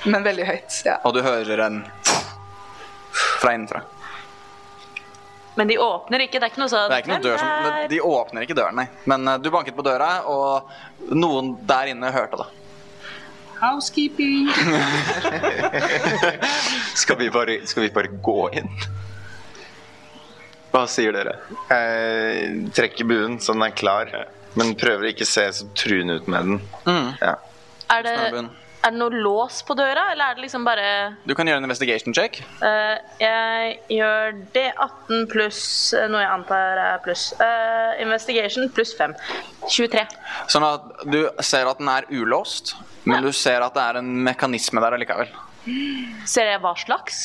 Speaker 5: Men veldig høyt. Ja.
Speaker 7: Og du hører en fra innenfra.
Speaker 9: Men de åpner ikke. Det er ikke noe sånn
Speaker 7: Det er ikke noe dør som,
Speaker 9: «Hvem er?»
Speaker 7: De åpner ikke døren, nei. Men eh, du banket på døra, og noen der inne hørte det.
Speaker 16: Housekeeping.
Speaker 8: Skal vi bare, skal vi bare gå inn? Hva sier dere?
Speaker 1: Jeg trekker buen så den er klar, men prøver ikke se så truende ut med den.
Speaker 7: Mm.
Speaker 1: Ja.
Speaker 9: Er det, er det noe lås på døra, eller er det liksom bare
Speaker 7: Du kan gjøre en investigation check.
Speaker 9: eh, Jeg gjør det 18 pluss eh, noe jeg antar er pluss. eh, investigation pluss 5. 23.
Speaker 7: Sånn at du ser at den er ulåst, men du ser at det er en mekanisme der allikevel.
Speaker 9: Ser jeg hva slags?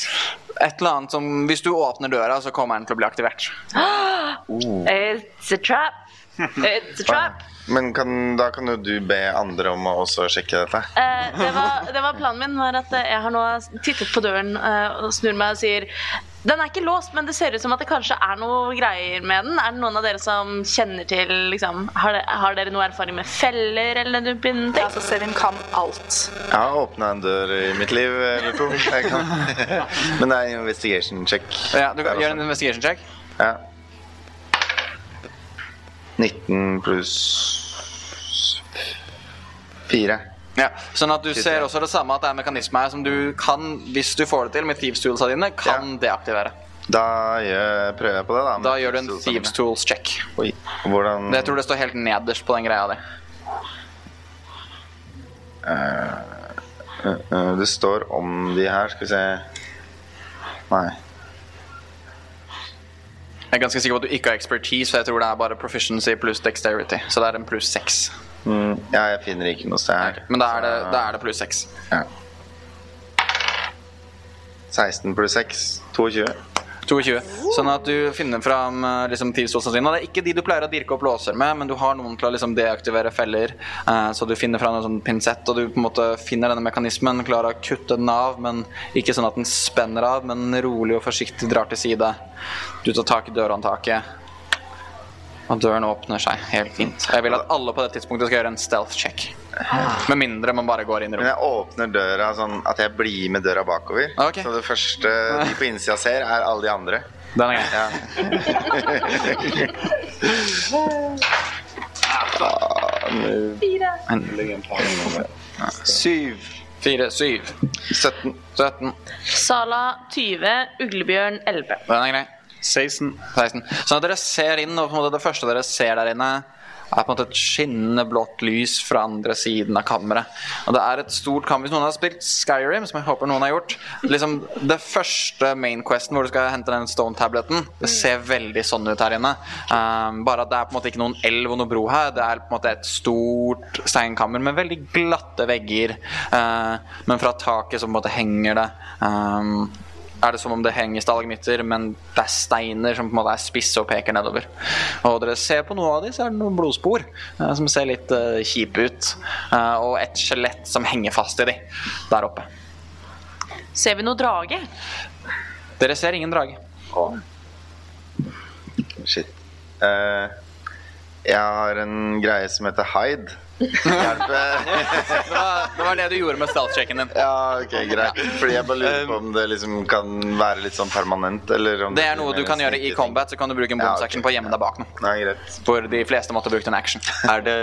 Speaker 7: Et eller annet som Hvis du åpner døra, så kommer den til å bli aktivert.
Speaker 9: It's a trap. It's a trap.
Speaker 1: Men kan, da kan jo du be andre om å også sjekke dette.
Speaker 9: Eh, det, var, det var planen min, var at eh, jeg har nå tittet på døren eh, og snur meg og sier Den er ikke låst, men det ser ut som at det kanskje er noe greier med den. Er det noen av dere som kjenner til liksom, Har, de, har dere noe erfaring med feller eller noe Altså, binding? Ja,
Speaker 5: så Sevim kan alt.
Speaker 1: Jeg har åpna en dør i mitt liv eller to. Jeg kan. (laughs) Men det er en investigation check.
Speaker 7: Ja, du kan gjøre en investigation check.
Speaker 1: Ja. 19 pluss 4.
Speaker 7: Ja, sånn at du ser også det samme at det er en mekanisme her som du kan, hvis du får det til med thieves toolsa dine, kan deaktivere.
Speaker 1: Da gjør, prøver jeg på det, da.
Speaker 7: Da gjør du en thieves tools check.
Speaker 1: Oi, hvordan
Speaker 7: Det jeg tror det står helt nederst på den greia di.
Speaker 1: Eh, eh, eh, Det står om de her, skal vi se Nei.
Speaker 7: Jeg er ganske sikker på at du ikke har expertise, så jeg tror det er bare proficiency pluss dexterity. Så det er en pluss seks.
Speaker 1: Mm, ja, jeg finner ikke noe sted her.
Speaker 7: Men da er det, da er det pluss seks.
Speaker 1: Ja. 16 pluss 6, 22.
Speaker 7: 22. Sånn at du finner fram eh, liksom, tidsdosene dine. Og Det er ikke de du pleier å dirke opp låser med, men du har noen til å liksom, deaktivere feller. Eh, så du finner fram en sånn pinsett, og du på en måte finner denne mekanismen. Klarer å kutte den av, men ikke sånn at den spenner av, men rolig og forsiktig drar til side. Du tar tak i dørhåndtaket. Og døren åpner seg helt fint. Jeg vil at alle på det tidspunktet skal gjøre en stealth check. Med mindre man bare går inn i
Speaker 1: Men jeg
Speaker 7: rommet.
Speaker 1: åpner døra sånn at jeg blir med døra bakover.
Speaker 7: Ah,
Speaker 1: Så det første de på innsida ser, er alle de andre.
Speaker 7: Den er
Speaker 1: grei.
Speaker 16: Fire.
Speaker 7: Syv. Fire, syv.
Speaker 1: 17.
Speaker 7: 17.
Speaker 9: Sala 20, Uglebjørn 11.
Speaker 7: Den er grei. 16. Sånn at dere ser inn, og på en måte det første dere ser der inne, er på en måte et skinnende blått lys fra andre siden av kammeret. Og det er et stort kammer. Hvis noen har spilt Skyrim, som jeg håper noen har gjort liksom Det første main questen hvor du skal hente den stone-tableten, det ser veldig sånn ut her inne. Um, bare at det er på en måte ikke noen elv og noe bro her. Det er på en måte et stort steinkammer med veldig glatte vegger. Eh, men fra taket så på en måte henger det um, er det som om det henger stalagmitter, men det er steiner som på en måte er spisse og peker nedover. Og dere ser på noe av de, så er det noen blodspor eh, som ser litt eh, kjipe ut. Eh, og et skjelett som henger fast i de der oppe.
Speaker 9: Ser vi noe drage?
Speaker 7: Dere ser ingen drage.
Speaker 1: Shit. Eh, jeg har en greie som heter hide. eh,
Speaker 7: Det var, det var det du gjorde med stealth-checken din.
Speaker 1: Ja, ok, greit. Fordi jeg bare lurer på om det liksom kan være litt sånn permanent, eller om
Speaker 7: Det er noe du kan gjøre i combat, så kan du bruke en
Speaker 1: Ja,
Speaker 7: bonus action på å gjemme deg bak noe.
Speaker 1: Nei, greit.
Speaker 7: For de fleste måtte brukt en action.
Speaker 8: Er det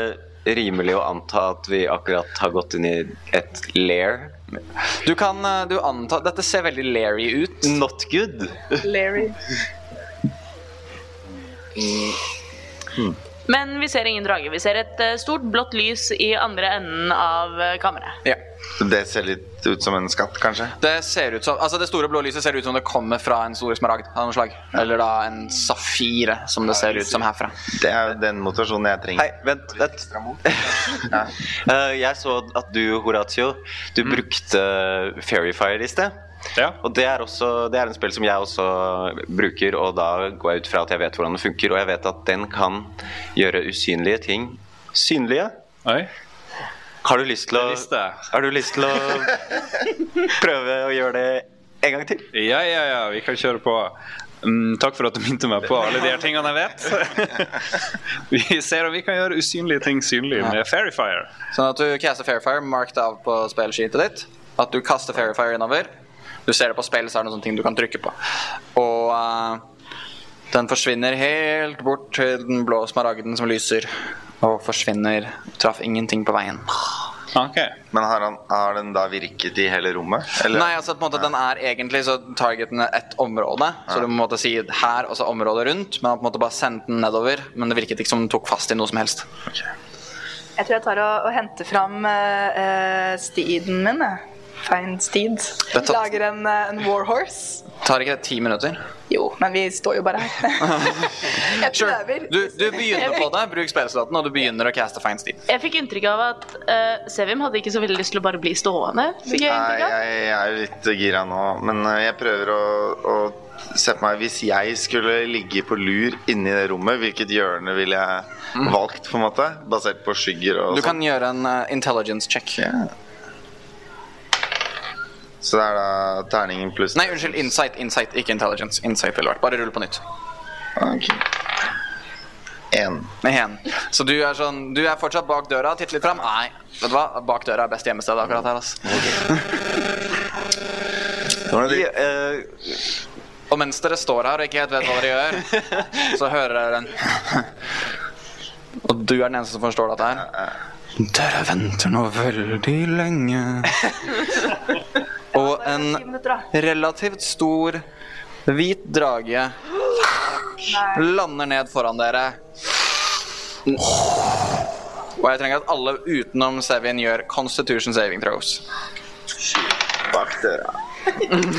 Speaker 8: rimelig å anta at vi akkurat har gått inn i et lair?
Speaker 7: Du kan eh, du anta Dette ser veldig Larry ut.
Speaker 8: Not good.
Speaker 5: Larry.
Speaker 1: Hmm.
Speaker 9: Men vi ser ingen drage. Vi ser et eh, stort blått lys i andre enden av eh, kammeret.
Speaker 7: Ja.
Speaker 1: Så det ser litt ut som en skatt, kanskje?
Speaker 7: Det ser ut som, altså det store blå lyset ser ut som det kommer fra en stor smaragd av noe slag. Eller da en safire, som det ser ut som herfra.
Speaker 1: Det er jo den motivasjonen jeg trenger.
Speaker 8: Hei, vent, vent. (laughs) Eh, jeg så at du, Horatio, du
Speaker 1: Mm.
Speaker 8: brukte Fairy Fire i sted. Og det er, også, det er en spill som jeg også bruker, og da går jeg ut fra at jeg vet hvordan det funker. Og jeg vet at den kan gjøre usynlige ting synlige. Har du lyst til å Har du lyst til å (laughs) prøve å gjøre det en gang til?
Speaker 6: Ja, ja, ja, vi kan kjøre på. Mm, takk for at du minte meg på alle de her tingene jeg
Speaker 1: (laughs)
Speaker 6: vet. vi ser om vi kan gjøre usynlige ting synlige med Fairfire.
Speaker 7: Sånn at du caster Fairfire, mark det av på spillsheetet ditt. At du kaster Fairfire innover. Du ser det på spill, så er det noen sånne ting du kan trykke på. Og eh, den forsvinner helt bort til den blå smaragden som lyser. Og forsvinner. Traff ingenting på veien.
Speaker 1: Men har, han, har den da virket i hele rommet?
Speaker 7: Nei, altså på en måte den er egentlig så targeten er ett område. Så du må på en måte si her og så området rundt. Men han på en måte bare sendte den nedover. Men det virket ikke som den tok fast i noe som helst.
Speaker 5: Jeg tror jeg tar og, og henter fram eh, eh, steeden min. jeg. Find steed.
Speaker 7: Det tar-
Speaker 5: Lager en, eh, en warhorse.
Speaker 7: Tar ikke det ti minutter?
Speaker 5: Jo, men vi står jo bare
Speaker 7: (laughs)
Speaker 5: her. jeg prøver.
Speaker 7: Du, du begynner på det. Bruk spillslåten, og du begynner å caste Find Steed.
Speaker 9: Jeg fikk inntrykk av at eh, Sevim hadde ikke så veldig lyst til å bare bli stående. Fikk jeg
Speaker 1: Nei,
Speaker 9: inntrykk av?
Speaker 1: jeg, jeg er jo litt gira nå, men eh, jeg prøver å, å se på meg Hvis jeg skulle ligge på lur inni det rommet, hvilket hjørne ville
Speaker 8: Mm.
Speaker 1: jeg valgt, på en måte? Basert på skygger og
Speaker 7: Du
Speaker 1: sånn.
Speaker 7: kan gjøre en eh, intelligence check.
Speaker 1: Så det er da terningen pluss
Speaker 7: Nei, unnskyld. Insight, insight, ikke intelligence. Insight ville vært. Bare rull på nytt.
Speaker 1: Ok. En.
Speaker 7: Igjen. Så du er sånn Du er fortsatt bak døra, titter litt fram. Nei, vet du hva? Bak døra er best gjemmested akkurat her, altså.
Speaker 8: Ja, eh,
Speaker 7: Og mens dere står her og ikke helt vet hva dere gjør, så hører dere en Og du er den eneste som forstår dette her. Dere venter nå veldig lenge. Og en relativt stor hvit drage lander ned foran dere. Og jeg trenger at alle utenom Sevin gjør Constitution saving throws.
Speaker 1: Bak døra.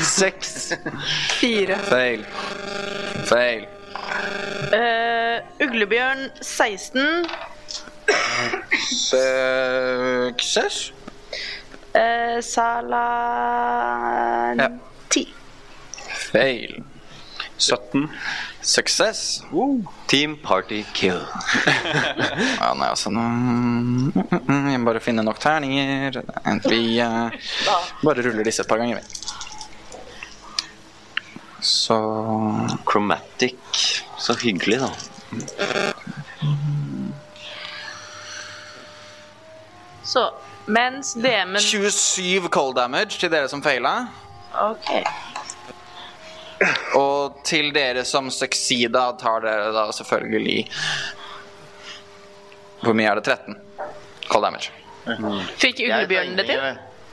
Speaker 7: Seks.
Speaker 5: Fire.
Speaker 7: Feil. Feil.
Speaker 9: Eh, Uglebjørn 16,
Speaker 7: Suksess.
Speaker 9: eh, Sala
Speaker 7: Ja. Fail. 17. Success.
Speaker 8: Team party kill.
Speaker 7: ja, nei, altså nå, mm, Jeg må bare finne nok terninger. Vi eh, bare ruller disse et par ganger. vi. Så
Speaker 8: Chromatic. Så hyggelig, da.
Speaker 9: Så mens DM-en
Speaker 7: 27 cold damage til dere som faila.
Speaker 9: OK.
Speaker 7: Og til dere som succeeda, tar dere da selvfølgelig Hvor mye er det? 13 cold damage.
Speaker 9: Fikk uglebjørnen det til?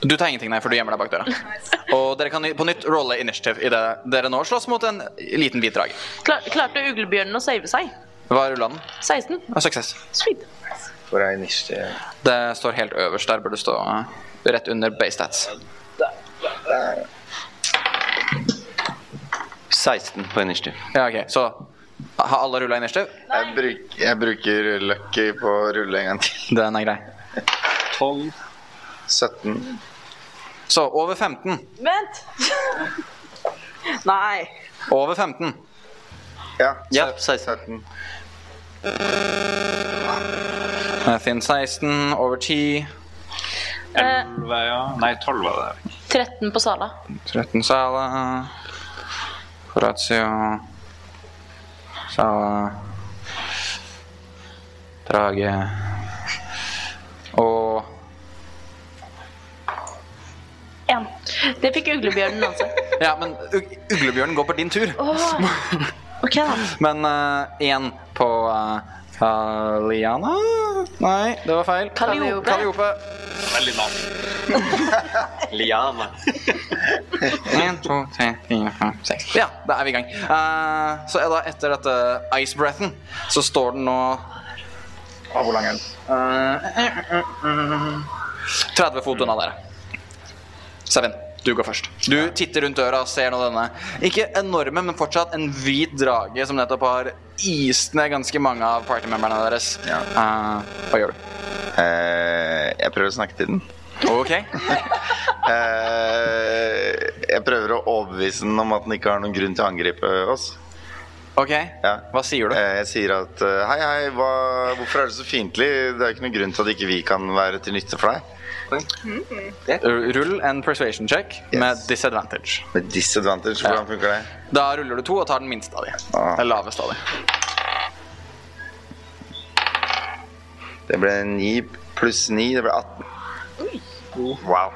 Speaker 7: Du tar ingenting, nei, for du gjemmer deg bak døra. Og dere kan på nytt rolle initiative idet dere nå slåss mot en liten hvit drage.
Speaker 9: Klar, klarte uglebjørnen å save seg?
Speaker 7: Hva er rulladen?
Speaker 9: 16.
Speaker 7: Ja, Suksess.
Speaker 9: Sweet.
Speaker 7: For ei nisje. Det står helt øverst. Der bør du stå eh, rett under base stats.
Speaker 8: 16 på initiativ.
Speaker 7: Ja, ok, så Har alle rulla initiativ?
Speaker 1: Jeg, bruk, jeg bruker lucky på å rulle en gang til.
Speaker 7: Den er grei.
Speaker 1: 12. 17.
Speaker 7: Så over 15.
Speaker 9: Vent! (laughs) Nei.
Speaker 7: Over 15.
Speaker 1: Ja.
Speaker 7: ja 16. Finn 16. Over 10.
Speaker 9: Eh,
Speaker 7: Nei, 12 var det.
Speaker 9: 13 på Sala.
Speaker 7: 13 Sala. Horatio. Sala. Drage. Og
Speaker 9: Én. Det fikk uglebjørnen altså.
Speaker 7: (laughs)
Speaker 9: også.
Speaker 7: Ja, men ug- uglebjørnen går på din tur.
Speaker 9: Åh. OK, da.
Speaker 7: Men én på eh, Kaliana Nei, det var feil.
Speaker 9: Calliope.
Speaker 7: Calliope.
Speaker 6: Veldig navn.
Speaker 8: Liana.
Speaker 7: 1, 2, 3, 4, 5, 6. Ja, da er vi i gang. Eh, så er da etter dette ice breathen, så står den nå Å, Ah, Hvor lang er den? 30 Eh, fot unna dere. Seven, du går først. Du titter rundt døra og ser nå denne ikke enorme, men fortsatt en hvit drage som nettopp har ist ned ganske mange av partymemberne deres. Eh, hva gjør du?
Speaker 1: Eh, jeg prøver å snakke til den.
Speaker 7: OK.
Speaker 1: Eh, jeg prøver å overbevise den om at den ikke har noen grunn til å angripe oss.
Speaker 7: Ok, Hva sier du?
Speaker 1: Jeg sier at eh, hei, hei, hva, hvorfor er du så fiendtlig? Det er jo ikke noen grunn til at ikke vi kan være til nytte for deg.
Speaker 7: Rull en persuasion check med disadvantage.
Speaker 1: Med disadvantage, hvordan funker det?
Speaker 7: Da ruller du to og tar den minste av de. Den laveste av de.
Speaker 1: Det ble 9 pluss 9, det ble 18. Wow.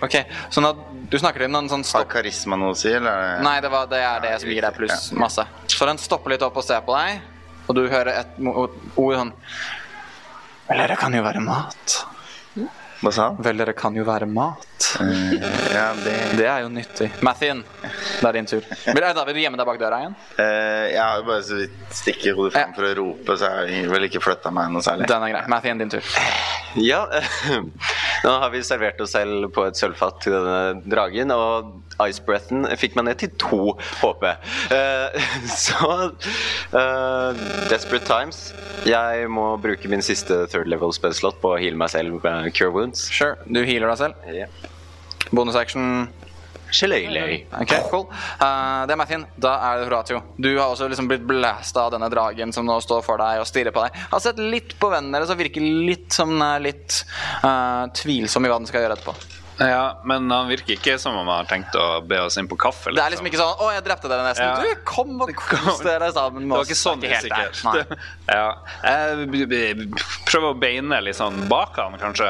Speaker 7: Ok, så nå, du snakker til noen sånn stopp...
Speaker 1: Har karisma noe å si, eller?
Speaker 7: Nei, det, var, det er det som gir deg pluss masse. Så den stopper litt opp og ser på deg, og du hører et mo- ord sånn Vel, dere kan jo være mat.
Speaker 1: Hva sa han?
Speaker 7: Vel, dere kan jo være mat.
Speaker 1: ja, det...
Speaker 7: er jo nyttig. Mathien, det er din tur. Vil, eh, da, vil du gjemme deg bak døra igjen?
Speaker 1: Eh, jeg har jo bare så vidt stikket hodet fram for å rope, så jeg har vel ikke flytta meg noe særlig.
Speaker 7: Den er grei. Mathien, din tur.
Speaker 8: Ja, (laughs) nå har vi servert oss selv på et sølvfat til denne dragen, og ice breathen fikk meg ned til to HP. Eh, (laughs) så eh, Desperate Times. Jeg må bruke min siste third level spellslot på å heale meg selv med cure wounds.
Speaker 7: Sure, du healer deg selv?
Speaker 8: Ja.
Speaker 7: Bonus action
Speaker 8: Shillelay.
Speaker 7: Ok, cool. Eh, det er Mathien. Da er det Horatio. Du har også liksom blitt blæsta av denne dragen som nå står for deg og stirrer på deg. Har sett litt på vennene deres og virker litt som den er litt eh, tvilsom i hva den skal gjøre etterpå.
Speaker 6: Ja, men han virker ikke som om han har tenkt å be oss inn på kaffe.
Speaker 7: Det er liksom ikke sånn 'Å, jeg drepte dere nesten'.
Speaker 6: Ja.
Speaker 7: Du, kom og kos dere sammen
Speaker 6: Det
Speaker 7: med
Speaker 6: var
Speaker 7: oss.
Speaker 6: ikke sånn det
Speaker 7: helt der.
Speaker 6: sikkert.
Speaker 7: Nei.
Speaker 6: Ja. Jeg b- b- prøver å beine litt sånn bak han, kanskje.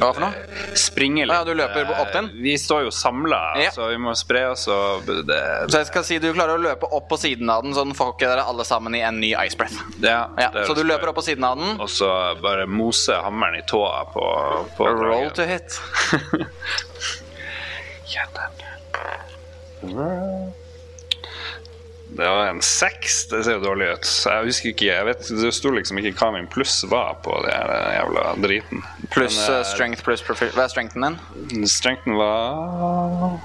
Speaker 7: Hva for noe?
Speaker 6: Springe litt. Eh,
Speaker 7: Ja, du løper opp den?
Speaker 6: Vi står jo samla,
Speaker 7: Ja.
Speaker 6: så vi må spre oss og b- det,
Speaker 7: Så jeg skal si du klarer å løpe opp på siden av den, så den får ikke dere alle sammen i en ny ice breath.
Speaker 6: ja,
Speaker 7: Ja,
Speaker 6: det er
Speaker 7: så du
Speaker 6: det
Speaker 7: løper opp på siden av den.
Speaker 6: Og så bare mose hammeren i tåa på, på
Speaker 7: Roll
Speaker 6: dragen.
Speaker 7: to hit.
Speaker 6: (laughs) Det var en seks. Det ser jo dårlig ut. Så Jeg husker ikke, jeg vet, Det sto liksom ikke hva min pluss var på det her jævla driten.
Speaker 7: Pluss
Speaker 6: Men, eh,
Speaker 7: eh, strength pluss profi... Hva er strengthen din?
Speaker 6: Strengthen var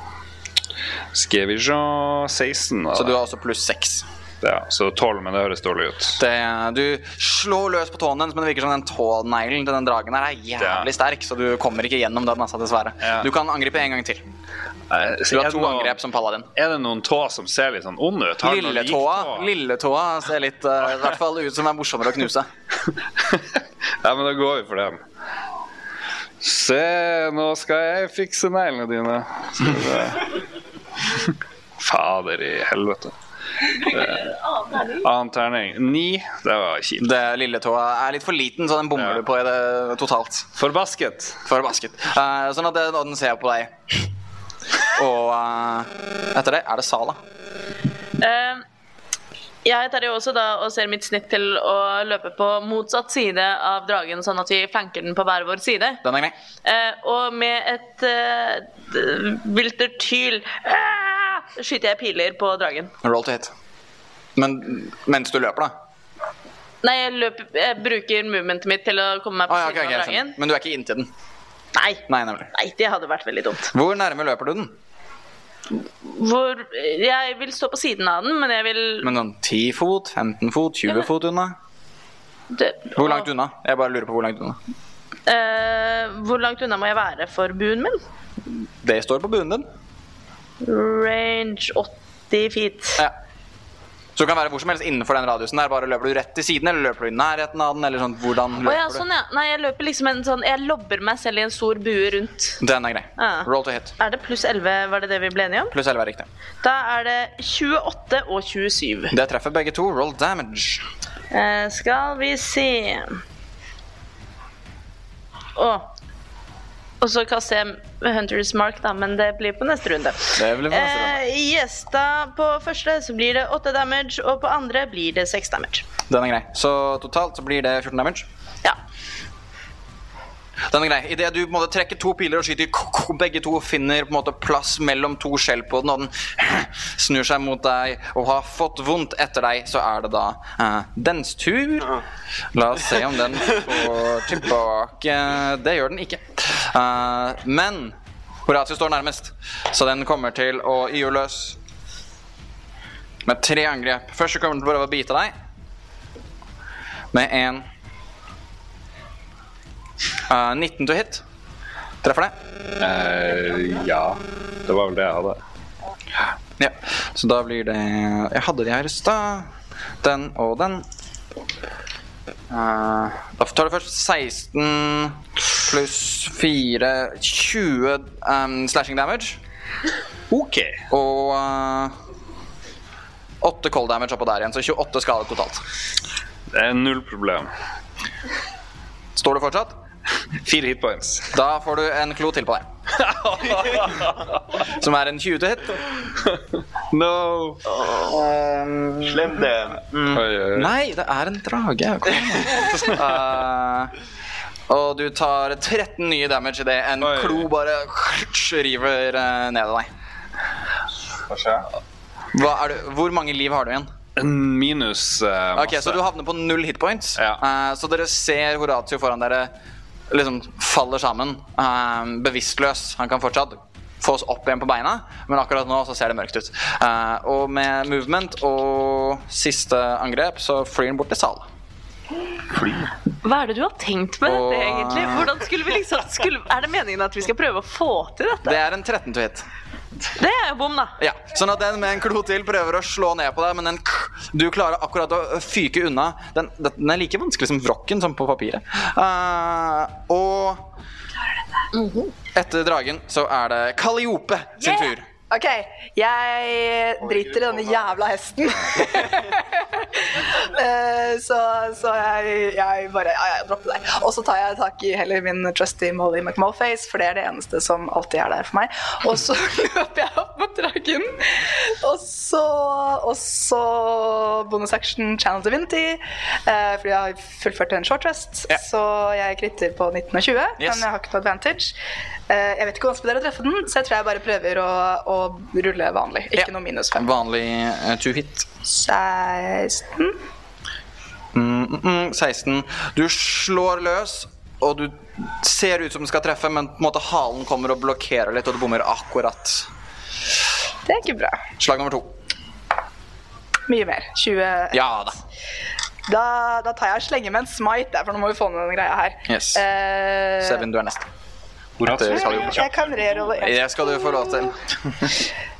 Speaker 6: Skal vi se 16. da.
Speaker 7: Så du har også pluss 6.
Speaker 6: Ja, så tolv, men det høres dårlig ut.
Speaker 7: Det, du slår løs på tåen hennes, men det virker som den tåneglen til den dragen her er jævlig sterk, så du kommer ikke gjennom den, altså, dessverre.
Speaker 6: Ja.
Speaker 7: Du kan angripe en gang til.
Speaker 6: Du
Speaker 7: har to angrep som paladin.
Speaker 6: Er det noen tå som ser litt sånn ond ut? Har den noen
Speaker 7: Lilletåa Lilletåa ser litt eh, i hvert fall ut som er morsommere å knuse.
Speaker 6: (laughs) Ja, men da går vi for den. Se, nå skal jeg fikse neglene dine. Så det- (laughs) Fader i helvete. Eh, Annen terning. Ni. Det var kjipt.
Speaker 7: Det Lilletåa er litt for liten, så den bommer du på i det totalt.
Speaker 6: Forbasket.
Speaker 7: Forbasket. Eh, sånn at den, og den ser på deg. Og eh, etter det er det Sala.
Speaker 9: Eh, jeg tar jo også da og ser mitt snitt til å løpe på motsatt side av dragen, sånn at vi flanker den på hver vår side.
Speaker 7: Den er grei.
Speaker 9: Eh, og med et eh, d- viltert hyl ah, skyter jeg piler på dragen.
Speaker 7: Roll to hit. Men mens du løper, da.
Speaker 9: Nei, jeg, løper, jeg bruker movementet mitt til å komme meg på
Speaker 7: Ah, ja, ok,
Speaker 9: siden
Speaker 7: ok, jeg
Speaker 9: av dragen.
Speaker 7: skjønner. Men du er ikke inntil den?
Speaker 9: Nei.
Speaker 7: Nei, nemlig.
Speaker 9: Nei, det hadde vært veldig dumt.
Speaker 7: Hvor nærme løper du den?
Speaker 9: Hvor Jeg vil stå på siden av den, men jeg vil
Speaker 7: Men sånn 10 fot, 15 fot, 20 fot unna?
Speaker 9: det,
Speaker 7: Hvor langt unna? Jeg bare lurer på hvor langt unna.
Speaker 9: Eh, hvor langt unna må jeg være for buen min?
Speaker 7: Det står på buen din.
Speaker 9: Range 80 feet.
Speaker 7: Ja. Så du kan være hvor som helst innenfor den radiusen der. Bare løper du rett til siden, eller løper du i nærheten av den, eller sånn hvordan
Speaker 9: Å
Speaker 7: løper
Speaker 9: ja, sånn, ja. Nei, jeg løper liksom en sånn Jeg lobber meg selv i en stor bue rundt.
Speaker 7: du? Den er grei.
Speaker 9: Ja.
Speaker 7: Roll to hit.
Speaker 9: Er det pluss 11, var det det vi ble enige om?
Speaker 7: Pluss 11 er riktig.
Speaker 9: Da er det 28 og 27.
Speaker 7: Det treffer begge to. Roll damage.
Speaker 9: Eh, skal vi se Å. Og så kaster jeg Hunter's Mark, da, men det blir på neste runde.
Speaker 7: Det blir på neste runde.
Speaker 9: Eh, yes, da på første så blir det 8 damage, og på andre blir det 6 damage.
Speaker 7: Den er grei. Så totalt så blir det 14 damage.
Speaker 9: Ja.
Speaker 7: Den er grei. Idet du på en måte trekker to piler og skyter, kuk, kuk, begge to finner på en måte plass mellom to skjell på den, og den snur seg mot deg og har fått vondt etter deg, så er det da eh, dens tur. La oss se om den får tilbake Det gjør den ikke. Eh, men Horatio står nærmest, så den kommer til å gyve løs med tre angrep. Først så kommer den til å prøve å bite deg med en Eh, 19 to hit. Treffer det?
Speaker 6: Eh, ja. Det var vel det jeg hadde.
Speaker 7: Ja. Så da blir det Jeg hadde de her i stad. Den og den. Eh, da tar du først 16 pluss 4 20 em, slashing damage.
Speaker 6: Ok.
Speaker 7: Og eh, 8 cold damage oppå der igjen, så 28 skader totalt.
Speaker 6: Det er null problem.
Speaker 7: Står du fortsatt?
Speaker 6: Fire hitpoints.
Speaker 7: Da får du en klo til på deg. Som er en 20 to hit.
Speaker 6: No!
Speaker 8: Slem DM.
Speaker 7: Nei, det er en drage. Kom igjen. Eh, og du tar 13 nye damage idet en klo bare river eh, ned i deg. Hva er du, hvor mange liv har du igjen?
Speaker 6: En minus eh,
Speaker 7: Ok,
Speaker 6: masse.
Speaker 7: Så du havner på null hitpoints. Eh, så dere ser Horatio foran dere liksom faller sammen. eh, bevisstløs. Han kan fortsatt få oss opp igjen på beina, men akkurat nå så ser det mørkt ut. Eh, og med movement og siste angrep så flyr han bort til Sala.
Speaker 9: Hva er det du har tenkt med
Speaker 7: Åh.
Speaker 9: dette, egentlig? Hvordan skulle vi liksom skulle, Er det meningen at vi skal prøve å få til dette?
Speaker 7: Det er en 13 to hit.
Speaker 9: Det er jo bom, da.
Speaker 7: Ja, sånn at den med en klo til prøver å slå ned på deg, men den k- du klarer akkurat å fyke unna. Den, den er like vanskelig som vrokken, som på papiret. Eh, og Mhm. etter dragen så er det Kaliope sin
Speaker 5: Yeah!
Speaker 7: tur.
Speaker 5: OK, jeg driter i denne jævla hesten.
Speaker 7: (laughs)
Speaker 5: Eh, så så jeg, jeg bare ja, jeg dropper deg. Og så tar jeg tak i heller min trusty Molly McMoface, for det er det eneste som alltid er der for meg. Og så (laughs) løper jeg opp mot dragen. Og så, og så bonus action channel divinity, eh, fordi jeg har fullført en short rest.
Speaker 7: Ja.
Speaker 5: Så jeg kritter på 19 og 20,
Speaker 7: Yes.
Speaker 5: men jeg har ikke noe advantage. Eh, jeg vet ikke hvor vanskelig det er å treffe den, så jeg tror jeg bare prøver å, å rulle vanlig. Ikke noe minus.
Speaker 7: En vanlig eh, two hit.
Speaker 5: 16
Speaker 7: Mm, mm, mm, 16. Du slår løs, og du ser ut som du skal treffe, men på en måte halen kommer og blokkerer litt, og du bommer akkurat.
Speaker 5: Det er ikke bra.
Speaker 7: Slag nummer to.
Speaker 5: Mye mer. 20
Speaker 7: Ja da.
Speaker 5: Da, da tar jeg og slenger med en smite, der, for nå må vi få ned den greia her.
Speaker 7: Yes.
Speaker 5: Eh,
Speaker 7: Seven, du er neste. Det skal du-
Speaker 5: jeg kan rerolle en.
Speaker 7: Det skal du få lov til.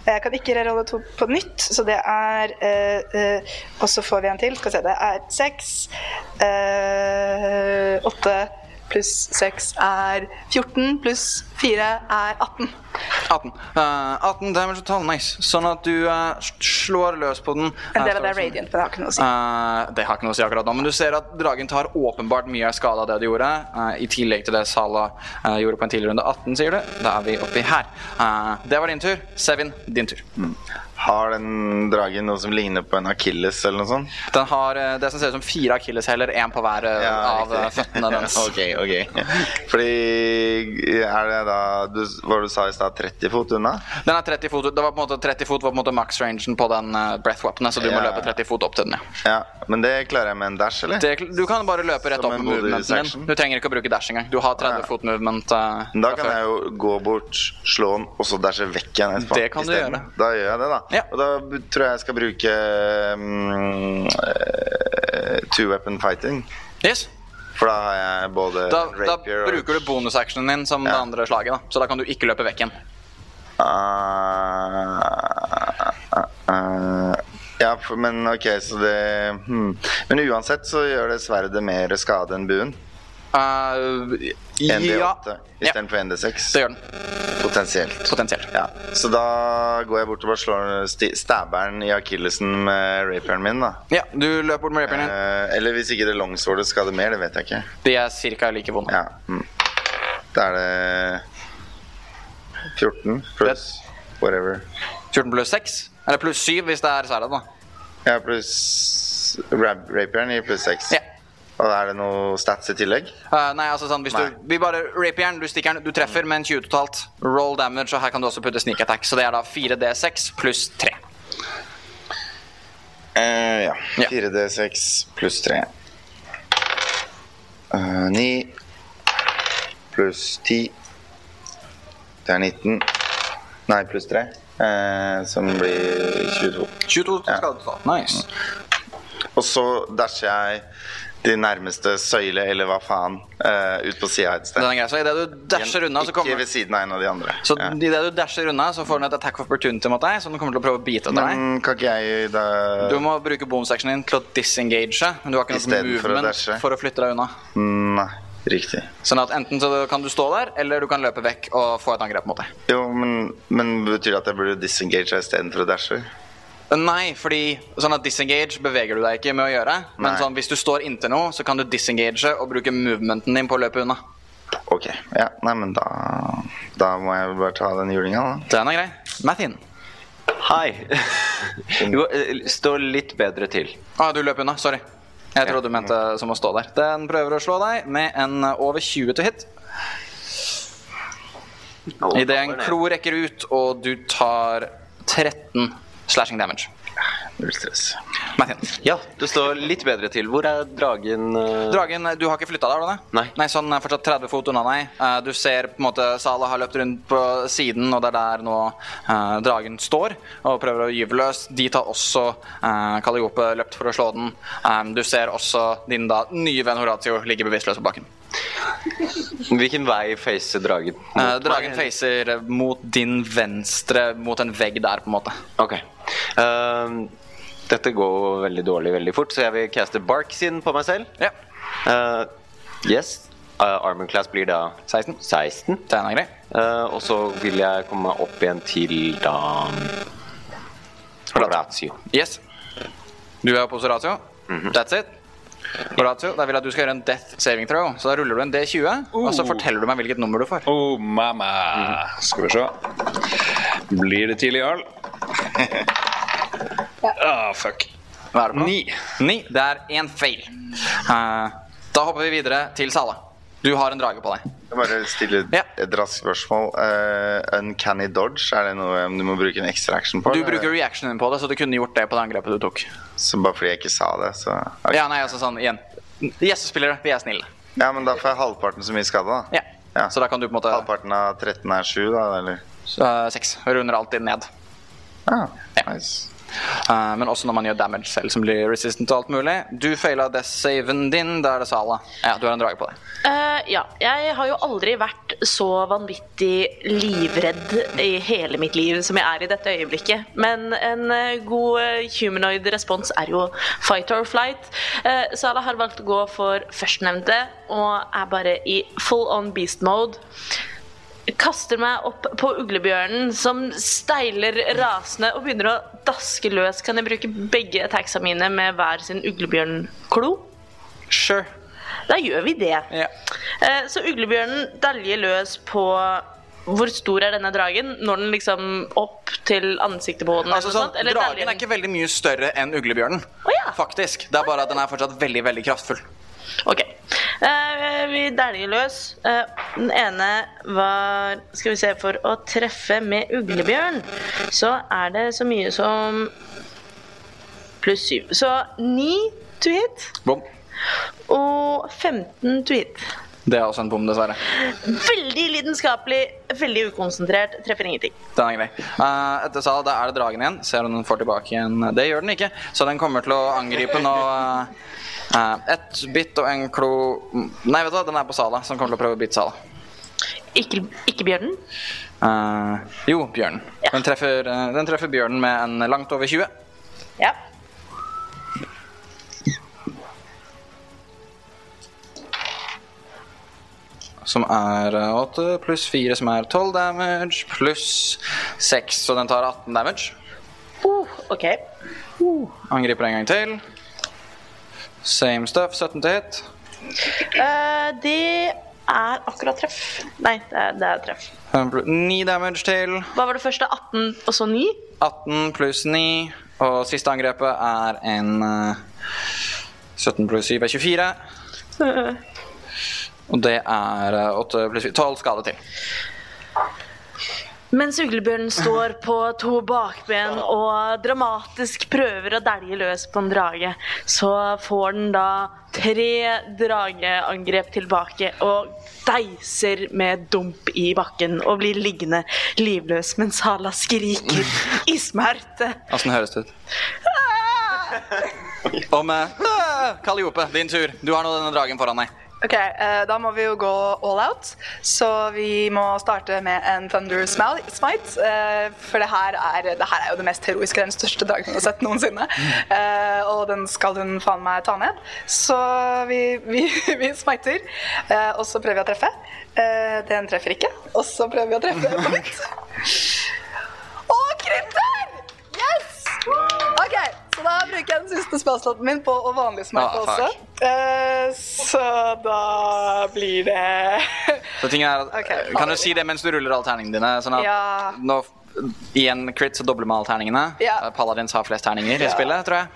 Speaker 5: Jeg kan ikke rerolle to på nytt, så det er eh, eh, Og så får vi en til. Skal vi se, det er seks. Eh, Åtte pluss seks er 14, pluss fire er 18.
Speaker 7: 18. Eh, 18 damage total, nice. Sånn at du eh, s- slår løs på den.
Speaker 5: En del
Speaker 7: Eh,
Speaker 5: av det er radiant, men det har ikke noe å si.
Speaker 7: Eh, det har ikke noe å si akkurat nå, men du ser at dragen tar åpenbart mye av skade av det du gjorde. eh, I tillegg til det Sala eh, gjorde på en tidligere runde. 18, sier du? Da er vi oppi her. Eh, det var din tur. Sevin, din tur.
Speaker 1: Mm. Har den dragen noe som ligner på en akilles eller noe sånt?
Speaker 7: Den har eh, det som ser ut som fire akilleshæler, én på hver eh, av eh,
Speaker 1: riktig. (laughs)
Speaker 7: føttene dens.
Speaker 1: ok, ok. Fordi er det da du, Hva du sa i stad, 30 fot unna?
Speaker 7: Den er 30 fot, ut. det var på en måte 30 fot var på en måte max-rangen på den eh, breath weaponet, så du må
Speaker 1: Ja.
Speaker 7: løpe 30 fot opp til den. ja.
Speaker 1: Ja, Men det klarer jeg med en dash, eller?
Speaker 7: Det, du kan bare løpe rett
Speaker 1: Som
Speaker 7: opp
Speaker 1: en
Speaker 7: med movementen
Speaker 1: bonus-action.
Speaker 7: din. Du trenger ikke å bruke dash engang. Du har 30 fot movement. eh,
Speaker 1: Men Da
Speaker 7: fra
Speaker 1: kan
Speaker 7: før.
Speaker 1: jeg jo gå bort, slå den, og så dashe vekk igjen etterpå.
Speaker 7: Det kan du
Speaker 1: isteden.
Speaker 7: gjøre.
Speaker 1: Da gjør jeg det, da. Og da b- tror jeg jeg skal bruke mm, eh, two weapon fighting.
Speaker 7: Yes.
Speaker 1: For da har jeg både
Speaker 7: Da, da
Speaker 1: Eh, rapier og
Speaker 7: bruker du bonusactionen din som det andre slaget, da. så da kan du ikke løpe vekk igjen.
Speaker 1: Ah, ah, ah. Ja, for- men ok, så det hmm. Men uansett så gjør det sverdet mer skade enn buen.
Speaker 7: Uh, ja.
Speaker 1: ND8 istedenfor ND6. Det
Speaker 7: gjør den.
Speaker 1: Potensielt.
Speaker 7: Potensielt.
Speaker 1: Ja. Så da går jeg bort og bare slår sti- stabberen i akillesen med rapieren min, da.
Speaker 7: Ja, du løper bort med rapieren din.
Speaker 1: Eh, eller hvis ikke det longswordet skader mer, det vet jeg ikke.
Speaker 7: De er ca. like vonde.
Speaker 1: Ja. Mm. Da er det 14 pluss whatever.
Speaker 7: 14 pluss 6? Eller pluss 7 hvis det er sverdet, da.
Speaker 1: Ja, pluss rap rapieren gir pluss 6. Og er det noe stats i tillegg?
Speaker 7: Eh, nei, altså sånn, hvis
Speaker 1: Nei.
Speaker 7: du Vi bare rapieren, du stikker den, du treffer med en 20 totalt. Roll damage, og her kan du også putte sneak attack. Så det er da 4D6 pluss 3.
Speaker 1: Eh, ja. 4D6 pluss 3. Eh, 9 pluss 10 Det er 19. Nei, pluss 3, eh, som blir 22.
Speaker 7: 22 skal du ta. Nice.
Speaker 1: Og så dasher jeg de nærmeste søyle, eller hva faen, eh, ut på sida et sted.
Speaker 7: Den er grei. Så i det du dasher unna, så kommer
Speaker 1: Ikke ved siden av en av de andre.
Speaker 7: Så idet du dasher unna, så får den et attack of opportunity mot deg, som den kommer til å prøve å bite etter deg.
Speaker 1: Men kan ikke jeg da
Speaker 7: Du må bruke bonusactionen din til å disengage, men du har ikke noe
Speaker 1: Isteden for å
Speaker 7: movement
Speaker 1: dashe.
Speaker 7: for å flytte deg unna.
Speaker 1: Nei, riktig.
Speaker 7: Sånn at enten så kan du stå der, eller du kan løpe vekk og få et angrep mot deg.
Speaker 1: Jo, men, men betyr det at jeg burde disengage istedenfor å dashe?
Speaker 7: Eh, Nei, fordi sånn at disengage beveger du deg ikke med å gjøre. Men
Speaker 1: Nei.
Speaker 7: sånn, hvis du står inntil noe, så kan du disengage og bruke movementen din på å løpe unna.
Speaker 1: Ok, ja, nei, men da, da må jeg bare ta den julinga, da.
Speaker 7: Den er grei. Mathin.
Speaker 8: Hei. Jo, eh, står litt bedre til.
Speaker 7: Å, Ah, du løp unna. Sorry. Jeg trodde du mente som å stå der. Den prøver å slå deg med en eh, over 20 til hit. Idet en klo rekker ut, og du tar 13 slashing damage.
Speaker 1: Null stress.
Speaker 7: Mathin.
Speaker 8: Ja, det står litt bedre til. Hvor er dragen eh?
Speaker 7: Dragen, du har ikke flytta deg? har du det?
Speaker 8: Nei.
Speaker 7: Nei, så den er fortsatt 30 fot unna deg. Eh, Du ser på en måte Sala har løpt rundt på siden, og det er der nå eh, dragen står og prøver å gyve løs. Dit har også eh, Calliope løpt for å slå den. Eh, Du ser også din da nye venn Horatio ligge bevisstløs på bakken.
Speaker 8: Hvilken vei facer dragen?
Speaker 7: Eh, Dragen facer mot din venstre, mot en vegg der, på en måte.
Speaker 8: Ok. Ehm, dette går jo veldig dårlig veldig fort, så jeg vil caste Bark sin på meg selv. Eh,
Speaker 7: Ja.
Speaker 8: yes. Eh, armor class blir da
Speaker 7: 16.
Speaker 8: Den
Speaker 7: er grei.
Speaker 8: og så vil jeg komme meg opp igjen til da Horatio.
Speaker 7: Yes. Du er på Horatio. That's it. Horatio, da vil jeg at du skal gjøre en death saving throw. Så da ruller du en D20, og så forteller du meg hvilket nummer du får.
Speaker 6: Oh, mama. Skal vi se. Blir det tidlig, Jarl? Ah, fuck.
Speaker 7: Hva er det for noe? Ni. Det er én feil. Eh, da hopper vi videre til Sala. Du har en drage på deg.
Speaker 1: Jeg bare stille et, et raskt spørsmål. Eh, uncanny dodge, er det noe um, du må bruke en ekstra action på?
Speaker 7: Du
Speaker 1: eller?
Speaker 7: bruker reactionen din på det, så du kunne gjort det på det angrepet du tok.
Speaker 1: Så bare fordi jeg ikke sa det, så
Speaker 7: Ja, nei, altså sånn igjen. Gjestespillere, vi er snille.
Speaker 1: Ja, men da får jeg halvparten så mye skade, da.
Speaker 7: Ja. Så da kan du på en måte
Speaker 1: Halvparten av 13 er 7, da, eller?
Speaker 7: Eh, Seks. Runder alltid ned.
Speaker 1: Ja, nice.
Speaker 7: Eh, men også når man gjør damage selv, som blir resistant og alt mulig. Du faila death-saven din. Da er det Sala. Ja, du har en drage på deg.
Speaker 9: Eh, ja, jeg har jo aldri vært så vanvittig livredd i hele mitt liv som jeg er i dette øyeblikket. Men en eh, god eh, humanoid respons er jo fight or flight. Eh, Sala har valgt å gå for førstnevnte og er bare i full on beast mode. Kaster meg opp på uglebjørnen som steiler rasende og begynner å daske løs. Kan jeg bruke begge attacksa mine med hver sin uglebjørnklo?
Speaker 7: Sure.
Speaker 9: Da gjør vi det. Eh, Så uglebjørnen daljer løs på Hvor stor er denne dragen? Når den liksom opp til ansiktet på den?
Speaker 7: Altså, sånn, dragen er ikke veldig mye større enn uglebjørnen. Faktisk. Det er bare at den er fortsatt veldig veldig kraftfull.
Speaker 9: Ok. Eh, vi dæljer løs. Eh, den ene var Skal vi se, for å treffe med uglebjørn, så er det så mye som pluss syv. Så ni to hit.
Speaker 7: Bom.
Speaker 9: Og 15 to hit.
Speaker 7: Det er også en bom, dessverre.
Speaker 9: Veldig lidenskapelig, veldig ukonsentrert, treffer ingenting.
Speaker 7: Den er grei. Eh, etter Sala, da er det dragen igjen. Ser om den får tilbake igjen. Det gjør den ikke, så den kommer til å angripe nå. eh, eh, ett bitt og en klo Nei, vet du hva, den er på Sala, så den kommer til å prøve å bite Sala.
Speaker 9: Ikke, ikke bjørnen.
Speaker 7: Eh, jo, bjørnen. Den, treffer, eh, den treffer bjørnen med en langt over 20.
Speaker 9: Ja.
Speaker 7: Som er eh, 8 pluss 4, som er 12 damage, pluss 6, så den tar 18 damage.
Speaker 9: Uh, OK. Uh.
Speaker 7: Angriper en gang til. Same stuff, 17 til hit.
Speaker 9: Eh, det er akkurat treff. Nei, det er, det er treff.
Speaker 7: 9 damage til.
Speaker 9: Hva var det første? 18 og så 9?
Speaker 7: 18 pluss 9, og siste angrepet er en eh, 17 pluss 7 er 24. Og det er eh, 8 pluss 4, 12 skade til.
Speaker 9: Mens uglebjørnen står på to bakben og dramatisk prøver å dælje løs på en drage, så får den da tre drageangrep tilbake og deiser med dump i bakken og blir liggende livløs mens Hala skriker i smerte.
Speaker 7: Åssen høres (laughs) det ut? Og med (laughs) ah, Calliope, din tur. Du har nå denne dragen foran deg.
Speaker 5: Ok, eh, Da må vi jo gå all out, så vi må starte med en Thunder Smal- Smite. eh, for det her, er, det her er jo det mest heroiske, den største dragen jeg har sett noensinne. Eh, og den skal hun faen meg ta ned. Så vi, vi, (laughs) vi smiter, eh, og så prøver vi å treffe. Eh, den treffer ikke, og så prøver vi å treffe på nytt. Og krypter! Yes! Ok, så da bruker jeg den siste spillslåten min på å vanlig smite
Speaker 7: Ah, fuck.
Speaker 5: også. Eh, så da blir det
Speaker 7: Så ting er at, eh,
Speaker 5: Ok.
Speaker 7: Kan du si det mens du ruller alle terningene dine? Sånn at
Speaker 5: Ja.
Speaker 7: nå Igjen crit, så dobler man alle terningene.
Speaker 5: Ja.
Speaker 7: Eh, Paladins har flest terninger i
Speaker 5: Ja.
Speaker 7: spillet, tror jeg.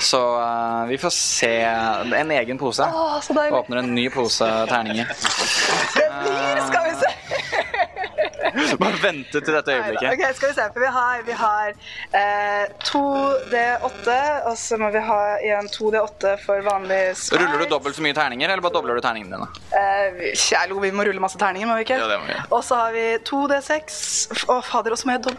Speaker 7: Så eh, vi får se en egen pose.
Speaker 5: Å, så deilig.
Speaker 7: Åpner en ny pose terninger.
Speaker 5: (laughs) Det blir, skal vi se.
Speaker 7: Bare vente til dette øyeblikket.
Speaker 5: Ok, skal vi se. For vi har, vi har eh, 2D8, og så må vi ha igjen 2D8 for vanlig smite.
Speaker 7: Ruller du dobbelt så mye terninger, eller bare dobler du terningene dine?
Speaker 5: Eh, vi- kjælo, vi må rulle masse terninger, må vi ikke?
Speaker 7: Ja, det må vi.
Speaker 5: Og så har vi 2D6. F- Å, fader, også må jeg dob...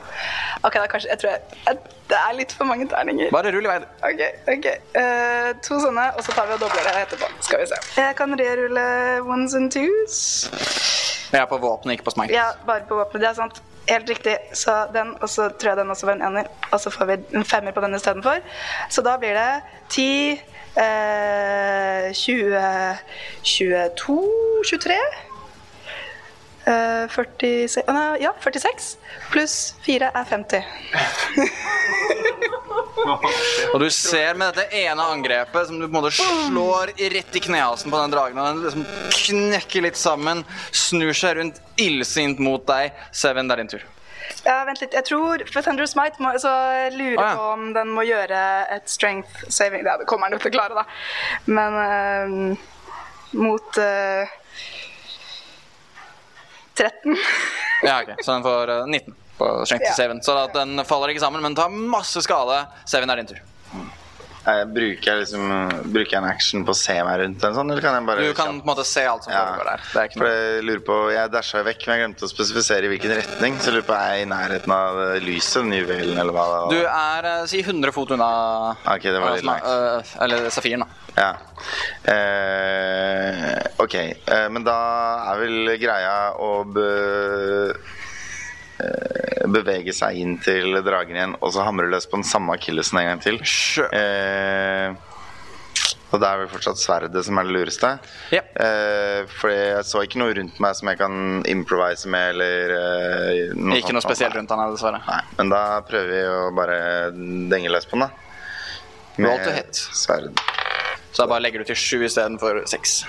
Speaker 5: Ok, da kanskje, jeg tror jeg, jeg, det er litt for mange terninger.
Speaker 7: Bare rull i vei.
Speaker 5: Ok, ok. Eh, to sånne, og så tar vi og dobler det etterpå. Skal vi se. Jeg kan rerulle ones and twos.
Speaker 7: Jeg er på våpenet, ikke på smite.
Speaker 5: Ja, bare på våpenet, det er sant. Helt riktig. Så den, og så tror jeg den også var en ener. Og så får vi en femmer på den istedenfor. Så da blir det 10, eh, 20, 22, 23 eh, 46, å nei, ja, 46 pluss 4 er 50.
Speaker 7: Og du ser med dette ene angrepet som du på en måte slår i rett i knehalsen på den dragen, og den liksom knekker litt sammen, snur seg rundt illsint mot deg. Seven, det er din tur.
Speaker 5: Ja, vent litt. Jeg tror For Thunder Smite må, så jeg lurer
Speaker 7: Å, ja.
Speaker 5: på om den må gjøre et strength saving. Ja, det kommer den jo til å klare, da. Men eh, mot eh, 13.
Speaker 7: Ja, ok. Så den får eh, 19 på strength
Speaker 5: Ja.
Speaker 7: til Seven. Så at den faller ikke sammen, men tar masse skade. Seven, det er din tur.
Speaker 1: Eh, bruker, jeg liksom, bruker jeg en action på å se meg rundt, eller, sånn, eller kan jeg bare
Speaker 7: Du kan på en måte se alt som foregår der. Det er ikke
Speaker 1: For jeg lurer på, jeg dasha jo vekk, men jeg glemte å spesifisere i hvilken retning. Så jeg lurer på, er jeg i nærheten av eh, lyset, den juvelen, eller hva det var? Ah,
Speaker 7: Du er eh, si 100 fot unna
Speaker 1: Ok, det var litt
Speaker 7: Asma,
Speaker 1: langt.
Speaker 7: eh, Eller safiren, da.
Speaker 1: Ja. Eh, ok, eh, men da er vel greia å be, eh, bevege seg inn til dragen igjen, og så hamre løs på den samme akillesen en gang til. Eh, og da er vel fortsatt sverdet som er det lureste. Eh, fordi jeg så ikke noe rundt meg som jeg kan improvise med, eller eh,
Speaker 7: Ikke noe spesielt rundt han her, dessverre.
Speaker 1: Nei, men da prøver vi å bare denge løs på den, da.
Speaker 7: Roll to hit.
Speaker 1: sverd.
Speaker 7: Så da bare legger du til 7 istedenfor 6.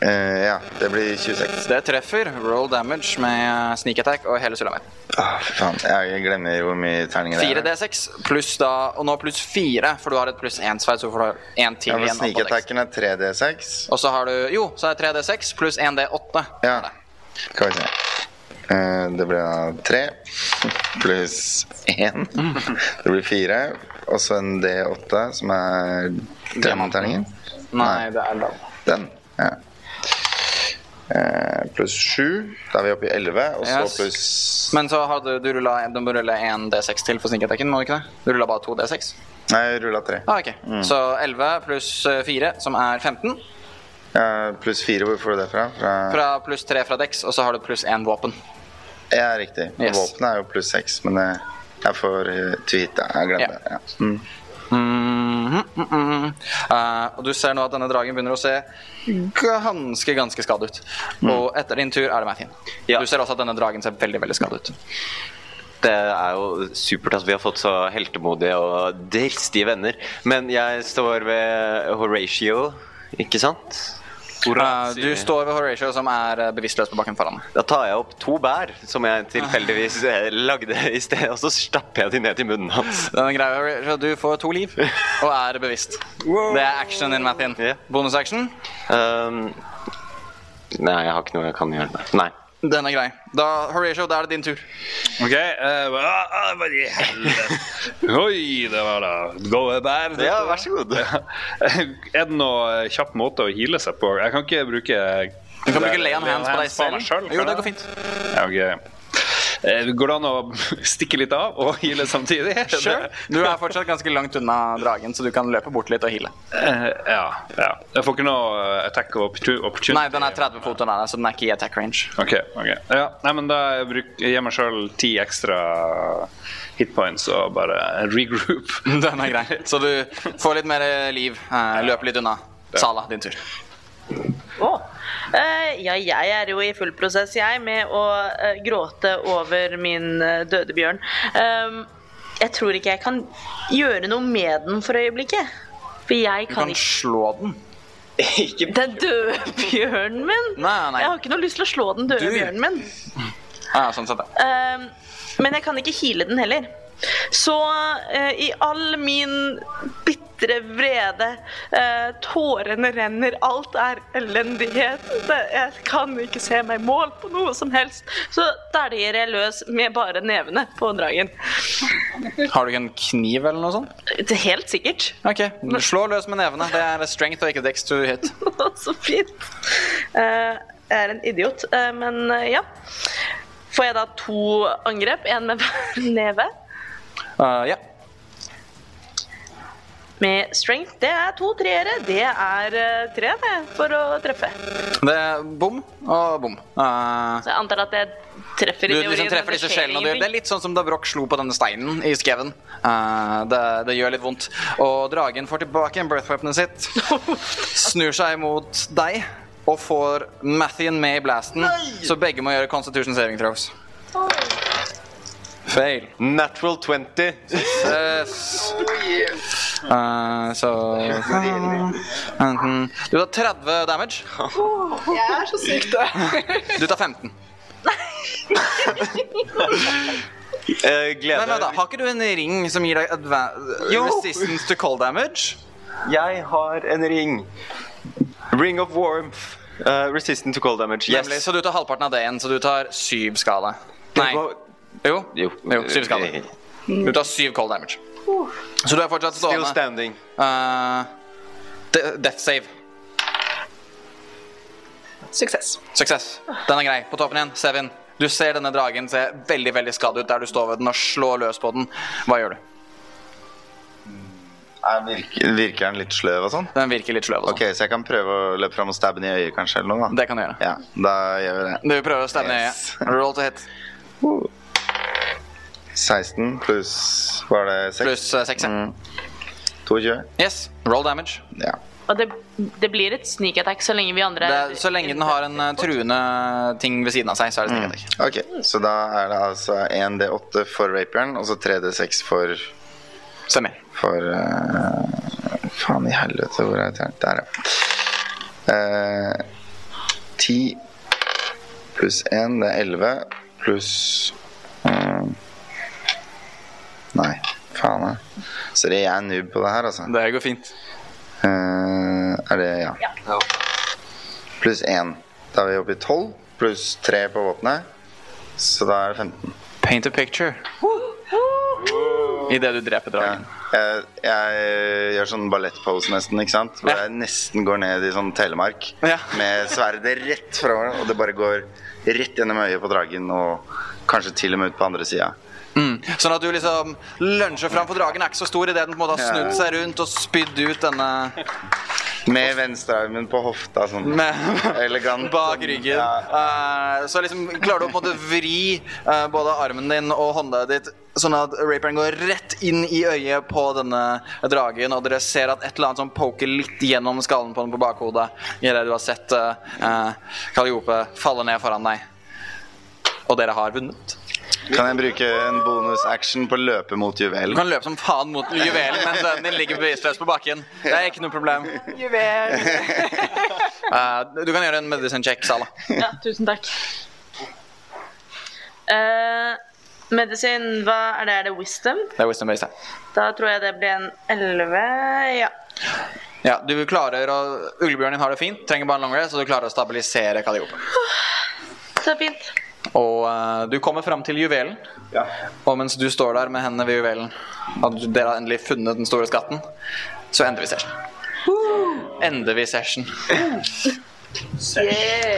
Speaker 1: Eh, ja, det blir 26.
Speaker 7: Det treffer. Roll damage med eh, sneak attack og hele sulamitten.
Speaker 1: Åh, fy faen. Jeg glemmer hvor mye terninger det er.
Speaker 7: 4D6 pluss da Og nå pluss 4, for du har et pluss 1 sverd, så får du en til
Speaker 1: Ja, men
Speaker 7: igjen. oppå dex.
Speaker 1: Sneakeattacken er 3D6.
Speaker 7: Og så har du Jo, så er 3D6 pluss 1D8.
Speaker 1: Ja. Skal vi se. Eh, Det blir da tre pluss én. Det blir fire. Og så en D8, som er diamantterningen.
Speaker 7: Nei, det er da
Speaker 1: Den. Ja. Eh, Pluss sju. Da er vi oppe i elleve. Og så
Speaker 7: Yes.
Speaker 1: pluss
Speaker 7: Men så har du, du rulla Du må rulle 1D6 til for sneakeattacken, må du ikke det? Du rulla bare 2D6?
Speaker 1: Nei, jeg rulla tre.
Speaker 7: Ah, ok.
Speaker 1: Mm.
Speaker 7: Så 11 pluss 4, som er 15.
Speaker 1: Eh, Pluss fire, hvor får du det fra? Fra,
Speaker 7: Fra pluss 3 fra dex, og så har du pluss 1 våpen.
Speaker 1: Ja, riktig.
Speaker 7: Yes.
Speaker 1: Våpenet er jo pluss seks, men eh, jeg får eh, tweete. Jeg glemte det. Ja. Mm.
Speaker 7: Mhm, mm, mm. Eh, og du ser nå at denne dragen begynner å se ganske, ganske skadet ut. Og etter din tur er det Mathien. Du ser også at denne dragen ser veldig, veldig skadet ut.
Speaker 8: Det er jo supert at vi har fått så heltemodige og dristige venner. Men jeg står ved Horatio, ikke sant?
Speaker 7: Eh, du står ved Horatio, som er eh, bevisstløs på bakken foran deg.
Speaker 8: Da tar jeg opp to bær som jeg tilfeldigvis eh, lagde i sted, og så stapper jeg de ned i munnen hans.
Speaker 7: Denne greia, Horatio, du får to liv og er bevisst. Det er actionen din, Mathien. Bonusaction?
Speaker 8: Um, Nei, jeg har ikke noe jeg kan gjøre. Nei.
Speaker 7: Den er grei. Da, Horatio, da er det din tur.
Speaker 6: OK. eh, hva ah, hva i helvete?
Speaker 1: (laughs)
Speaker 6: Oi, det var da gode bær. dette.
Speaker 8: Ja, vær så god.
Speaker 6: er det noen kjapp måte å heale seg på? Jeg kan ikke bruke
Speaker 7: Du kan bruke lay on hands på deg
Speaker 6: meg
Speaker 7: selv. Jo, det
Speaker 6: kan jeg?
Speaker 7: går fint.
Speaker 6: Ja, ok. Eh, Går det an å (laughs) stikke litt av og heale samtidig?
Speaker 7: Sure. Du er fortsatt ganske langt unna dragen, så du kan løpe bort litt og heale.
Speaker 6: (laughs) Eh, ja, ja. Jeg får ikke noe eh, attack of opportu- opportunity?
Speaker 7: Nei, den er 30 fot unna deg, så den er ikke i attack range.
Speaker 6: Ok, ok. Ja, nei, men da bruk, jeg gir meg sjøl ti ekstra hit points og bare regroup.
Speaker 7: (laughs) Den er grei. Så du får litt mer eh, liv. eh, Løper litt unna. Sala, din tur.
Speaker 9: Eh, ja, jeg er jo i full prosess, jeg, med å eh, gråte over min eh, døde bjørn. Ehm, jeg tror ikke jeg kan gjøre noe med den for øyeblikket. For jeg
Speaker 7: Du
Speaker 9: kan
Speaker 7: kan
Speaker 9: ikke
Speaker 7: slå den.
Speaker 9: Den døde bjørnen min!
Speaker 7: Nei, nei.
Speaker 9: Jeg har ikke noe lyst til å slå den døde
Speaker 7: Du.
Speaker 9: bjørnen min.
Speaker 7: Ja, sånn sett, ja.
Speaker 9: Ehm, men jeg kan ikke heale den heller. Så eh, i all min bitre vrede eh, Tårene renner, alt er elendighet. Det, jeg kan ikke se meg i mål på noe som helst. Så dæljer jeg løs med bare nevene på dragen.
Speaker 7: Har du ikke en kniv eller noe sånt?
Speaker 9: Det er Helt sikkert. (laughs)
Speaker 7: Ok, Slå løs med nevene. Det er strength og ikke dex to hit.
Speaker 9: Så fint. Eh, jeg er en idiot, eh, men eh, ja. Får jeg da to angrep? Én med hver (laughs) neve.
Speaker 7: Eh, ja.
Speaker 9: Med strength. Det er to treere. Det er eh, tre, det, for å treffe.
Speaker 7: Det er bom og bom. Eh,
Speaker 9: Så jeg antar at jeg treffer
Speaker 7: du
Speaker 9: i
Speaker 7: liksom
Speaker 9: teorien,
Speaker 7: treffer
Speaker 9: men det
Speaker 7: disse
Speaker 9: skjer
Speaker 7: sjelene du gjør. Det er
Speaker 9: ingenting.
Speaker 7: litt sånn som da Broch slo på denne steinen i skauen. Eh, det, det gjør litt vondt. Og dragen får tilbake birthweaponet
Speaker 9: (laughs)
Speaker 7: sitt. Snur seg mot deg og får Mathien med i blasten. Så begge må gjøre Constitution saving throws. Fail.
Speaker 8: Natural 20.
Speaker 7: Yes. Eh, så Enten- Du tar 30 damage.
Speaker 5: Jeg er så sykt død.
Speaker 7: Du tar 15.
Speaker 8: Eh, glede
Speaker 7: Men vent da, Har ikke du en ring som gir deg adva-
Speaker 8: Jo.
Speaker 7: resistance to cold damage?
Speaker 8: Jeg har en ring. Ring of warmth. Eh, resistant to cold damage. Yes.
Speaker 7: Nemlig, så du tar halvparten av det igjen, så du tar syv skade. Nei. Jo,
Speaker 8: Jo, Eh,
Speaker 1: Eh.
Speaker 7: syv skade. Du tar syv cold damage. Så du er fortsatt stående.
Speaker 8: Still standing.
Speaker 7: Eh, de- death save.
Speaker 5: Suksess.
Speaker 7: Suksess. Den er grei. På toppen igjen, Sevin. Du ser denne dragen se veldig veldig skadd ut der du står ved den og slår løs på den. Hva gjør du?
Speaker 1: Er virker, virker den litt sløv og sånn?
Speaker 7: Den virker litt sløv og sånn.
Speaker 1: Ok, Så jeg kan prøve å løpe fram og stabbe den i øyet, kanskje? eller noe da?
Speaker 7: Det kan du gjøre.
Speaker 1: Ja, Da gjør vi det.
Speaker 7: Du prøver å stabbe den i
Speaker 1: Yes.
Speaker 7: øyet. Roll to hit.
Speaker 1: 16 pluss Var det 6?
Speaker 7: Pluss 6, eh, ja.
Speaker 1: 22.
Speaker 7: Yes, roll damage.
Speaker 1: Ja.
Speaker 9: Og det, det blir et sneak attack så lenge vi andre
Speaker 7: Det er, så lenge den har en eh, truende ting ved siden av seg, så er det sneak attack.
Speaker 1: Ok, så da er det altså 1D8 for rapieren, og så 3D6 for
Speaker 7: Stemmer.
Speaker 1: For eh, Faen i helvete, hvor er det? Der, ja. Eh, 10 pluss 1, det er 11, pluss eh, Nei, faen. jeg. Sorry, jeg er noob på det her, altså.
Speaker 7: Det går fint.
Speaker 1: Eh, er det ja. Pluss 1. Da er vi oppe i 12, pluss 3 på våpenet. Så da er det 15.
Speaker 7: Paint a picture. Idet du dreper dragen.
Speaker 1: Jeg, jeg gjør sånn ballettpose nesten, ikke sant? Hvor jeg nesten går ned i sånn telemark med sverdet rett fra og det bare går rett gjennom øyet på dragen og kanskje til og med ut på andre sida.
Speaker 7: Mm. Sånn at du liksom lunsjer fram, for dragen er ikke så stor idet den på en måte har snudd seg rundt og spydd ut denne
Speaker 1: Med venstrearmen på hofta sånn. Elegant.
Speaker 7: Bak ryggen. Eh, så liksom klarer du å på en måte vri eh, både armen din og hånda ditt sånn at raperen går rett inn i øyet på denne dragen, og dere ser at et eller annet som poker litt gjennom skallen på den på bakhodet idet du har sett eh, eh, Calliope falle ned foran deg. Og dere har vunnet.
Speaker 1: Kan jeg bruke en bonusaction på å løpe mot
Speaker 7: Du
Speaker 1: juvelen?
Speaker 7: kan løpe som faen mot juvelen mens vennen din ligger bevisstløs på bakken. Det er ikke noe problem. Eh, du kan gjøre en medicine check, Sala.
Speaker 9: Ja, tusen takk. Eh, medisin, hva er det? Er det wisdom?
Speaker 7: Det er wisdom based. ja.
Speaker 9: Da tror jeg det blir en 11. Ja.
Speaker 7: Ja, du klarer å Uglebjørnen din har det fint, trenger bare en long rest, og du klarer å stabilisere Kaliope.
Speaker 9: Så fint.
Speaker 7: Og eh, du kommer fram til juvelen, og mens du står der med hendene ved juvelen, og du- dere har endelig funnet den store skatten, så ender vi session. Ender vi session.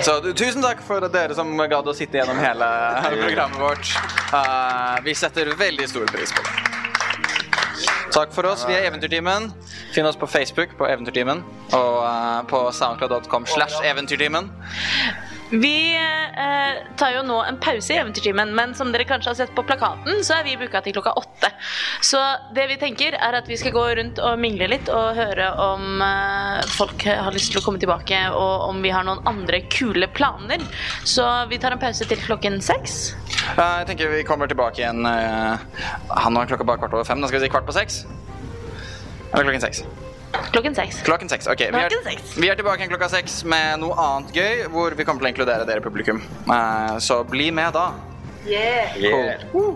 Speaker 7: Så du, tusen takk for dere som gadd å sitte gjennom hele programmet vårt. Eh, vi setter veldig stor pris på det. Takk for oss. Vi er Eventyrtimen. Finn oss på Facebook på Eventyrtimen og eh, på soundcloud.com slash eventyrtimen.
Speaker 9: Vi eh, tar jo nå en pause i Eventyrtimen, men som dere kanskje har sett på plakaten, så er vi booka til klokka åtte. Så det vi tenker, er at vi skal gå rundt og mingle litt og høre om eh, folk har lyst til å komme tilbake, og om vi har noen andre kule planer. Så vi tar en pause til klokken seks.
Speaker 7: Eh, jeg tenker vi kommer tilbake igjen eh, Han var klokka bare kvart over fem. Da skal vi si kvart på seks. Eller klokken seks.
Speaker 9: Klokken seks.
Speaker 7: Klokken seks, ok. Vi er,
Speaker 9: Klokken seks.
Speaker 7: vi er tilbake igjen klokka seks med noe annet gøy, hvor vi kommer til å inkludere dere publikum. Eh, så bli med da.
Speaker 16: Yeah.
Speaker 7: Cool.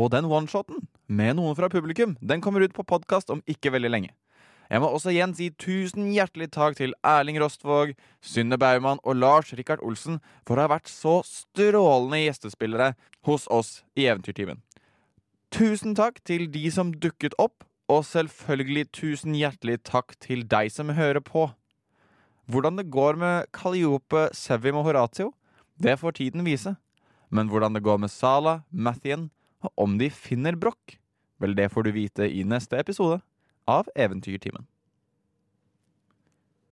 Speaker 4: Og den one-shoten med noen fra publikum, den kommer ut på podkast om ikke veldig lenge. Jeg må også igjen si tusen hjertelig takk til Erling Rostvåg, Synne Baumann og Lars Rikard Olsen for å ha vært så strålende gjestespillere hos oss i Eventyrtimen. Tusen takk til de som dukket opp, og selvfølgelig tusen hjertelig takk til deg som hører på. Hvordan det går med Calliope, Sevim og Horatio, det får tiden vise. Men hvordan det går med Sala, Mathien, og om de finner brokk, vel det får du vite i neste episode av Eventyrtimen.